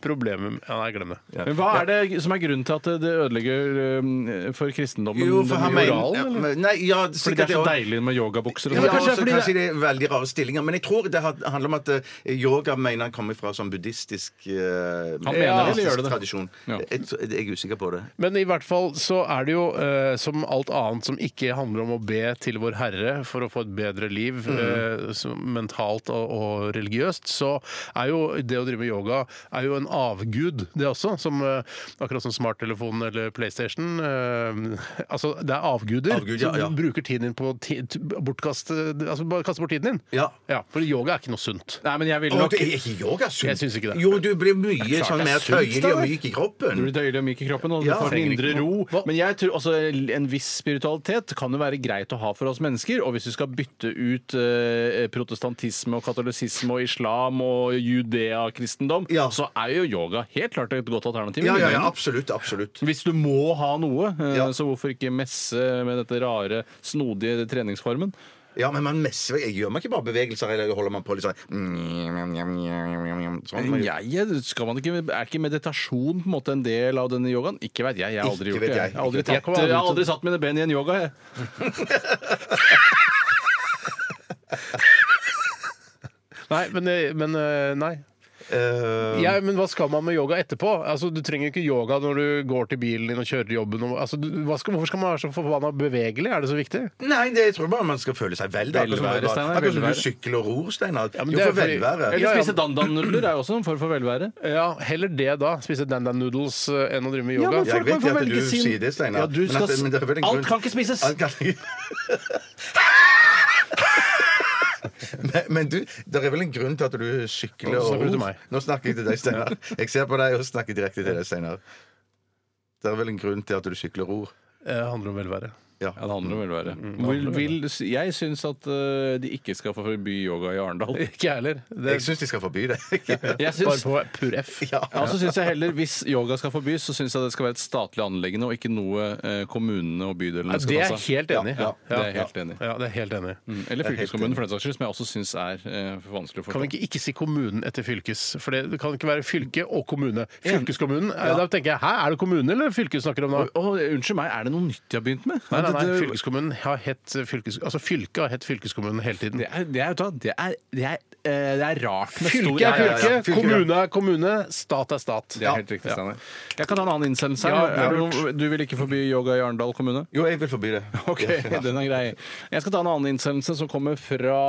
B: problemer med ja, Nei, glem det.
D: Men Hva er det som er grunnen til at det- det ødelegger eh, for kristendommen?
C: jo, for han
D: den
C: mener
D: moralen,
C: ja,
D: eller?
C: men- Nei, ja,
D: Fordi det
C: sikkert
D: er så
C: også-
D: deilig med yogabukser. og
C: Ja,
D: sånn.
C: men
D: sånt.
C: kanskje, fordi kanskje det er veldig rare stillinger. Men jeg tror det had- handler om at eh, yoga mener han kommer fra sånn buddhistisk eh,
D: Han mener det, eller gjør det det?
C: tradisjon.
D: Ja.
C: Jeg, jeg er usikker på det.
B: Men i hvert fall så er det jo eh, som alt annet som ikke handler om å be til Vår Herre for å få et bedre liv eh, som- mentalt og, og religiøst, så er jo det å drive med yoga er jo en avgud, det også. Som, eh, akkurat som smarttelefonen eller PlayStation. Eh, altså, det er avguder.
C: Avgud, ja,
B: så
C: ja.
B: Du bruker tiden din på å ti- t- bortkaste Altså bare kaste bort tiden din.
C: Ja.
B: For yoga er ikke noe sunt.
D: Nei, men jeg ville
C: Å,
D: nok
C: det er ikke yoga sunt.
B: Jeg syns ikke det.
C: Jo, du blir mye sånn mer
D: sunt,
C: tøyelig
D: da,
C: og
D: vel?
C: myk i kroppen.
D: Du blir døyelig og myk i kroppen, og du
C: Ja.
D: får en
C: Trenger
D: indre
C: ikke
D: ro.
C: noe. Hva-
D: Men jeg tror også en viss spiritualitet kan jo være greit å ha for oss mennesker. Og hvis vi skal bytte ut eh, protestantisme og katolisisme og islam og judea-kristendom,
C: Ja.
D: så er jo yoga helt klart et godt alternativ.
C: Ja, ja, ja, absolutt. absolutt.
D: Hvis du må ha noe, eh,
C: Ja.
D: så hvorfor ikke messe med dette rare, snodige treningsformen?
C: Ja, men man messer Jeg gjør man ikke bare bevegelser, eller holder man på litt sånn Sånn. man gjør.
D: Jeg, jeg- skal man ikke, er ikke meditasjon på en måte en del av denne yogaen? Ikke vet jeg. Jeg har aldri
C: Ikke
D: gjort det.
C: vet jeg.
D: Jeg har aldri,
C: Ikke vet
D: tatt,
C: jeg.
D: jeg har aldri satt mine ben i en yoga. Jeg.
B: Nei, men, eh, men eh, nei.
C: Eh,
B: Ja, men hva skal man med yoga etterpå? Altså, Du trenger jo ikke yoga når du går til bilen din og kjører jobben. Og, altså, du, hva skal, hvorfor skal man være så forbanna bevegelig? Er det så viktig?
C: Nei, det, jeg tror bare man skal føle seg vel. da. Akkurat som-
D: Velvære, Steinar,
C: Akkurat som du
D: velvære.
C: sykler og ror, Steinar.
B: Ja, men
C: jo,
B: det er
C: for
B: fordi-
C: velvære.
B: Ja,
D: Eller
B: ja.
D: spise dandan-nudler er jo også en form for velvære.
B: Ja, Heller det, da. Spise dandan noodles eh, enn å drive med
D: Ja,
B: yoga.
D: men
C: Jeg
D: folk
C: vet
D: må få
C: ikke at
D: velge
C: du
D: sin-
C: sier det, Steinar.
D: Ja, du
C: men
D: skal
C: at det- men det er vel en
D: Alt
C: grunn-
D: kan ikke spises!
C: Alt kan ikke- [LAUGHS] Men, men du, det er vel en grunn til at du sykler
B: Nå snakker du til meg.
C: Nå snakker jeg til deg, Steinar. Jeg ser på deg og snakker direkte til deg, Steinar. Det er vel en grunn til at du sykler og ror.
B: Det eh, handler om velvære. [LAUGHS]
C: Ja.
D: Ja, det handler om velvære.
C: Mm.
D: Vil, vil, jeg syns at eh, de ikke skal få forby yoga i
C: [LAUGHS]
D: Arendal.
B: Ikke jeg heller. Det
C: Jeg syns de skal
D: [LAUGHS]
C: forby det.
D: Jeg
B: er bare
D: syns,
B: på pur F. [LAUGHS]
C: Ja.
D: ja, så syns jeg heller, Hvis yoga skal forbys, så syns jeg det skal være et statlig anliggende, og ikke noe eh, kommunene og
B: Ja,
D: bydelene
B: det
D: skal
B: er jeg
D: ta seg
B: helt enig i.
D: Ja, det er jeg helt enig i.
B: Ja, det er jeg helt enig. i.
D: Mm, Eller fylkeskommunen, for den saks skyld, som jeg også syns er eh, for vanskelig å
B: Kan vi
D: forstå.
B: ikke ikke si kommunen etter fylkes? For det kan ikke være fylke og kommune. Fylkeskommunen. eh, Da tenker jeg, hæ, er det kommune eller fylke vi snakker om nå?
D: Å, unnskyld meg, er det noe nytt de har begynt med?
B: Nei, nei, nei,
D: Det- det-
B: fylkeskommunen har hett fylkes... Altså fylket har hett fylkeskommunen hele tiden.
D: Det er, det, er, vet du hva, det, er, det, er, eh, det er rart med stor
B: Fylke er
D: Ja, ja, ja.
B: fylke,
C: Fylke, ja.
B: kommune er kommune, stat er stat.
D: Det er helt riktig, Steinar. Jeg kan ta en annen innsendelse.
B: Ja,
D: her.
B: ja.
D: Er det noe- du vil ikke forby yoga i Arendal kommune?
C: Jo, jeg vil forby det.
D: [LAUGHS] Ok, den er grei. Jeg skal ta en annen innsendelse som kommer fra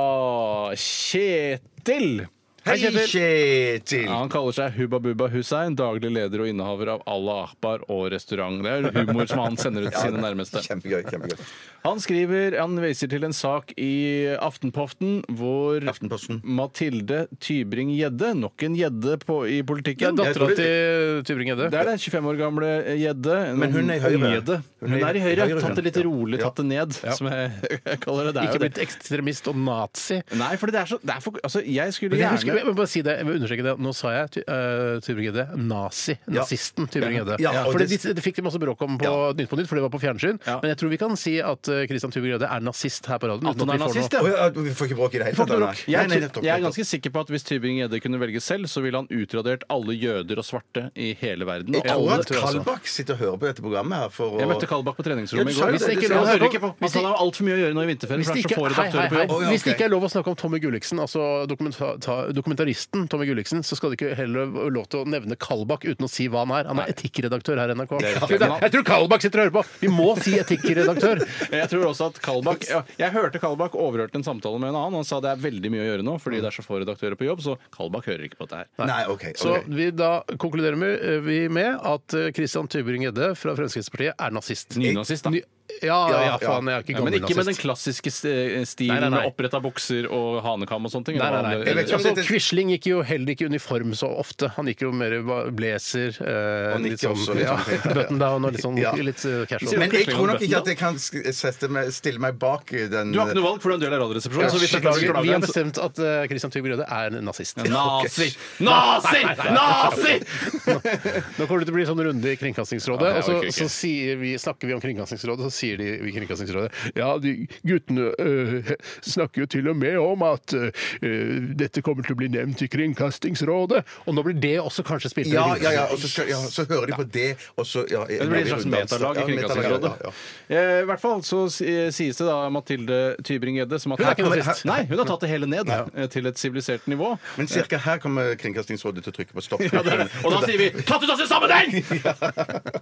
D: Kjetil.
C: Hei, Kjetil!
D: Ja, han kaller seg Hubba Bubba Hussein, daglig leder og innehaver av Allah Akbar og restaurant. Det er humor som han sender ut til sine nærmeste.
C: Kjempegøy. kjempegøy
D: Han skriver, han viser til en sak i Aftenpoften hvor
C: Aftenposten.
D: Mathilde Tybring-Gjedde, nok en gjedde på- i
B: Det er
D: politikken
B: dattera til Tybring-Gjedde.
D: det er det. 25 år gamle gjedde. En
C: Men hun er i Høyre.
D: unggjedde. Hun er i Høyre.
C: Høyre,
D: Tatt det litt
C: ja.
D: rolig, tatt det ned, som jeg, [LAUGHS] jeg kaller det. det. er
B: Ikke
D: jo
B: blitt ekstremist og nazi.
D: det. Nei, fordi det er så det er for, Altså, jeg skulle
B: Jeg,
D: gjerne
B: husker, jeg, må bare si det, jeg må understreke det. Nå sa jeg Ty- eh, Tybring-Gjedde. Nazi. Nazisten Tybring-Gjedde.
C: Ja, og
B: for det,
C: det-
B: det fikk de masse bråk om på
C: Ja.
B: Nytt på Nytt, for det var på fjernsyn.
D: Ja.
B: Men jeg tror vi kan si at eh, Christian Tybring-Gjedde er nazist her på radioen.
D: At
B: uten
D: han er
B: vi får noe-
D: nazist, ja.
C: Å, ja, vi får ikke bråk i det hele tatt? nei. Nei,
D: Jeg, jeg
C: nei, nettopp,
D: er
C: nettopp.
D: ganske sikker på at hvis Tybring-Gjedde kunne velge selv, så ville han utradert alle jøder og svarte i hele verden.
C: Jeg
D: Og
C: tror
D: alle-
C: at Kalbakk sitter og hører på dette programmet her for
D: Jeg
C: å
D: møtte Kalbakk på
C: Ja,
D: treningsrommet i
C: du
D: går.
C: sa jo det, du sa
D: han
C: det.
D: hører ikke på.
B: Hvis
D: Han har altfor mye å gjøre nå i vinterferien,
B: Hvis det,
D: for han er så
B: ikke,
D: få
B: hei, hei,
D: redaktører på
B: hei.
D: jobb.
C: Å, ja,
B: Hvis det
C: ok.
B: ikke er lov å snakke om Tommy Gulliksen, altså dokumenta- ta- dokumentaristen Tommy Gulliksen, så skal det ikke heller være lov til å nevne Kalbakk uten å si hva han er. Han er etikkredaktør her i NRK. Jeg tror- Jeg tror Kalbakk sitter og hører på! Vi må si etikkredaktør!
D: [LAUGHS] Jeg tror også at Kalbakk ja, Jeg hørte Kalbakk overhørte en samtale med en annen. Han sa det er veldig mye å gjøre nå fordi det er så få redaktører på jobb, så Kalbakk hører ikke på dette her.
C: Nei, OK. ok.
B: Så vi da konkluderer med, eh, vi med at eh, Christian Tybring-Gjedde fra Fremskrittspartiet er nazist.
D: Nynazist, da.
B: Ny- Ja, ja,
C: Ja, ja.
B: faen, jeg er ikke
D: Ja, men
B: gammel
D: ikke med den
B: nazist.
D: klassiske st- eh, stilen
B: Nei, nei, nei.
D: med oppretta bukser og hanekam og sånne ting.
B: Nei, nei, nei.
C: Jeg vet ikke om
B: Altså,
C: dette-
B: Quisling gikk jo heller ikke i uniform så ofte. Han gikk jo mer i ba- blazer, eh,
C: Og nikke
B: litt sånn
C: også, litt
B: ja, [LAUGHS]
C: sånn.
B: button down og litt sånn
C: Ja.
B: litt eh, casual.
C: Men jeg tror nok ikke at jeg kan sk- sette meg, stille meg bak i den
D: Du har ikke noe valg, for du er en del av Radioresepsjonen. så hvis jeg klager,
B: Beklager,
D: klager
B: vi har
D: jeg, så-
B: bestemt at eh, Christian Tybring-Gjedde er en nazist.
D: Nazi! Nazi! Nazi!
B: [LAUGHS] Nå kommer det til å bli sånn runde i Kringkastingsrådet,
D: Ja, jeg
B: og så,
D: orker ikke.
B: så sier vi, snakker vi om Kringkastingsrådet, og så sier de i Kringkastingsrådet Ja, de guttene øh, [LAUGHS] snakker jo til og med om at øh, øh, dette kommer til å bli nevnt i Kringkastingsrådet. Og nå blir det også kanskje spilt inn i
C: ja, ja, ja,
B: Kringkastingsrådet.
C: og så, skal, ja, så hører de på det, og så ja,
D: Det blir et slags metalag i Kringkastingsrådet. Eh, I hvert fall så si- eh, sies det da Mathilde Tybring-Gjedde som at
B: Hun er ikke
D: Her kommer-
B: nazist.
D: Nei, hun har tatt det hele ned eh, til et sivilisert nivå.
C: Men cirka her kommer Kringkastingsrådet til å trykke på stopp.
D: [LAUGHS] Ja, det er det. Og da sier vi 'tatt ut av sin
C: [LAUGHS]
D: sammenheng'!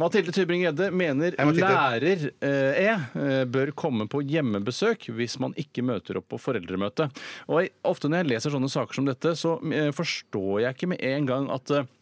D: Mathilde Tybring-Gjedde mener
C: Hei, Mathilde.
D: lærer eh, E eh, bør komme på hjemmebesøk hvis man ikke møter opp på foreldremøte. Og jeg, ofte når jeg leser sånne saker som dette, så eh, forstår jeg ikke med en gang at eh,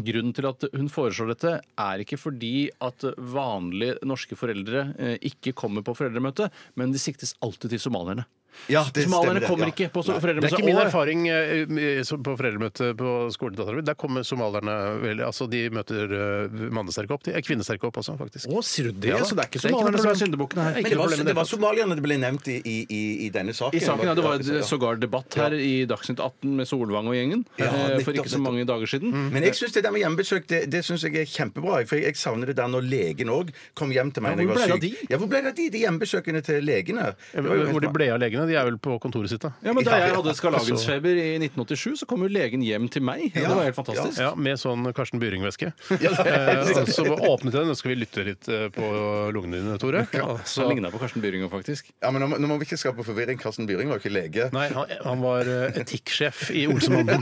D: Grunnen til at hun foreslår dette, er ikke fordi at vanlige norske foreldre eh, ikke kommer på foreldremøte, men de siktes alltid til somalierne.
C: Ja, det stemmer
D: somalierne
C: det,
D: kommer
C: ja.
D: ikke på
C: Nei.
B: Det er
D: foreldremøte.
B: ikke min
D: Og-
B: erfaring eh, som på foreldremøte på skoledattera mi. Der kommer somalierne vel Altså, de møter eh, mannesterke opp. De er kvinnesterke opp også, faktisk.
D: Å, sier du det?
B: Ja da.
D: så det er ikke
B: Det er ikke noe
D: somalierne som er
B: problem.
D: syndebukkene her?
B: Nei,
C: Men det var, det var somalierne det ble nevnt i, i, i, i denne saken.
D: I saken, ja, Det var
C: Ja.
D: et sågar debatt her i Dagsnytt 18 med Solvang og gjengen
C: Ja,
D: eh, for
C: nettopp, Mm.
D: ikke så mange dager siden.
C: Men jeg syns det der med hjemmebesøk det, det synes jeg er kjempebra. For jeg, jeg savner det der når legen òg kom hjem til meg
D: Ja,
C: når jeg
D: hvor ble det
C: var syk.
D: av de?
C: Ja, hvor ble det av de? De hjemmebesøkene til legene. Det var jo helt
B: Eh, Hvor de
C: bra.
B: ble av legene? legene de er vel på kontoret sitt, da.
D: Ja, men Da jeg hadde skarlagensfeber
C: altså.
D: i 1987, så kom jo legen hjem til meg. Ja, det var helt fantastisk.
B: Ja, Med sånn Karsten
C: [LAUGHS]
B: Byring-væske. Eh, så åpnet jeg den, og skal vi lytte litt eh, på lungene dine, Tore.
C: altså.
D: Så ligna på Karsten Byringa, faktisk.
C: Ja, men nå, må- nå må vi ikke skape forvirring. Karsten Byring var jo ikke lege.
B: Nei, han, han var eh, etikksjef i
C: [LAUGHS]
B: Olsenbanden.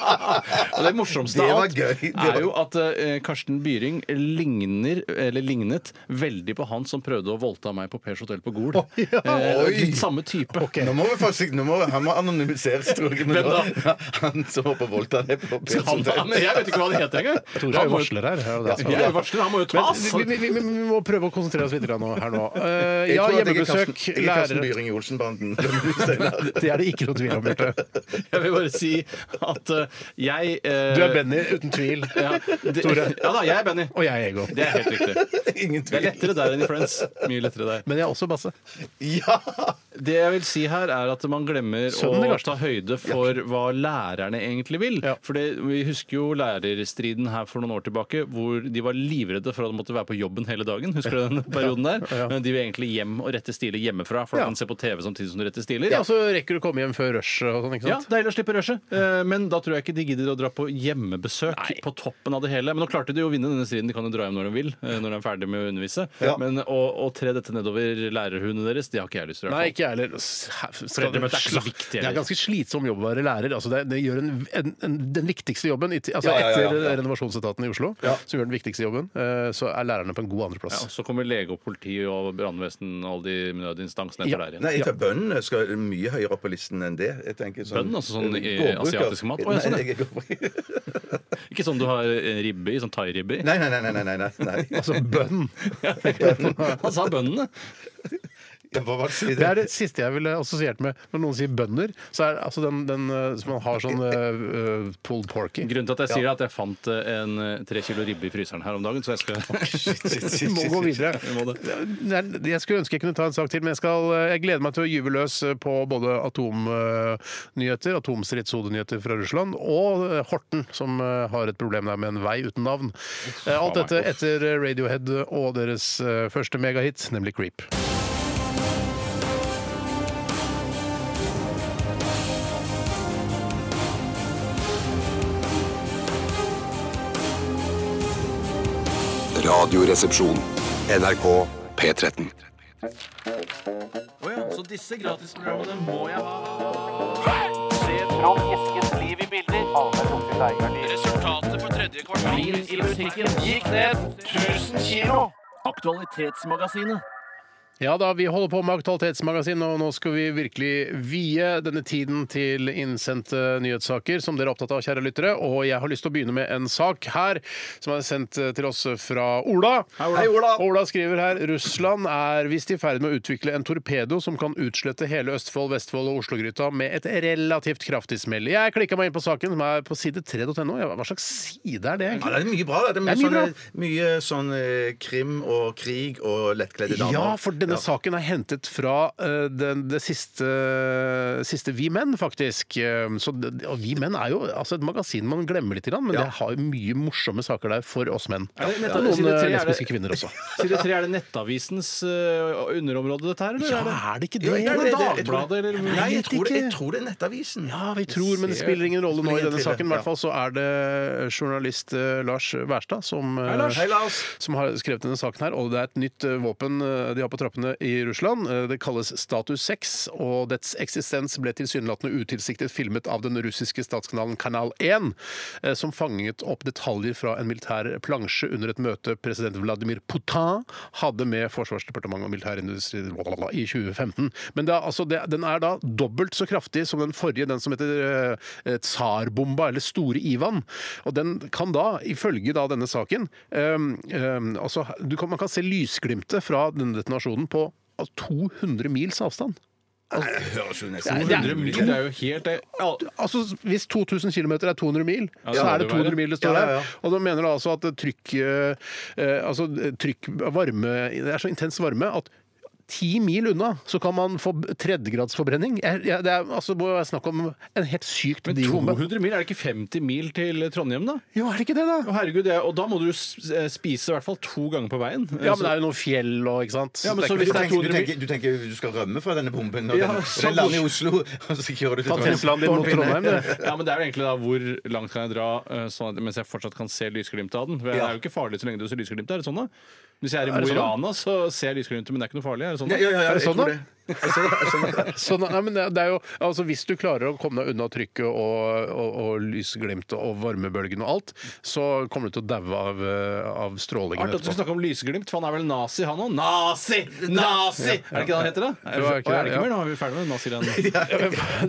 D: Og det morsomste
C: Det
D: av
C: var
D: alt
C: gøy. Det
D: er
C: var-
D: jo at eh, Karsten Byring ligner, eller lignet, veldig på han som prøvde å voldta meg på Pers hotell på Gol. Eh,
C: Oi.
D: litt samme type.
C: Nå må vi faktisk, nå må, han må anonymiseres, tror jeg. Men
D: Hvem da?
C: nå- Han som var på Volta. Det på
D: Så Han,
C: [LAUGHS]
D: han, jeg vet ikke hva han heter engang.
B: Tore er jo varsler her. er jo det som-
D: Jeg er varsler, han må jo tas!
B: Men vi, vi, vi, vi må prøve å konsentrere oss litt grann nå, her nå. Eh,
C: Jeg
B: ja,
C: tror at jeg er
B: hjemmebesøk,
C: Karsten- Jeg er Karsten
B: lærere
C: Byring i Olsenbanden. Steinar.
B: Det er det ikke noe tvil om, Bjarte.
D: [LAUGHS] Jeg vil bare si at eh, jeg eh,
B: Du er Benny, uten tvil.
D: Ja, det,
B: Tore.
D: [LAUGHS] ja da, jeg er Benny.
B: Og jeg er Ego.
D: Det er helt riktig.
C: Ingen
D: Det er
C: tvil.
D: lettere der enn i Friends. Mye lettere der.
B: Men jeg er også Basse.
C: Ja!
D: Det jeg vil si her er at man glemmer
B: Sønnen i
D: å
B: Garsten.
D: ta høyde for hva lærerne egentlig vil.
B: Ja.
D: For det- Vi husker jo lærerstriden her for noen år tilbake, hvor de var livredde for at de måtte være på jobben hele dagen. Husker du den perioden der?
B: [LAUGHS] Ja.
D: Men De vil egentlig hjem og rette stiler hjemmefra, for
B: Ja.
D: da kan de se på TV samtidig som de retter stiler.
B: Ja, så rekker du å komme hjem før rushet og sånn, ikke
D: Ja,
B: sant?
D: Deilig å slippe rushet. Eh, Men da tror jeg ikke de gidder å dra på hjemmebesøk på toppen av det hele. Men nå klarte de jo å vinne denne striden. De kan jo dra hjem når de vil. eh, Når de er ferdig med å undervise.
C: Ja.
D: Men å, å tre dette nedover lærerhundene deres, det har ikke jeg lyst til. i hvert
B: Nei,
D: fall.
B: ikke jeg heller. S- her- skal-
D: Foreldremøte er ikke så
B: sla-
D: viktig,
B: Det er
D: heller.
B: ganske slitsom jobb å være lærer. Altså det, det gjør en, en, en, den viktigste jobben i ti- altså
C: Ja, ja, ja, ja,
B: Etter
C: ja.
B: renovasjonsetaten i Oslo, som gjør den viktigste jobben, eh, så er lærerne på en god andreplass.
D: Ja, så kommer lege og politi og brannvesen og alle de nødinstansene etter
B: Ja.
D: der igjen.
C: Nei, jeg tror bøndene skal mye høyere opp på listen enn det. Jeg tenker sånn,
D: Bøndene, altså sånn i
C: Gårdbruk,
D: asiatisk mat? Å, ja, sånn,
C: Nei,
D: ja.
C: jeg er gårdbruk.
D: Ikke sånn du har eh, ribbe i, sånn thai-ribbe i.
C: [LAUGHS] Nei, nei, nei. nei, nei, nei, nei.
B: Altså bønn.
D: [LAUGHS] Han sa bøndene.
C: Hva var det? du
B: Det
C: sa?
B: er det siste jeg ville assosiert med når noen sier bønder. Så er det altså den, den eh, som man har sånn eh, eh, pulled porky.
D: Grunnen til at jeg sier det, er at jeg fant eh, en eh, tre kilo ribbe i fryseren her om dagen, så jeg skal [LAUGHS]
B: Vi må gå videre.
D: Vi må det.
B: Det er- Jeg skulle ønske jeg kunne ta en sak til, men jeg, skal, eh, jeg gleder meg til å gyve løs eh, på både atomnyheter, eh, atomstridshodenyheter fra Russland, og eh, Horten, som eh, har et problem der med en vei uten navn. Eh, Alt dette etter Radiohead og deres eh, første megahit, nemlig Creep.
H: Radioresepsjon. NRK P13.
D: Så disse gratisprogrammene må jeg ha. Resultatet for tredje kvartal i musikken gikk ned 1000 kilo. Aktualitetsmagasinet.
B: Ja da, vi holder på med Aktualitetsmagasinet, og nå skal vi virkelig vie denne tiden til innsendte nyhetssaker som dere er opptatt av, kjære lyttere. Og jeg har lyst til å begynne med en sak her som er sendt eh, til oss fra Ola. Hei, Ola. skriver her Russland er visst i ferd med å utvikle en torpedo som kan utslette hele Østfold, Vestfold og Oslogryta med et relativt kraftig smell. Jeg klikka meg inn på saken, som er på side 3.no. Ja, Hva slags side er det? egentlig?
C: Ja, det er mye bra. da. Det er mye,
B: Det er mye bra.
C: sånn, mye sånn eh, krim og krig og lettkledde damer.
B: Ja, for denne saken er hentet fra eh, den, det siste, siste Vi Menn, faktisk. Eh, Så det, og Vi Menn er jo altså et magasin man glemmer litt, grann, men
C: Ja.
B: det har jo mye morsomme saker der for oss menn.
D: Er det-
B: Og noen
D: side
B: eh,
D: tre, er
B: lesbiske
D: det-
B: kvinner også.
D: Side tre, er det Nettavisens eh, underområde, dette her? Eller?
B: Ja,
D: er det?
B: er det ikke
C: Jo,
B: det?
C: jeg
D: Er
C: tror
D: det
C: det- jeg tror-
D: Dagbladet, eller?
C: Nei, jeg
B: Vet
C: tror, det,
B: ikke.
C: jeg tror det er Nettavisen.
B: Ja, vi tror, men det spiller ingen rolle nå i
C: Spiller
B: denne
C: ingen
B: saken. I
C: rolle,
B: hvert fall så er det journalist eh, Lars Wærstad som, eh,
C: Hei, Lars.
B: som har skrevet denne saken her. Og det er et nytt eh, våpen eh, de har på trappene i Russland. Eh, Det kalles Status 6, og dets eksistens ble tilsynelatende utilsiktet filmet av den russiske statskanalen Kanal 1, eh, som fanget opp detaljer fra en militær plansje under et møte president Vladimir Putin hadde med Forsvarsdepartementet og militærindustri blablabla, i 2015. Men det er, altså, det, den er da dobbelt så kraftig som den forrige, den som heter eh, Tsarbomba, eller Store Ivan. Og den kan da, ifølge da denne saken ehm, ehm, altså, du kan, Man kan se lysglimtet fra denne detonasjonen på altså, 200 mils avstand.
C: Det høres jo nesten
B: Nei,
C: ut.
B: det er-
D: 100 mil, det er jo helt det- al-
B: Altså, Hvis 2000 km er 200 mil, så
D: det
B: er det
D: må det
B: 200 mil det står
C: Ja,
B: der.
C: ja, ja.
B: Og da mener du altså at trykk eh, eh, Altså trykk varme Det er så intens varme at ti mil unna så kan man få b- tredjegradsforbrenning. Jeg- jeg- Det er altså, må være snakk om en helt sykt
D: Men
B: digg bombe.
D: 200 mil, er det ikke 50 mil til Trondheim, da?
B: Jo, er det ikke det, da?
D: Å, herregud, det er, og da må du jo s- eh, spise i hvert fall to ganger på veien.
B: Ja, men det er jo noe fjell og ikke sant?
D: Ja,
B: Det er ikke-
D: men så
C: Du
D: hvis det er
C: tenker, du,
D: 200 mil-
C: tenker, du tenker du skal rømme fra denne bomben, og
D: Ja,
C: den,
D: så
C: den lander i
D: bort-
C: Oslo, [LAUGHS] og så kjører du til
B: Ta Teslaen din mot Trondheim, du.
D: Ja, men det er jo egentlig da hvor langt kan jeg dra eh, sånn at, mens jeg fortsatt kan se lysglimtet av den. For Det er jo ikke farlig så lenge du ser lysglimtet. Er det sånn, da? Hvis jeg er i Mo i
B: sånn, da?
D: Rana, så ser jeg lysglimtet, men det er ikke noe farlig. Er det sånn,
C: Ja,
D: da?
C: ja, ja,
B: Er det
C: jeg
B: sånn, da?
C: tror det. Jeg ser det, jeg ser det.
B: [LAUGHS] Så, nei, men det det er jo, altså, hvis du klarer å komme deg unna trykket og, og, og lysglimt og varmebølgen og alt, så kommer du til å daue av, eh, av strålingen
D: Artig at du
B: etterpå.
D: snakker om lysglimt, for han er vel nazi, han òg? Nazi! Nazi! Er det ikke det han heter, da? Er det,
B: var ikke
D: ikke, er det
B: det, ja.
D: ikke mer? Nå er vi ferdig med [LAUGHS] nazirennet.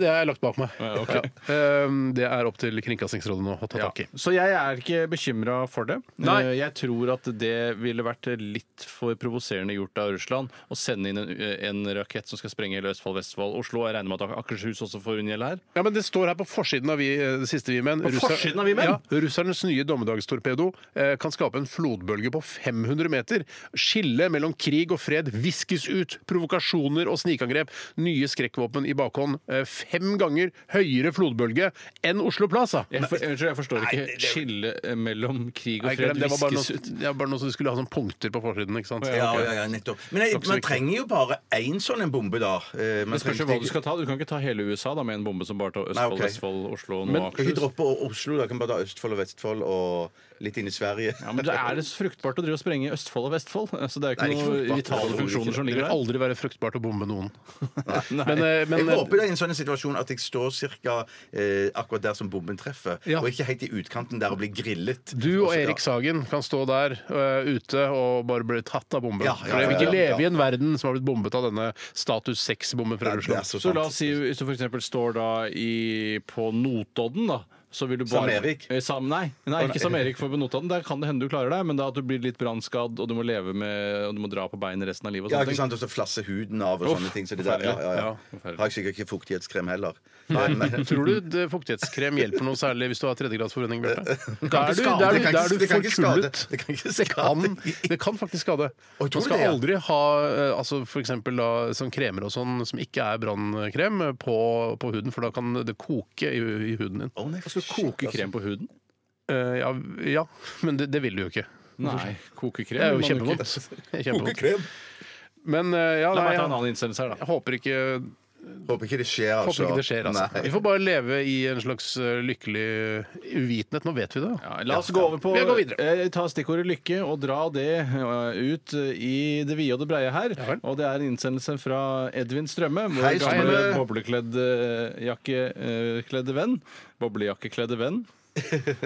B: [LAUGHS] Det har jeg lagt bak meg.
D: Ja, ok.
B: Ja. Ehm, Det er opp til Kringkastingsrådet nå å ta tak i.
D: Så jeg er ikke bekymra for det.
B: Nei.
D: Eh, Jeg tror at det ville vært litt for provoserende gjort av Russland å sende inn en, eh, en rakett som skal sprenge hele Østfold, Vestfold, Oslo. Jeg regner med at Akershus også får en gjeld her.
B: Ja, men Det står her på forsiden av vi, eh, det siste Vi Menn.
D: På forsiden av Vi Menn?
B: Ja, russernes nye dommedagstorpedo eh, kan skape en flodbølge på 500 meter. Skillet mellom krig og fred viskes ut. Provokasjoner og snikangrep. Nye skrekkvåpen i bakhånd. Eh, fem ganger høyere flodbølge enn Oslo Plaza.
D: Jeg, for, unnskyld, jeg forstår ikke skillet eh, mellom krig og
B: Nei,
D: fred
B: glem det, det var bare
D: viskes
B: noe,
D: ut.
B: det var bare noe som skulle ha sånne punkter på forsiden. ikke sant?
C: Ja, ja, ja, nettopp. Men jeg, man trenger jo bare én sånn en bombe, da. Eh, man
D: Det spørs jo
C: trenger
D: hva
C: ikke-
D: du skal ta. Du kan ikke ta hele USA da, med en bombe som bare tar Østfold,
C: Nei, ok.
D: Vestfold, Oslo og
C: Men
D: nå
C: kan ikke
D: Akershus.
C: droppe O- Oslo, da kan bare ta Østfold og Vestfold og litt inn i Sverige.
D: Ja, men det er det så fruktbart å drive og sprenge Østfold og Vestfold? Altså, det er jo
C: Nei, det
D: ikke
C: er ikke fruktbart.
D: noen vitale funksjoner som
B: Det vil
D: ligger der.
B: aldri være fruktbart å bombe noen.
D: [LAUGHS] Nei.
B: Men, eh, men,
C: [LAUGHS] jeg håper det er en sånn situasjon at jeg står cirka eh, akkurat der som bomben treffer,
B: Ja.
C: og ikke helt i utkanten der og blir grillet.
B: Du og
C: så-
B: Erik Sagen kan stå der ø, ute og bare bli tatt av bomben.
C: Ja, ja,
B: For jeg vil ikke
C: ja, ja,
B: leve i en verden som har blitt bombet av denne status 6-bomben
C: Ja,
B: fra
C: det er
B: Russland.
C: så
D: Så la
C: sant.
D: oss si hvis du f.eks. står da i, på Notodden, da. Så vil du bare,
C: Sam Erik?
D: Eh, Sam, nei, nei, ikke Sam Erik for på Notodden. Der kan det hende du klarer deg, men da at du blir litt brannskadd, og du må leve med Og du må dra på beinet resten av livet. Og
C: Ja,
D: sånne
C: ikke
D: ting.
C: sant, Og så flasse huden av og
D: Uff,
C: sånne ting. Så det der, ja, ja,
D: Ja,
C: ja.
D: forferdelig.
C: Har jeg sikkert ikke fuktighetskrem heller. Nei, men-
B: Tror du det- fuktighetskrem hjelper noe særlig hvis du har tredjegradsforbrenning,
C: [LAUGHS]
B: Bjarte? Da er du,
C: skade,
B: da er du, da
C: det kan ikke-
B: er du
C: det kan ikke skade.
B: forkullet.
C: Det kan ikke
B: Det kan,
C: skade.
B: det kan faktisk skade. Man
C: Oi, tror du
B: skal
C: det, ja?
B: aldri ha ø, altså for eksempel da, sånn kremer og sånn som ikke er brannkrem, ø, på, på huden, for da kan det koke i, i huden din.
C: Å, nei, altså.
D: Skal du Altså, koke krem på huden?
B: Eh, ja, ja, men det, det vil du jo ikke.
D: Nei, koke
B: Det
D: krem
B: er jo
D: vil man ikke.
B: kjempevondt. Det er kjempevondt.
C: Krem.
B: Men eh, ja,
D: La
B: nei,
D: meg ta en
B: jeg,
D: annen innsendelse her, da.
B: jeg håper ikke,
C: Håper ikke det skjer, altså.
B: håper ikke det skjer. Altså.
C: Nei.
B: Vi får bare leve i en slags eh, lykkelig uvitenhet. Nå vet vi det.
D: Ja, la oss gå over på
B: Vi går videre.
D: eh, ta stikkordet lykke og dra det eh, ut eh, i det vide og det breie her.
B: vel.
D: og det er en innsendelse fra Edvin Strømme, vår
C: Hei,
D: gamle eh,
C: Strømme.
D: boblejakkekledde venn. Boblejakkekledde venn.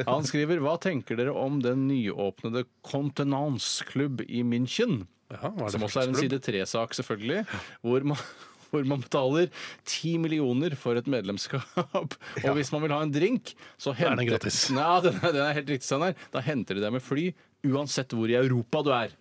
D: Han skriver Hva tenker dere om den nyåpnede Contenance-klubb i München? Som også er en side 3-sak, selvfølgelig. Hvor man [LAUGHS] hvor man betaler ti millioner for et medlemskap. [LAUGHS] Og hvis man vil ha en drink, så
B: er
D: henter
B: den gratis.
D: [LAUGHS] Ja, den er, den er helt riktig, Steinar. Da henter de deg med fly uansett hvor i Europa du er.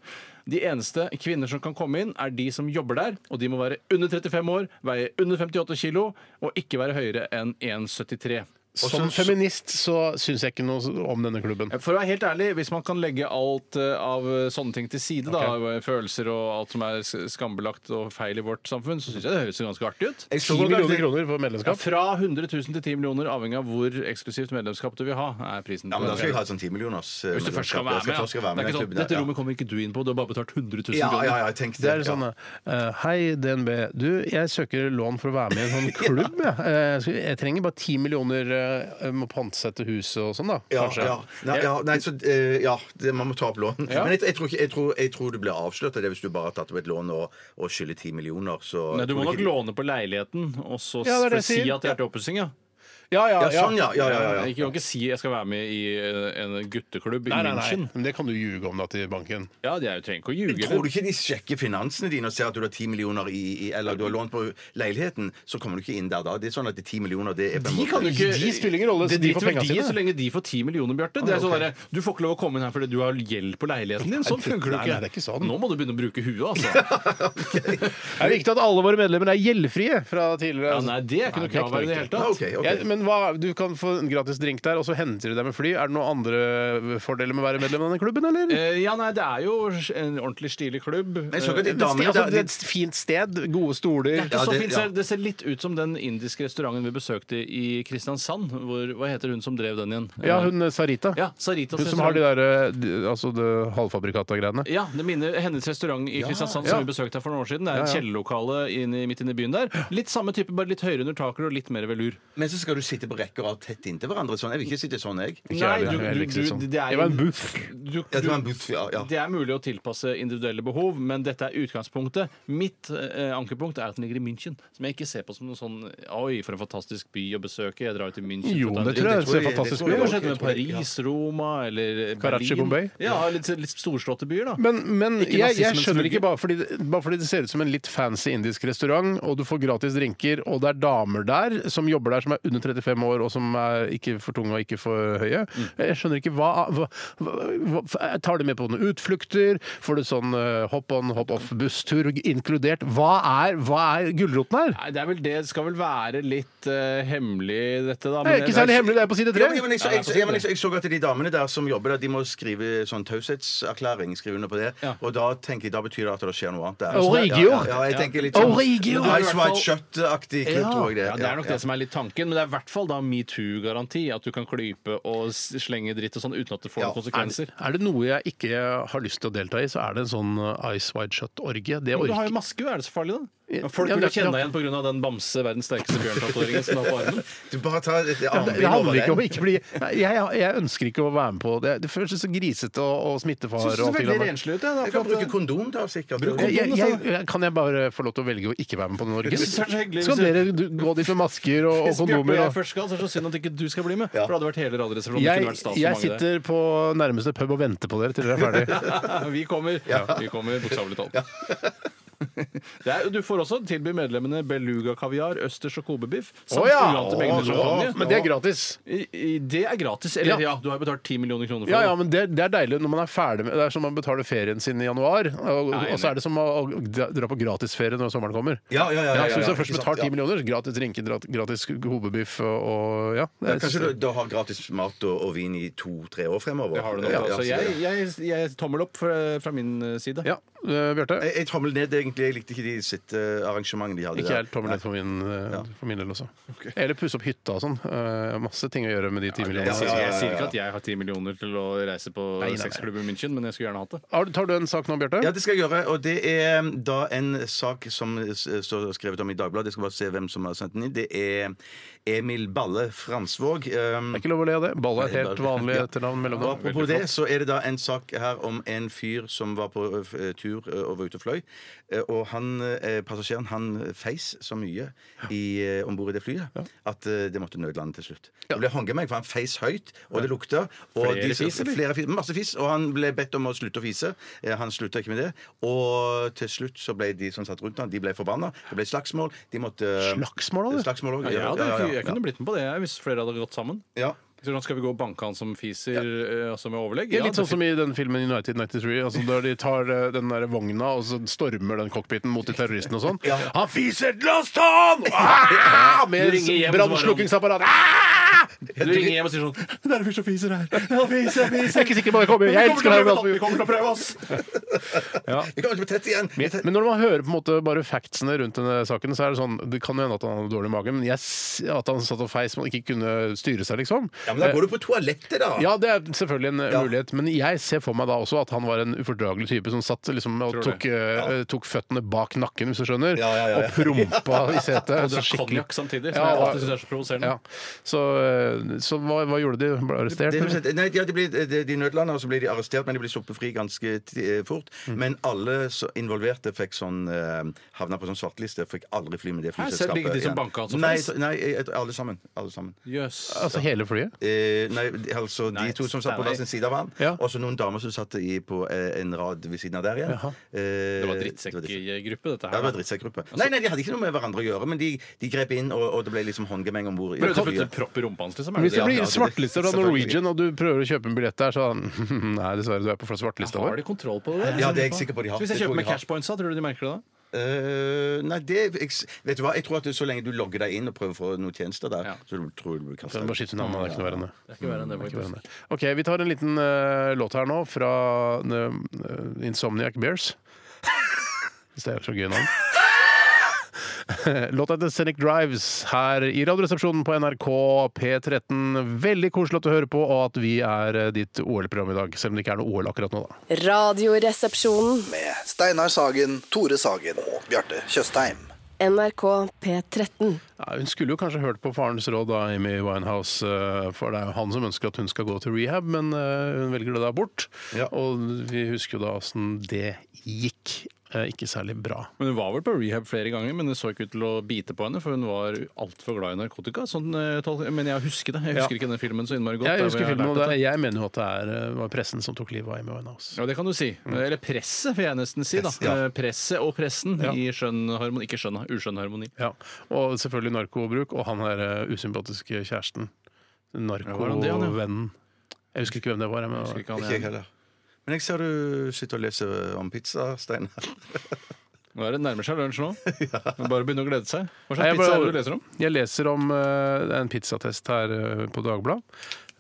D: De eneste kvinner som kan komme inn, er de som jobber der. Og de må være under 35 år, veie under 58 kilo og ikke være høyere enn 1,73.
B: Som feminist så syns jeg ikke noe om denne klubben.
D: For å være helt ærlig, hvis man kan legge alt eh, av eh, sånne ting til side, da, eh, følelser og alt som er s- skambelagt og feil i vårt samfunn, så syns jeg det høres ganske artig ut.
C: Jeg så
B: 10
C: nok at
B: millioner
C: det-
B: kroner for
D: Ja,
B: medlemskap.
D: fra 100 000 til 10 millioner, avhengig av hvor eksklusivt medlemskap du vil ha. er prisen
C: Ja, men Da skal jeg
D: til
C: ha et sånn 10 millioners eh,
D: Hvis du
C: medlemskap.
D: først skal
C: Jeg
D: være med, ja.
C: først skal være med
D: det er ikke
C: i den
D: sånn,
C: klubben der,
D: Dette
C: ja.
D: rommet kommer ikke du inn på, du har bare betalt 100 000
C: Ja,
D: kroner.
C: ja, ja, jeg tenkte
B: Det er
C: ja.
B: sånn eh, Hei, DNB. Du, jeg søker lån for å være med i
D: [LAUGHS]
B: en sånn klubb. jeg. Eh, skal- jeg trenger bare ti millioner. eh, Jeg må pantsette huset og sånn, da.
C: Ja,
B: Kanskje.
C: ja, nei, ja, nei, så, eh, ja det, man må ta opp lån. Men jeg, jeg, tror ikke, jeg, tror, jeg tror det blir avslørt av det hvis du bare har tatt opp et lån og, og skylder 10 millioner. Så
D: Nei, du
C: jeg
D: må
C: tror
D: nok
C: ikke-
D: låne på leiligheten, og så
B: Ja, det er det
D: for
B: jeg
D: si
B: sier.
D: at det er til oppussing. Ja.
B: Ja, ja,
C: Ja,
B: ja.
C: sånn, ja. ja, ja, ja,
D: Ikke,
C: ja.
D: du kan ikke si jeg skal være med i eh, en gutteklubb i
B: Nei, nei, nei.
D: München.
B: Men det kan du ljuge om da til banken.
D: Ja, jeg trenger ikke å ljuge.
C: Tror
D: eller?
C: du ikke de sjekker finansene dine og ser at du har 10 millioner i, i eller du har lånt på leiligheten, så kommer du ikke inn der da. Det er sånn at de 10 millioner, det er på en
B: De
C: måte-
B: kan jo ikke De spiller ingen rolle,
D: Det
B: så de får
D: driter vel
B: penga
D: de i
B: sine. Ah,
D: så lenge de får 10 millioner, Bjarte. Det er sånn derre, du får ikke lov å komme inn her fordi du har gjeld på leiligheten din. Sånn
B: Nei,
D: funker det
B: nei,
D: ikke.
B: nei, det er ikke sånn.
D: Nå må du begynne å bruke huet,
B: [LAUGHS]
D: altså.
B: Det er viktig at alle våre medlemmer er gjeldfrie fra tidligere.
D: Ja, nei, det er ikke noe krav her i det hele
B: ikke
D: tatt.
C: Ah, Ok, ok.
B: Jeg, men Men hva, du kan få en gratis drink der, og så henter de deg med fly. Er det noen andre fordeler med å være medlem av denne klubben, eller?
D: Eh, ja, nei, det er jo en ordentlig stilig klubb. Eh,
C: Jeg så ikke at de
B: Det er et sted-
C: damene
B: altså,
C: da-
B: det er et fint sted, gode stoler.
D: Det, er
C: Ja,
D: ikke så
C: det-
D: fint,
C: ja.
D: ser- det ser litt ut som den indiske restauranten vi besøkte i Kristiansand. Hvor, hva heter hun som drev den igjen?
B: Ja,
D: Eh,
B: hun eh, Sarita.
D: ja, Saritas
B: Hun som har de
D: restaurant.
B: der eh, de- altså det halvfabrikata greiene.
D: Ja, det minner hennes restaurant i Kristiansand som
B: ja.
D: vi besøkte her for noen år siden. Det er et kjellerlokale inn i- midt inne i byen der. Litt samme type, bare litt høyere under taket og litt mer velur.
C: Men så skal du sitte på rekke og rad tett inntil hverandre. Sånn. Jeg vil ikke sitte sånn, jeg.
B: jeg heller. Jeg liker det sånn. Jeg var en booth.
D: du-
C: Jeg tror
D: du-
C: en buff, ja, ja.
D: Det er mulig å tilpasse individuelle behov, men dette er utgangspunktet. Mitt eh, ankepunkt er at den ligger i München, som jeg ikke ser på som noen sånn Oi, for en fantastisk by å besøke. Jeg drar til München.
B: Jo,
D: for å ta en
B: det
D: drink».
B: tror jeg
C: tror
B: ser
C: jeg-
B: fantastisk
D: Hva
C: det tror
B: ut.
C: jeg-
D: skjedde med Paris, Roma eller
B: Karachi,
D: Berlin?
B: Bombay?
D: Ja, litt, litt storslåtte byer, da.
B: Men, men
D: Ikke
B: jeg, jeg
D: nazismens
B: skjønner
D: vugge.
B: ikke, bare fordi, det- bare fordi det ser ut som en litt fancy indisk restaurant, og du får gratis drinker, og det er damer der som jobber der som er under 35 år, og som er ikke for tunge og ikke for høye. Jeg skjønner ikke hva, hva, hva, hva Tar de med på noen utflukter? Får du sånn eh, hop on, hop off busstur inkludert? Hva er, hva er gulroten her?
D: Nei, det, er vel det. det skal vel være litt eh, hemmelig, dette, da.
B: Det er ikke særlig hemmelig, det er på side
C: Ja,
B: tre.
C: men, ja, men jeg, så, jeg, så- ja, men jeg, så, jeg så at de damene der som jobber der, de må skrive sånn taushetserklæring. Skrive under på det.
D: Ja.
C: Og da tenker jeg, da betyr det at det skjer noe annet der.
B: Origio.
C: Ja, ja, ja, jeg tenker litt sånn
B: Origio.
C: Ice White Shut-aktig klubb,
D: Ja.
C: tror jeg det.
D: ja, det er nok
C: Ja,
D: det som er litt tanken, men det er i hvert fall da metoo-garanti. At du kan klype og s- slenge dritt og sånn uten at det får
C: Ja.
D: noen konsekvenser.
B: Er det noe jeg ikke har lyst til å delta i, så er det en sånn eh, Ice Wide Shut-orgie. Det
D: Men Du
B: orker
D: har jo maske, er det så farlig, da?
B: Ja,
D: Folk
B: ja,
D: vil jo
B: det-
D: kjenne
B: ja.
D: deg igjen pga. den bamse, verdens sterkeste bjørntatoveringen som er på [LAUGHS] armen.
C: Du bare tar et
B: Ja, det, det
C: armbind
B: handler
C: over
B: ikke om å
C: den.
B: ikke bli Nei, jeg, jeg ønsker ikke å være med på det. Det føles så grisete og, og smittefar
D: Syns
B: og
D: det
B: alt
D: ser
B: det
D: veldig
B: der.
D: renslig ut, jeg.
C: Du kan bruke kondom, da, sikkert.
D: Bruk
B: Jeg,
D: kondom.
B: jeg, jeg, kan jeg bare få lov til å velge å ikke være med på Norge?
D: altså? synes det er så hyggelig
B: Skal
D: hvis
B: dere du, gå dit med masker og, og
D: Hvis Bjarte og
B: kondomer?
D: jeg
B: Og...
D: først skal, så er det så synd at ikke du skal bli med. For det hadde vært hele Radioresepsjonen. det kunne
B: Jeg,
D: vært stas for
B: jeg
D: mange der.
B: sitter på nærmeste pub og venter på dere til dere er
D: [LAUGHS]
B: ferdig.
D: Vi kommer, vi kommer bokstavelig talt. [LAUGHS] Det er, du får også tilby medlemmene beluga-kaviar, østers og kobebiff.
B: Å
D: Samt
B: ja!
D: Sånn uante mengder
B: Å,
D: champagne.
B: ja. Men det er gratis.
D: I- i- Det er gratis. Eller
B: Ja.
D: ja, du har jo betalt 10 millioner kroner for
B: Ja, ja,
D: det.
B: men det, det er deilig når man er ferdig med Det er som man betaler ferien sin i januar, og,
D: Nei,
B: og så er det som å å dra dra på gratisferie når sommeren kommer.
C: Ja, ja, ja, ja, ja,
B: så hvis
C: ja,
B: du først
C: ikke
B: betaler
C: sant, ja.
B: 10 millioner, gratis drinker, dra- gratis hovedbiff og, og ja.
C: Ja,
B: Det er-
C: Kanskje du, du har gratis mat og, og vin i to-tre år fremover?
D: Det har du nok,
C: Ja, ja,
D: altså.
C: så-
D: jeg, jeg, jeg tommel opp fra, fra min side.
B: Ja, eh, Bjarte.
C: Jeg, jeg tommel ned, egentlig. Jeg likte ikke de sitt eh, arrangement de hadde
B: Ikke
C: der.
B: helt tommel ned for min, eh, for min del også. Eller pusse opp hytta og sånn. Eh, Masse ting å gjøre med de ti
D: Jeg sier,
B: millionene.
C: ja, ja, ja.
D: jeg sier ikke at jeg har 10 millioner til å reise på sexklubben i München, men jeg skulle gjerne hatt det.
B: Har du- Tar du en sak nå, Bjarte?
C: Ja, det skal jeg gjøre. Og det er eh, da en sak som eh, s- står skrevet om i Dagbladet. Jeg skal bare se hvem som har sendt den inn. Det er Emil Balle Fransvåg. Um,
B: Det er ikke lov å le av det. Balle er et helt vanlig
C: Ja.
B: etternavn mellom
C: Og apropos det, så er det da en sak her om en fyr som var på ø, f- ø, tur ø, og var ute og fløy. Eh, Og han, eh, passasjeren han feis så mye om bord i det flyet at eh, det måtte nødlande til slutt. Det ble håndgemeng, for han feis høyt, og det lukta. Og
D: Flere
C: de-
D: fis, eller?
C: flere fis, masse fis. Og han ble bedt om å slutte å fise. Eh, Han slutta ikke med det. Og til slutt så ble de som satt rundt han, de ble forbanna. Det ble slagsmål. De måtte
B: Slagsmål, da, du?
C: Slagsmål også,
D: Ja,
C: ja,
D: det,
C: ja, ja,
D: jeg kunne blitt med på det jeg, hvis flere hadde gått sammen.
C: ja.
D: Så Skal vi gå og banke han som fiser, eh, altså med overlegg?
B: Ja, litt sånn som i den filmen i 1993, altså der de tar eh, den der vogna og så stormer den cockpiten mot de terroristene og sånn. Han fiser! La oss ta
C: [LAUGHS]
B: han! Ah! Med
D: Du ringer hjem,
B: brannslukkingsapparat. Ah!
D: Du ringer hjem og sier sånn
B: Det er en fyr som fiser her. Han fiser, fiser. Jeg er ikke sikker på om jeg kommer. Jeg elsker deg.
D: Vi kommer til å prøve oss!
C: Vi kommer ikke på tett igjen!
B: Men men når man hører på en måte bare factsene rundt denne saken, så er det sånn Det kan jo hende at han hadde dårlig mage, men jeg, s- at han satt og feis man ikke kunne styre seg, liksom. Eh,
C: Ja,
D: Eh,
C: men da går du på toalettet, da!
B: Ja, det er selvfølgelig en eh, mulighet, men jeg ser for meg da også at han var en ufordragelig type som satt liksom og
D: Tror
B: tok, eh, tok føttene bak nakken, hvis du skjønner,
C: Ja, ja, ja, [LAUGHS] ja.
B: og prompa i setet.
D: Og drakk
B: skikkelig.
D: konjakk samtidig, som
B: Ja,
D: jeg
B: og-
D: alltid syns er så provoserende.
B: Ja. Så, eh, så hva, hva gjorde de? Ble arrestert?
C: Det,
B: eller?
C: det- nei, ja, de, blir, de, de nødlander, og så blir de arrestert, men de blir sluppet fri ganske ti- eh, fort.
D: Mm.
C: Men alle så involverte fikk sånn eh, havna på sånn svarteliste. Fikk aldri fly med det
D: Hæ, selv
C: flyselskapet.
D: ikke de som altså,
C: igjen.
D: banka han som
C: nei,
D: flis?
C: så- nei, eh, alle sammen. Alle sammen.
D: Jøss.
B: Altså hele flyet?
C: Eh, nei, de- altså de to som satt på
D: nei.
C: hver sin side av han,
B: Ja.
C: og så noen damer som satt i, på eh, en rad ved siden av der igjen. Eh,
D: Det var Altså-
C: drittsekk-
D: drittsekkgruppe, dette
C: Ja, det
D: her.
C: var drittsekkgruppe. Nei, nei, de hadde ikke noe med hverandre å gjøre, men de, de grep inn, og, og det ble liksom håndgemeng om bord.
D: Prøvde å putte propp i rumpa hans, liksom? Er
B: Hvis
D: det
B: det
D: det?
B: blir
C: ja, det-
B: svarteliste fra
C: selvfølgelig.
B: Norwegian, og du prøver å kjøpe en billett der, så er han [LAUGHS] Nei, dessverre, du er på svartelista
D: Har
B: vår.
D: de kontroll på det?
C: Ja, det er jeg sikker på de har.
D: Så Hvis jeg
C: Det tror
D: kjøper med
C: jeg de har.
D: cashpoints, da, tror du de merker det da?
C: Eh, nei, det jeg, s- Vet du hva, jeg tror at så lenge du logger deg inn og prøver å få noen tjenester der,
D: Ja.
C: så tror jeg du blir
B: Så
C: kastet
B: vi må skifte navn. Det er ikke noe verre enn det.
D: Det er ikke verre enn det,
B: Det er ikke verre enn
D: faktisk.
B: det. OK, vi tar en liten eh, låt her nå fra eh, Insomniac Bears. [LAUGHS] Hvis det er så gøy navn. [LAUGHS] Låta heter Scenic Drives her i Radioresepsjonen på NRK P13. Veldig koselig at du hører på, og at vi er eh, ditt OL-program i dag. Selv om det ikke er noe OL akkurat nå, da.
F: Radioresepsjonen.
G: Med Steinar Sagen, Tore Sagen og Bjarte Tjøstheim.
F: NRK P13.
B: Ja, hun skulle jo kanskje hørt på farens råd, da, Amy Winehouse. eh, For det er jo han som ønsker at hun skal gå til rehab, men eh, hun velger det da bort.
C: Ja.
B: Og vi husker jo da åssen det gikk. Eh, Ikke særlig bra.
D: Men Hun var vel på rehab flere ganger, men det så ikke ut til å bite på henne, for hun var altfor glad i narkotika. Sånn, eh, tol- men jeg husker det. Jeg husker ikke den filmen så innmari godt.
B: Jeg
D: der hvor
B: husker
D: har
B: filmen, og
D: lært
B: det,
D: dette.
B: jeg mener jo at det er, eh, var pressen som tok livet av Amy Winehouse.
D: Ja, det kan du si. Eller presset, vil jeg nesten si. da.
C: Press, ja.
D: Eh, Presset og pressen
B: Ja.
D: i skjønn harmoni. Ikke skjønn, uskjønn harmoni.
B: Ja. Og selvfølgelig narkobruk, og han her eh, usympatiske kjæresten.
D: var han det, han, ja?
B: Narkovennen. Jeg husker ikke hvem det var. jeg, Men,
D: Husker ikke han
C: Ikke jeg
D: igjen.
C: heller. Men jeg ser du sitter og leser om pizza, Steinar.
D: Nå er det nærmer seg lunsj nå. Men Bare begynne å glede seg.
B: Nei,
D: Hva slags
B: jeg
D: pizza er
B: bare-
D: det du leser om?
B: Jeg leser om eh, det er en pizzatest her eh, på Dagbladet.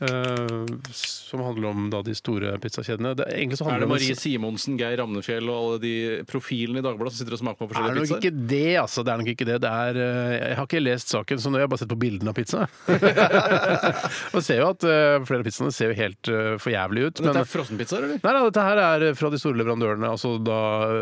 B: eh, som handler om da, de store pizzakjedene. Det, egentlig så
D: Er
B: handler
D: det Marie
B: om
D: Simonsen, Geir Ramnefjell og alle de profilene i Dagbladet som sitter og smaker på
B: er det
D: forskjellige
B: nok
D: pizzaer?
B: ikke det, altså. Det er nok ikke det. det er, eh, jeg har ikke lest saken, så nå har jeg bare sett på bildene av
D: [LAUGHS]
B: pizza. Og ser jo at eh, flere av pizzaene ser jo helt eh, for jævlig ut.
D: Dette
B: Men,
D: er frossenpizzaer, eller?
B: nei, nei, dette her er fra de store leverandørene. Altså da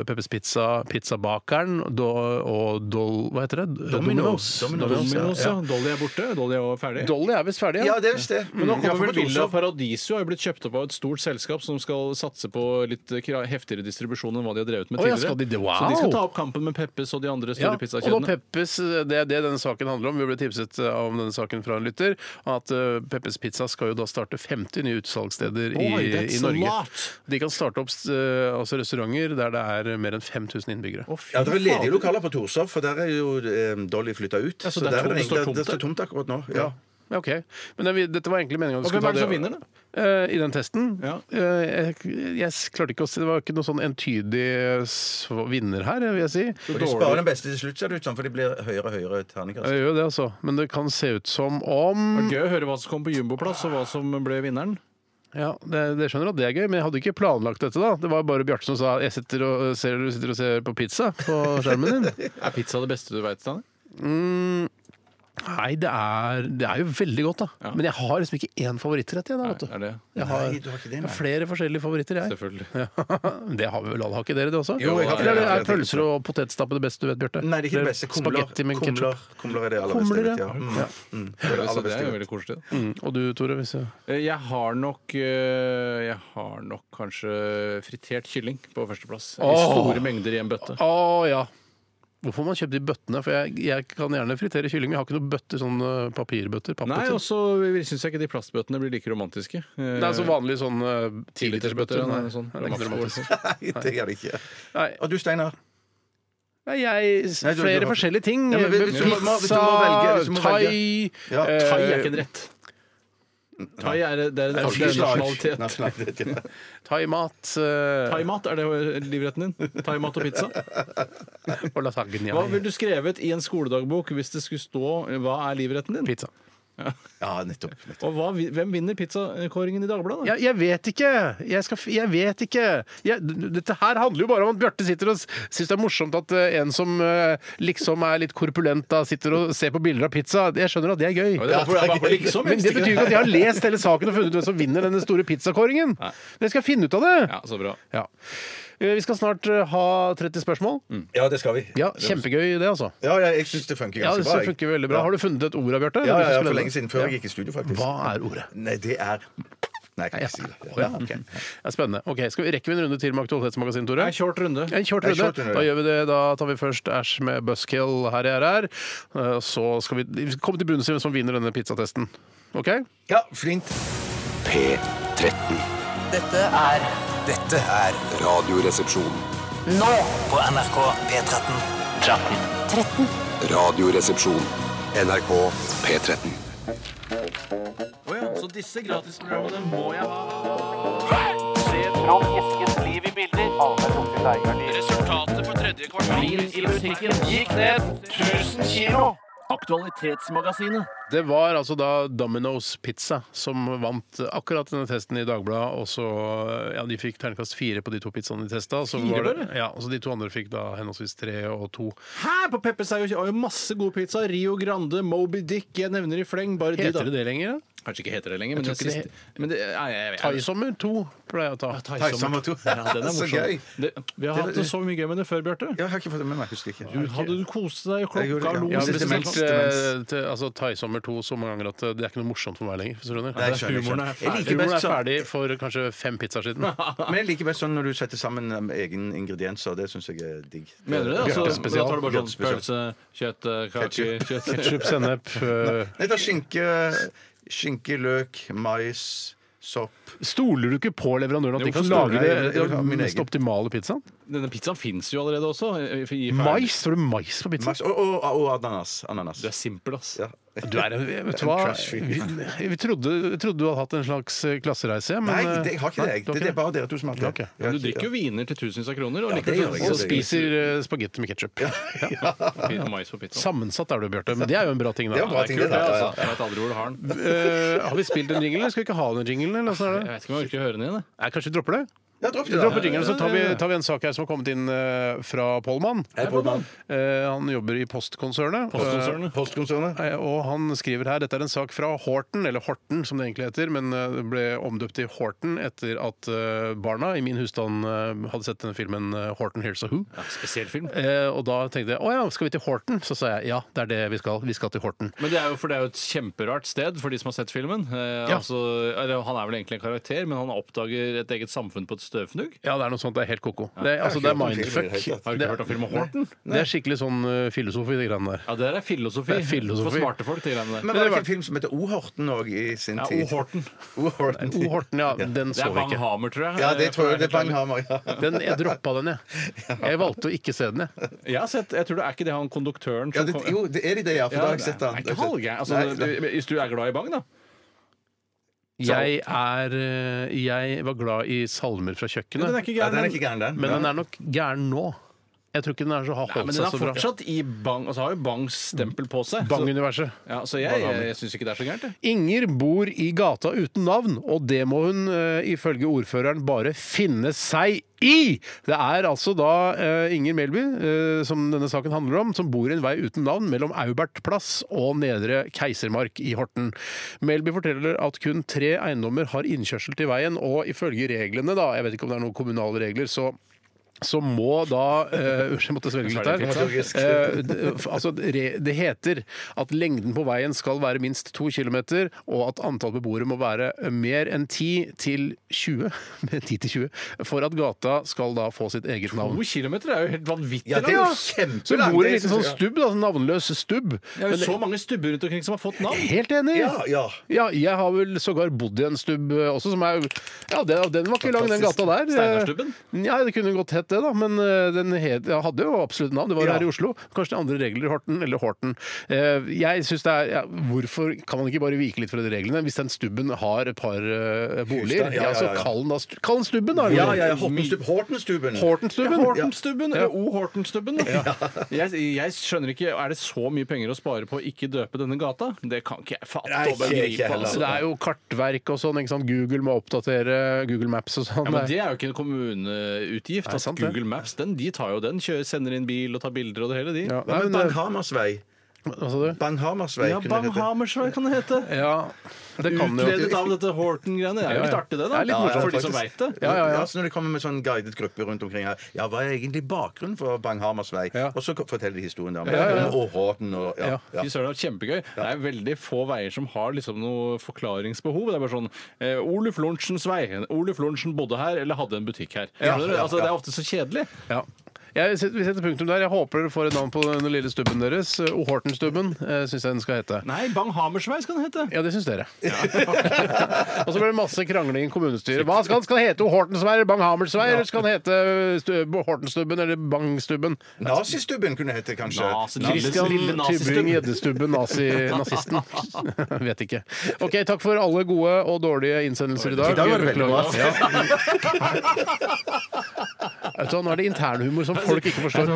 B: Peppers Pizza, Pizzabakeren do, og Dol... Hva heter det? Domino's.
C: Domino's, ja.
D: Domino's, ja. Dolly er borte. Dolly er også ferdig.
B: Dolly er visst ferdig,
C: Ja, det er visst det.
D: Men nå
C: Ja,
D: kommer
C: for
D: vel
C: på
D: Villa
C: Torshov-
D: Paradiso har jo blitt kjøpt opp av et stort selskap som skal satse på litt kra- heftigere distribusjon enn hva de har drevet med
B: Å, ja,
D: tidligere.
B: skal de det?
D: Så de
B: Wow!
D: skal ta opp kampen med Peppes og de andre store
B: og nå
D: pizzakjedene.
B: Peppes, det er det denne saken handler om. Vi ble tipset eh, om denne saken fra en lytter. At eh, Peppes Pizza skal jo da starte 50 nye utsalgssteder i,
D: Oi, that's
B: i
D: a
B: Norge.
D: lot.
B: De kan starte opp eh, altså restauranter der det er mer enn 5000 innbyggere.
D: Å, fy
C: Mm. Ja, det er ledige
D: fader.
C: lokaler på Torshov, for der er jo eh, Dolly flytta ut.
D: Ja, så det er tomt-
C: det,
D: det står tomt
C: det står
D: der.
C: tomt akkurat nå. Ja.
B: Ja, OK. Men det, vi- dette var egentlig meningen at
D: Og
B: vi
D: hvem
B: skulle
D: er det
B: ta
D: som vinner, da?
B: Eh, I den testen?
D: Ja.
B: Eh, jeg, jeg klarte ikke å se Det var ikke noe sånn entydig sv- vinner her, vil jeg si.
C: Og de sparer den beste til slutt, ser det ut som, for de blir høyere og høyere terningkast.
B: Jeg gjør jo det, altså. Men det kan se ut som om
D: Det var Gøy å høre hva som kom på jumboplass, og hva som ble vinneren.
B: Ja, det, det skjønner jeg at det er gøy, men jeg hadde ikke planlagt dette da. Det var bare Bjarte som sa jeg sitter og, ser, du sitter og ser på pizza
C: [LAUGHS]
B: på skjermen din.
D: Er pizza det beste du veit, Stanley?
B: Nei, det er, det er jo veldig godt, da.
D: Ja.
B: Men jeg har liksom ikke én favorittrett, jeg da. vet du.
D: Er det?
B: Jeg har,
C: Nei, du har ikke det,
B: jeg har
C: nei.
B: flere forskjellige favoritter, jeg.
D: Selvfølgelig.
B: Ja, [LAUGHS] det har vi vel alle, har ikke dere det også?
C: Jo, jeg har
B: Eller
C: flere, jeg har
B: er pølser og potetstappe det beste du vet, Bjarte?
C: Nei, det er ikke det beste. Kumler.
B: Spagetti med
C: Kumler.
B: ketsjup.
C: Kumler er det aller beste.
B: Kumler,
C: jeg vet,
B: ja.
C: ja. Mm. Mm. Det er det
D: Så
C: aller
D: det
C: beste.
D: er jo
C: jeg vet.
D: veldig koselig. da.
B: Mm. Og du, Tore? Hvis jeg...
D: Eh, Jeg har nok eh, Jeg har nok kanskje fritert kylling på førsteplass. I
B: Åh.
D: store mengder i en bøtte.
B: Å ja. Hvorfor har man kjøpt de bøttene? For jeg, jeg kan gjerne fritere kylling, men jeg har ikke noen bøtter, sånn eh, papirbøtter.
D: Nei,
B: pappbøtter.
D: og så syns jeg ikke de plastbøttene blir like romantiske. Eh,
B: Det er så vanlig sånn eh, tilitersbøtter.
D: Nei,
B: Nei,
D: sånn.
B: det er ikke noe romantisk.
C: Nei, det er det ikke.
B: [LAUGHS] Nei.
C: Og du, Steinar?
B: Nei, jeg
C: Nei, du-
B: Flere
C: du har-
B: forskjellige ting.
C: Ja, men hvis- hvis du må- hvis du
B: Pizza,
C: må velge- hvis du må
B: thai
C: Ja,
B: eh,
D: Thai er ikke en rett. Thai er, det er en
C: Norsk
D: det er en
C: slag.
D: nasjonalitet.
C: Nasjonalitet, ja.
B: Thaimat eh,
D: Thaimat, er det livretten din? Thaimat og pizza?
B: og lasagne.
D: Hva ville du skrevet i en skoledagbok hvis det skulle stå hva er livretten din?
B: Pizza.
C: Ja, nettopp. nettopp.
D: Og hva, vi- hvem vinner pizzakåringen i Dagbladet? da?
B: Jeg, jeg vet ikke! Jeg, skal, f- jeg vet ikke! Jeg, d- d- dette her handler jo bare om at Bjarte sitter og s- syns det er morsomt at eh, en som eh, liksom er litt korpulent, da sitter og ser på bilder av pizza. Jeg skjønner at det er gøy.
D: Ja, det er bare- bare liksom,
B: Men det
D: ikke
B: betyr jo ikke at jeg har lest hele saken og funnet ut hvem som vinner denne store pizzakåringen. Men jeg skal finne ut av det.
D: Ja, så bra.
B: Ja. Eh, Vi skal snart eh, ha 30 spørsmål.
C: Ja, Mm. det skal vi.
B: Ja, Kjempegøy det, altså.
C: Ja, ja, jeg syns det funker
B: Ja, det
C: ganske bra. jeg.
B: funker veldig bra. Har du funnet et ord, da, Bjarte?
C: Ja, ja, ja,
B: Du skulle
C: for
B: lede.
C: lenge siden. Før jeg gikk i studio, faktisk.
B: Hva er ordet?
C: Nei, det er Nei, jeg kan ikke si det.
B: Å, ja, ok. Det er spennende. Ok, Skal vi rekke vi en runde til med Aktualitetsmagasinet, Tore?
D: En kjort runde.
B: En kjort
C: En
B: runde.
C: kjort runde.
B: Da gjør vi det. Da tar vi først Æsj med Buskill her jeg er her. Eh, Så skal vi vi skal komme til bunns i hvem som vinner denne pizzatesten. OK?
C: Ja, flint.
H: P13.
J: Dette er
K: Dette er
H: Radioresepsjon.
J: nå
K: på NRK P13.
J: 13.
H: Radioresepsjon. NRK P13.
D: Så disse gratisprogrammene må jeg ha.
J: Trond Eskes liv i bilder. Resultatet for tredje kvartal i musikken gikk ned 1000 kilo. Aktualitetsmagasinet.
B: Det var altså da Domino's Pizza som vant akkurat denne testen i Dagbladet. Og så, ja, De fikk terningkast fire på de to pizzaene de testa. Så
D: Fire
B: var det,
D: bare?
B: ja, og så de to andre fikk da henholdsvis tre og to.
D: Her på Peppers er jo, er jo masse god pizza. Rio Grande, Moby Dick, jeg nevner i fleng. Bare de, da.
B: Heter det det lenger? da?
D: Kanskje ikke heter det lenger, men
B: tror
D: det,
B: ikke det
D: siste men det, nei, jeg, jeg, jeg,
B: Thaisommer to pleier jeg å ta.
D: Thaisommer. [LAUGHS] Ja, den er
C: [LAUGHS] Så
D: morsom.
C: gøy.
D: Det, vi har hatt det så mye gøy med det før, Bjarte.
C: Jeg har ikke fått det med meg. Husker ikke.
D: Du, hadde du kost deg?
C: Jeg
D: Klokka
C: gjorde det,
D: lo.
B: Jeg har
C: Siste
B: bestilt
C: mens,
B: eh,
C: siste
B: til- altså, Thaisommer 2 så mange ganger at eh, det er ikke noe morsomt for meg lenger. hvis du skjønner.
C: Nei, jeg skjønner, jeg
D: humoren er
C: skjønner. Jeg liker
B: Humoren
C: best
B: er
C: sånn.
B: ferdig for kanskje fem pizzaer
C: [LAUGHS]
B: siden.
C: Men jeg liker best sånn når du setter sammen um, egne ingredienser. Det syns jeg er digg.
D: Mener du det? Altså, da
C: Bjarte spesial.
D: tar du bare sånn
C: Bjarte spesial.
D: pølse, kjøtt, eh, kake, kjøtt
B: Ketsjup, sennep eh,
C: Nei, det er skinke, skinke, løk, mais, sopp
B: Stoler du ikke på leverandøren at de
D: Jo,
B: kan
D: stoler
B: lage
C: jeg.
B: det,
C: Jeg vil ha min
B: den mest
C: egen.
B: optimale pizzaen?
D: Denne pizzaen fins jo allerede også. eh, i- i- i-
B: Mais? Står det mais på pizzaen?
C: mais, og, og, og ananas. ananas.
D: Du er simpel, ass.
C: Ja.
B: Du er en, vet du hva?
C: trash
B: Vi,
C: fyr. liksom.
B: vi trodde, jeg trodde du hadde hatt en slags klassereise, men
C: Nei,
B: eh,
C: det jeg har ikke
B: nei,
C: det. jeg.
B: du har
C: Det, det er
B: det.
C: bare dere to som har hatt det.
B: Ok.
C: Jeg har
D: Men du
C: ikke-
D: drikker jo viner til tusenvis av kroner, og
C: Ja, det
D: likevel
C: gjør jeg.
D: så
B: Og spiser eh, spagetti med ketsjup.
D: spiser du mais på pizza.
B: Sammensatt er du, Bjarte, men det er jo en bra ting.
C: Det er en bra
B: da.
C: ting,
D: Kult,
C: det,
D: det,
C: da.
D: altså. Jeg vet aldri hvor du har den.
B: Eh, har vi spilt en jingle, eller skal vi ikke ha den jinglen? Eller hvordan er
D: Jeg
C: Eh,
B: det?
D: vet ikke om jeg orker å høre den igjen. jeg.
B: Nei, kanskje vi dropper det?
C: Ja, dropp
B: Vi
C: det,
B: dropper
C: da.
B: jinglen, så tar vi, tar vi en sak her som har kommet inn eh, fra Pollmann.
C: Pollmann.
B: Eh, han jobber i Postkonsernet.
D: Postkonsernet.
C: Postkonsernet.
B: Eh, Og han skriver her dette er en sak fra Horten, eller Horten som det egentlig heter, men eh, det ble omdøpt til Horten etter at eh, barna i min husstand eh, hadde sett denne filmen eh, Horten Hears a Who.
D: Ja, spesiell film.
B: Eh, Og da tenkte jeg å ja, skal vi til Horten? Så sa jeg ja, det er det vi skal. Vi skal til Horten.
D: Men det er jo, for det er jo et kjemperart sted for de som har sett filmen. Eh,
B: Ja.
D: altså, eller, han er vel egentlig en karakter, men han oppdager et eget samfunn på et støvfnugg.
B: Ja, det er noe sånt. Det er helt ko-ko. Det, er- altså, det er
C: Jeg har ikke hørt om filmen i det hele
B: mindfuck.
C: tatt.
D: Har du
B: Det-
D: ikke hørt om filmen Horten?
B: Det er skikkelig sånn eh, filosofi, de greiene der.
D: Ja, det er filosofi.
B: Det er filosofi.
D: For smarte folk, de greiene der.
C: Men var det ikke en film som heter O-Horten òg i sin
D: Ja,
C: tid?
D: O-Horten.
C: O-Horten.
B: O Horten, ja. Den
D: Det
B: så
D: er
B: vi
D: Bang
B: ikke.
D: Hamer, tror jeg.
C: Ja, det
D: Eh,
C: tror
D: for å
C: jeg det er
D: være helt ærlig.
C: Banghammer. Ja.
B: Den, jeg droppa den,
D: [LAUGHS]
B: jeg. Jeg valgte å ikke se den, jeg.
D: Jeg har sett, jeg tror det er ikke det han konduktøren
C: Ja,
D: som
C: det,
D: kom-
C: jo, det er de det, ja. For da har
D: det
C: jeg sett den.
D: Er ikke halvgæren. Altså,
C: Nei,
D: du- Hvis du er glad i Bang, da.
B: Jeg er eh, Jeg var glad i salmer fra
D: Den er
B: kjøkkenet,
D: ikke
C: Ja, den er
D: gæren.
C: ikke gæren, den.
B: men den
C: Ja.
B: er nok gæren nå. Jeg tror ikke den er så har
D: Ja,
B: holdt
D: men den
B: seg
D: er
B: så bra.
D: fortsatt i Bang, altså har jo Bangs stempel på seg. Så,
B: Bang-universet.
D: ja, så jeg, jeg syns ikke det er så gærent. jeg.
B: Inger bor i gata uten navn, og det må hun eh, ifølge ordføreren bare finne seg i! Det er altså da eh, Inger Melby, eh, som denne saken handler om, som bor i en vei uten navn mellom Aubert plass og Nedre Keisermark i Horten. Melby forteller at kun tre eiendommer har innkjørsel til veien, og ifølge reglene, da, jeg vet ikke om det er noen kommunale regler, så så må da eh, [LAUGHS] Unnskyld, jeg måtte svelge litt her. Eh, d- f- altså, re, det heter at lengden på veien skal være minst to kilometer, og at antall beboere må være mer enn 10 til [LAUGHS] 20, med 10 til 20 for at gata skal da få sitt eget navn.
D: To kilometer er jo helt vanvittig.
C: Ja, det er jo
D: langt.
C: kjempelangt.
B: Så bor det en
C: Det
B: liten
C: synes
B: sånn
C: jeg-
B: stubb, da, sånn navnløs stubb.
D: Det er jo
B: Men-
D: så mange stubber rundt omkring som har fått navn.
B: Helt enig!
C: Ja, ja.
B: Ja, jeg har vel sågar bodd i en stubb eh, også, som er Ja, den, den var ikke lang, den gata der. Eh,
D: Steinarstubben?
B: Ja, det kunne godt hett det, da, men eh, den het, ja, hadde jo absolutt navn. Det var jo
C: Ja.
B: her i Oslo. Kanskje det er andre regler i Horten, eller Horten. Eh, Jeg synes det er ja, Hvorfor kan man ikke bare vike litt fra de reglene? Hvis den stubben har et par eh, boliger,
C: da,
B: ja,
C: ja,
B: så
C: ja, ja.
B: kall den da stu- Kall den stubben, da!
C: Ja, ja, ja. Hortenstub- Hortenstubben.
B: Hortenstubben.
D: Hortenstubben, eller O. Hortenstubben. da. Jeg, jeg skjønner ikke, Er det så mye penger å spare på å ikke døpe denne gata? Det kan ikke jeg fatte
C: Nei,
D: og
C: ikke- ikke
D: begripe.
C: heller.
D: Altså.
B: Så det er jo kartverk og sånn. ikke sant? Google må oppdatere Google Maps og sånn.
D: Ja, men Det er jo ikke en kommuneutgift.
B: Nei,
D: at
B: sant det.
D: Google Maps den, de tar jo den, kjører, sender inn bil og tar bilder og det hele, de.
B: Ja,
C: Hva
B: nei,
C: med
B: men, eh,
C: Banghammers vei?
B: hva sa du?
C: Banghammers vei,
D: Ja,
C: kunne det
D: Bang
C: hete.
D: Hamersvei kan det hete.
B: Ja, det kan jo
D: Utledet av dette Horten-greiene. Det er
B: Ja,
D: jo
B: ja.
D: litt artig, det. da
B: Det er litt
C: morsomt,
D: For de som
C: faktisk.
D: veit det.
B: Ja, ja, ja.
C: Ja, så når det kommer med sånn guidet grupper rundt omkring her Ja, hva er egentlig bakgrunnen for Banghammers vei?
B: Ja.
C: Og så forteller de historien da om
B: Ja, ja, ja.
C: om Horten og ja, ja.
D: Fy søren, det var kjempegøy. Det er veldig få veier som har liksom noe forklaringsbehov. Det er bare sånn eh, Oluf Lorentzens vei. Oluf Lorentzen bodde her eller hadde en butikk her. Skjønner du?
C: ja,
D: altså, det er ofte så kjedelig.
B: Ja. Jeg set- vi setter punktum der. Jeg håper dere får et navn på den lille stubben deres. Ohorten-stubben eh, syns jeg den skal hete.
D: Nei, Bang Hammersveis kan det hete.
B: Ja, det syns
C: [LAUGHS]
B: dere. og så blir det masse krangling i kommunestyret. Hva skal, skal den hete? Hortensveier? Bang-Hammersveier? Eller skal den hete Stu- Hortenstubben eller Bangstubben?
C: Nazistubben kunne det hete, kanskje.
D: Nazi-
B: Christian
D: Lille nazistubben.
B: Tybring Gjeddestubben, nazi,
C: [LAUGHS]
B: nazisten. Vet ikke. Ok, Takk for alle gode og dårlige innsendelser i dag.
C: I dag var det veldig bra.
B: Beklager. Ja. Vet du hva, Nå er det internhumor som folk ikke forstår.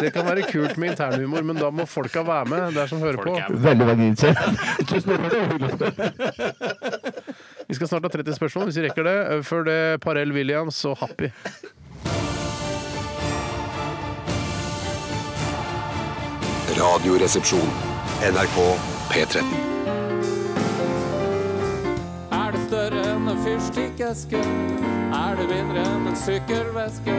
B: Det kan være kult med internhumor, men da må folka være med. Det er som hører på.
A: Veldig vaginelt.
B: Vi skal snart ha 30 spørsmål, hvis vi rekker det. Før det Parell Williams og Happy.
H: Radioresepsjon. NRK P13.
L: Er det større enn en fyrstikkeske? Er det mindre enn en sykkelveske?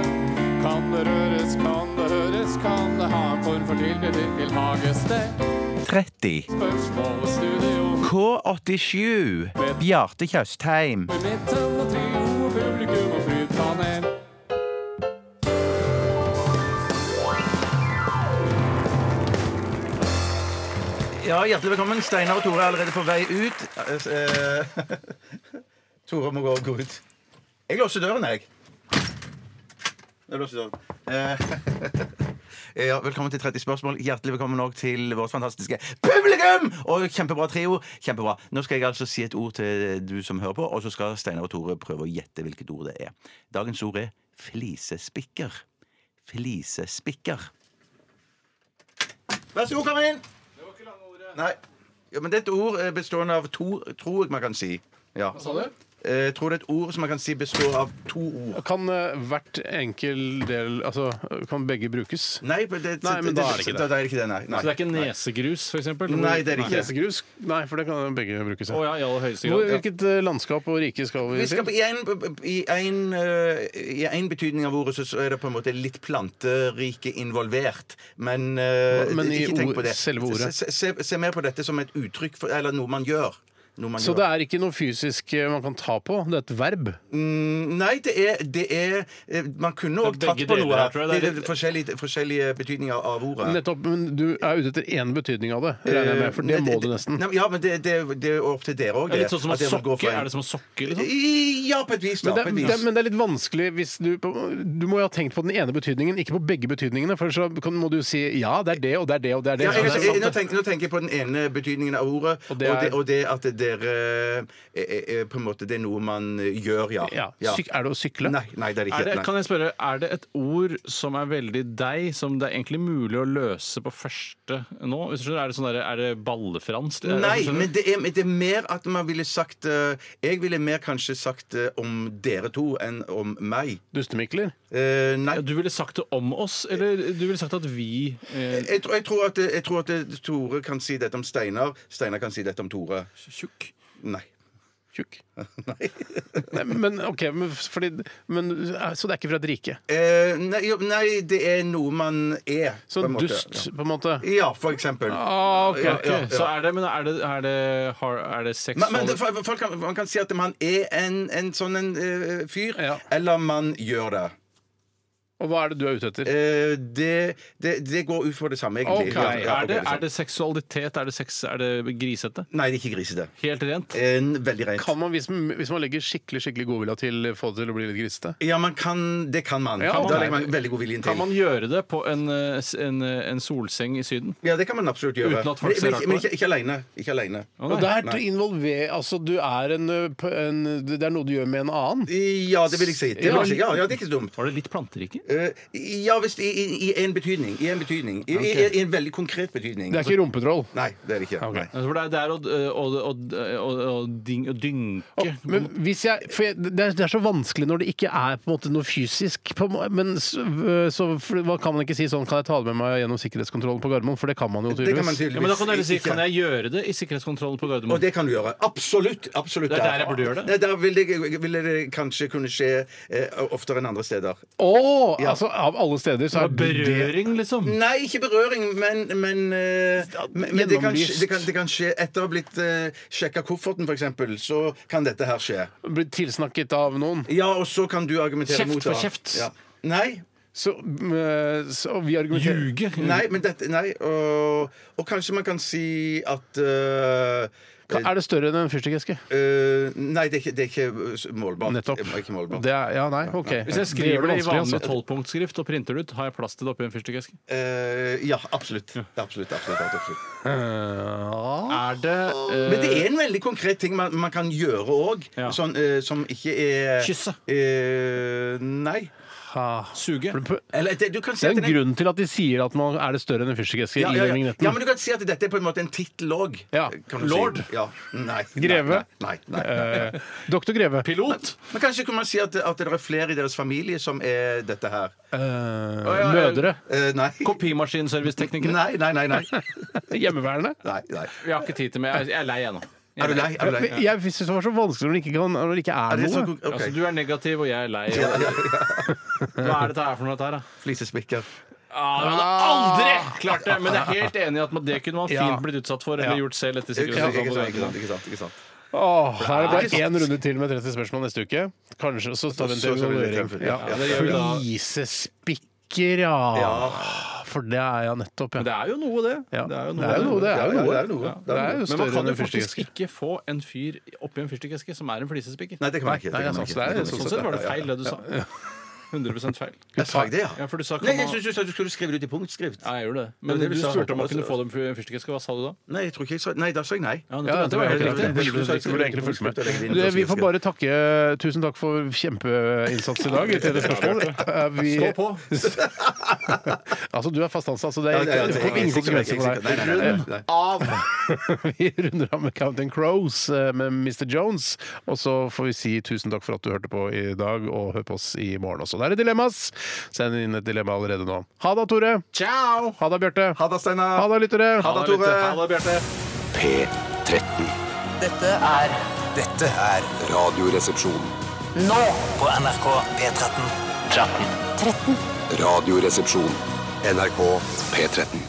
L: Kan det røres, kan det høres, kan det ha en form for tilknytning til hagested?
M: 30.
L: Spørsmål og studio
M: K87. Bjarte Tjøstheim.
L: i midten og trio og publikum og flypanel.
C: Ja, hjertelig velkommen. Steinar og Tore er allerede på vei ut. Eh, eh, [LAUGHS] Tore må gå, gå ut. Jeg låser døren, jeg. Jeg låser døren. Eh, [LAUGHS] ja, velkommen til 30 spørsmål. Hjertelig velkommen òg til vårt fantastiske publikum! Og kjempebra trio. Kjempebra. Nå skal jeg altså si et ord til du som hører på, og så skal Steinar og Tore prøve å gjette hvilket ord det er. Dagens ord er flisespikker. Flisespikker. Vær så god, kom inn! Nei. Ja, men det er et ord eh, bestående av to, tror jeg man kan si. Ja. Hva
B: sa du?
C: Jeg tror det er et ord som man kan si består av to ord.
B: Kan eh, hvert enkel del Altså, kan begge brukes?
C: Nei, men det,
B: Nei, men da er det ikke det.
C: Da, da er det ikke det, nei. nei.
D: Så det er ikke nesegrus, for eksempel? Hvor-
C: Nei, det er det ikke.
B: Nesegrus? Nei, for det kan begge brukes.
D: Å ja, i aller høyeste
B: Hvor,
D: grad.
B: hvilket eh, landskap og rike skal vi,
C: Vi skal på, I en, i, en, eh, I en betydning av ordet så så er det på en måte litt planterike involvert. Men, eh,
B: Men i
C: ikke tenk på
B: ord-
C: det.
B: selve ordet.
C: Se, se, se mer på dette som et uttrykk, for, eller noe man gjør. Noe man
B: Så
C: gjør.
B: det er ikke noe fysisk eh, man kan ta på? Det er et verb?
C: Mm, Nei, det er, det er eh, Man kunne òg
D: Det er
C: tatt
D: begge
C: på noe
D: deler,
C: her.
D: tror jeg.
C: Det
D: Det er
C: er forskjellige, forskjellige betydninger av ordet.
B: Nettopp, men du er ute etter én betydning av det, regner jeg med, for det
C: Eh,
B: må du nesten.
C: Nei, men- ja, men det, det, det er opp til dere òg.
D: Ja, litt sånn som å sokke. Er det som å sokke, liksom?
C: Ja, på et vis. Da,
B: Men det,
C: på et
B: det,
C: vis.
B: men det er litt vanskelig hvis du Du må jo ha tenkt på den ene betydningen, ikke på begge betydningene. For så kan, må du jo si ja, det er det, og det er det, og det Altså, er det.
C: ja, jeg,
B: Så det er
C: jeg,
B: sant,
C: nå,
B: det.
C: tenker, nå tenker jeg på den ene betydningen av ordet, og
B: Og
C: det,
B: det
C: og det,
B: er-
C: at dere eh, eh, På en måte Det er noe man eh, gjør, ja.
B: Ja. Syk, er det å sykle?
C: Nei, nei, det er ikke
D: Er det,
C: nei.
D: kan jeg spørre, er det et ord som er veldig deg, som det er egentlig mulig å løse på første nå? Hvis du skjønner, Er det, sånn der, er det ballefransk? Er det- sånn-
C: Nei,
D: skjønner du?
C: men det er, men det er mer at man ville sagt eh, Jeg ville mer kanskje sagt eh, om dere to enn om meg.
B: Dustemikler?
C: Eh, nei.
D: Ja, Du ville sagt det om oss, eller du ville sagt at vi eh,
C: Jeg, tror- jeg, tror at, jeg tror at Tore kan si dette om Steinar. Steinar kan si dette om Tore.
D: Tjukk.
C: Nei.
B: Tjukk? Nei. men OK, men, fordi, men, så det er ikke fra et rike?
C: Eh, nei, jo, nei, det er noe man er.
B: Så
D: Sånn
C: på en måte.
B: dust, på en måte?
C: Ja. ja, for eksempel.
B: Ah, ok, ok.
C: Ja, ja.
D: Så er det, men er det, er det, har, er det sex
C: Men, men det, for- folk kan, man kan si at man er en, en sånn en, eh, fyr,
B: Ja.
C: eller man gjør det.
B: Og hva er det du er ute etter?
C: Eh, det, det. Det går ut for det samme, egentlig.
B: Ok,
C: Ja, ja,
D: er, det,
C: ok, det
D: er det seksualitet? Er det, sex, er det grisete?
C: Nei, det er ikke grisete.
D: Helt rent?
C: Eh, veldig rent.
B: Kan man, hvis, man- hvis man legger skikkelig skikkelig godvilja til, få det til å bli litt grisete?
C: Ja, man kan, det kan man.
B: Ja,
C: da
B: man-
C: legger man veldig god viljen til.
D: Kan man gjøre det på en, eh, s- en, eh, en solseng i Syden?
C: Ja, det kan man absolutt gjøre.
D: Uten at folk
C: men,
D: ser
C: men,
D: rart på
C: men
D: deg?
C: ikke, ikke alene. Ikke alene.
D: Å,
B: Og
D: nei.
B: det er til å involvere Altså, du er en, ø, p- en Det er noe du gjør med en annen.
C: Ja, det vil jeg si. Det vil jeg si. Ja, ja, det er ikke så dumt.
D: Var det litt planterike?
C: Eh, ja visst, i, i, i en betydning. I en betydning. I, i, i en veldig konkret betydning. Altså,
B: Det er ikke rumpetroll.
C: Nei, det er det ikke.
B: Ok.
C: Nei.
D: Altså, For det er, det er å, å, å, å, å, ding- å dynke
B: Men hvis jeg, for jeg, det, er, det er så vanskelig når det ikke er på en måte noe fysisk. På, en må- men så, så for, hva kan man ikke si sånn Kan jeg ta det med meg gjennom sikkerhetskontrollen på Gardermoen? For det kan man jo
C: Det kan man
B: tydeligvis.
C: tydeligvis
D: ja, men Da kan dere si
C: ikke.
D: Kan jeg gjøre det i sikkerhetskontrollen på
C: Og
D: Gardermoen?
C: det kan du gjøre. Absolutt. absolutt
D: Det er der jeg burde gjøre det.
C: Nei, der ville det, vil det kanskje kunne skje eh, oftere enn andre steder.
B: Å!
C: Ja.
B: altså, av alle steder så er det
D: liksom?
C: Nei, ikke berøring, men, men, eh, men, men det, kan, skje-
B: Gjennomlyst.
C: det, kan, det kan skje Etter å ha blitt uh, sjekka kofferten, f.eks., så kan dette her skje.
B: Blitt tilsnakket av noen.
C: Ja, og så kan du argumentere
B: Kjeft
C: mot
B: for
C: det.
B: kjeft.
C: Ja. Nei.
B: Så, mm, så vi argumenterer
C: Nei, men dette Nei. Og, og kanskje man kan si at eh,
B: Ka- Er det større enn en fyrstikkeske?
C: eh, nei, det er ikke, det er ikke målbart.
B: Nettopp.
C: Det er Ikke målbart.
B: Det er, ja, nei, OK.
D: Hvis jeg
B: gjør
D: skriver det i
B: vanskelig,
D: vanlig
B: altså.
D: tolvpunktskrift og printer det ut, har jeg plass til det oppi en fyrstikkeske?
C: Eh, ja, absolutt. Absolutt. absolutt, absolutt.
D: Er det eh,
C: Men det er en veldig konkret ting man, man kan gjøre òg,
D: Ja.
C: sånn, eh, som ikke er
D: Kysse.
C: Eh, nei.
D: suge?
C: Eller det, du kan si
B: Det er
C: at
B: en
C: den-
B: grunn til at de sier at man er det større enn en fyrstikkeske
C: ja, ja,
B: i den
C: ja.
B: vignetten.
C: ja, men du kan si at dette er på en måte en tittel òg.
B: Ja. Lord?
C: Si. Ja. Nei.
B: Greve?
C: Nei. nei, nei.
B: Eh, Doktor Greve.
D: Pilot?
C: Men kanskje kunne man si at, at det er flere i deres familie som er dette her.
B: Eh,
D: ja, ja.
B: mødre.
C: Eh, nei.
D: Kopimaskinserviceteknikere?
C: nei. Nei, nei, nei.
B: Hjemmeværende.
C: nei, nei.
D: Vi har ikke tid til mer. Jeg er lei ennå.
C: Er du lei? Er du lei?
B: Men Jeg syns det var så vanskelig når det ikke, kan, når det ikke
C: Er
B: er
C: det
B: noe.
C: så, ok.
D: Altså, du er negativ, og jeg er lei. Hva er dette her for noe? Dette her, da?
C: Flisespikker.
D: Ah, jeg hadde aldri klart det! Men jeg er helt enig i at det kunne man
B: Ja.
D: fint blitt utsatt for eller
B: Ja.
D: gjort selv etter sånn.
C: Ikke sant, ikke sant, ikke
D: sikkerhetskontrollen.
C: sant, ikke sant, ikke sant.
B: Åh, her er det
C: Nei,
B: bare én runde til med 30 spørsmål neste uke. Kanskje så tar vi en
C: Så- så- så blir det
B: evaluering.
C: tempo,
B: Ja.
C: ja. Ja, det gjør vi
D: da.
B: Flisespikker, ja. For det er ja nettopp,
D: Men
B: ja.
D: det er jo noe, det.
B: Ja.
D: Det er jo
B: Det er jo noe, det er jo noe.
C: Ja, ja, det er jo noe.
B: Det er jo
D: Men man
B: større
D: kan
B: enn
D: jo
B: en
D: faktisk
B: fyrstikkeske.
D: ikke få en fyr oppi en fyrstikkeske som er en flisespikker.
C: Nei, det kan man ikke.
B: Nei, det
C: det kan
B: er
C: man
B: sant,
C: ikke.
B: det er- sånn
C: Det kan man ikke.
D: Sånn sett var det feil, det du sa. 100 feil.
C: Jeg sa ikke det, ja.
D: Ja, for du sa
C: Nei,
D: komma-
C: jeg syns du sa du skulle skrive det ut i punktskrift.
D: Ja, jeg gjorde det.
C: Men
D: Men
C: det
D: du
C: vi sa-
D: spurte om man kunne få dem i en fyrstikkeske. Hva sa du da?
C: Nei, jeg tror ikke jeg sa Nei, da sa jeg nei.
B: Ja,
D: nettopp.
B: det var helt riktig.
C: det- det- det- det-
B: Du
C: det-
B: skulle egentlig fulgt med. Du, Vi får bare takke Tusen takk for kjempeinnsats i dag. Til det spørsmålet. Eh, Vi,
D: Stå på!
B: [LAUGHS] altså, du er fast ansatt, så det
C: Ja,
B: er
C: det er- det er-
B: ikke- ingen konsekvenser for
C: Nei,
B: deg.
C: nei, nei, nei, nei.
B: [LAUGHS] Vi runder av med Counting Crows eh, med Mr. Jones. Og så får vi si tusen takk for at du hørte på i dag, og hør på oss i morgen også. Det er et dilemmas. Send inn et dilemma allerede nå. Ha det, Tore.
D: Ciao!
B: Ha det, Bjarte.
C: Ha det, Steinar.
B: Ha det, eh, lyttere.
C: Ha det, Tore.
D: Ha det, Bjarte.
H: P13.
K: Dette er Dette er
H: Radioresepsjon.
K: Nå på NRK P13.
H: 13. Radioresepsjon. NRK P13.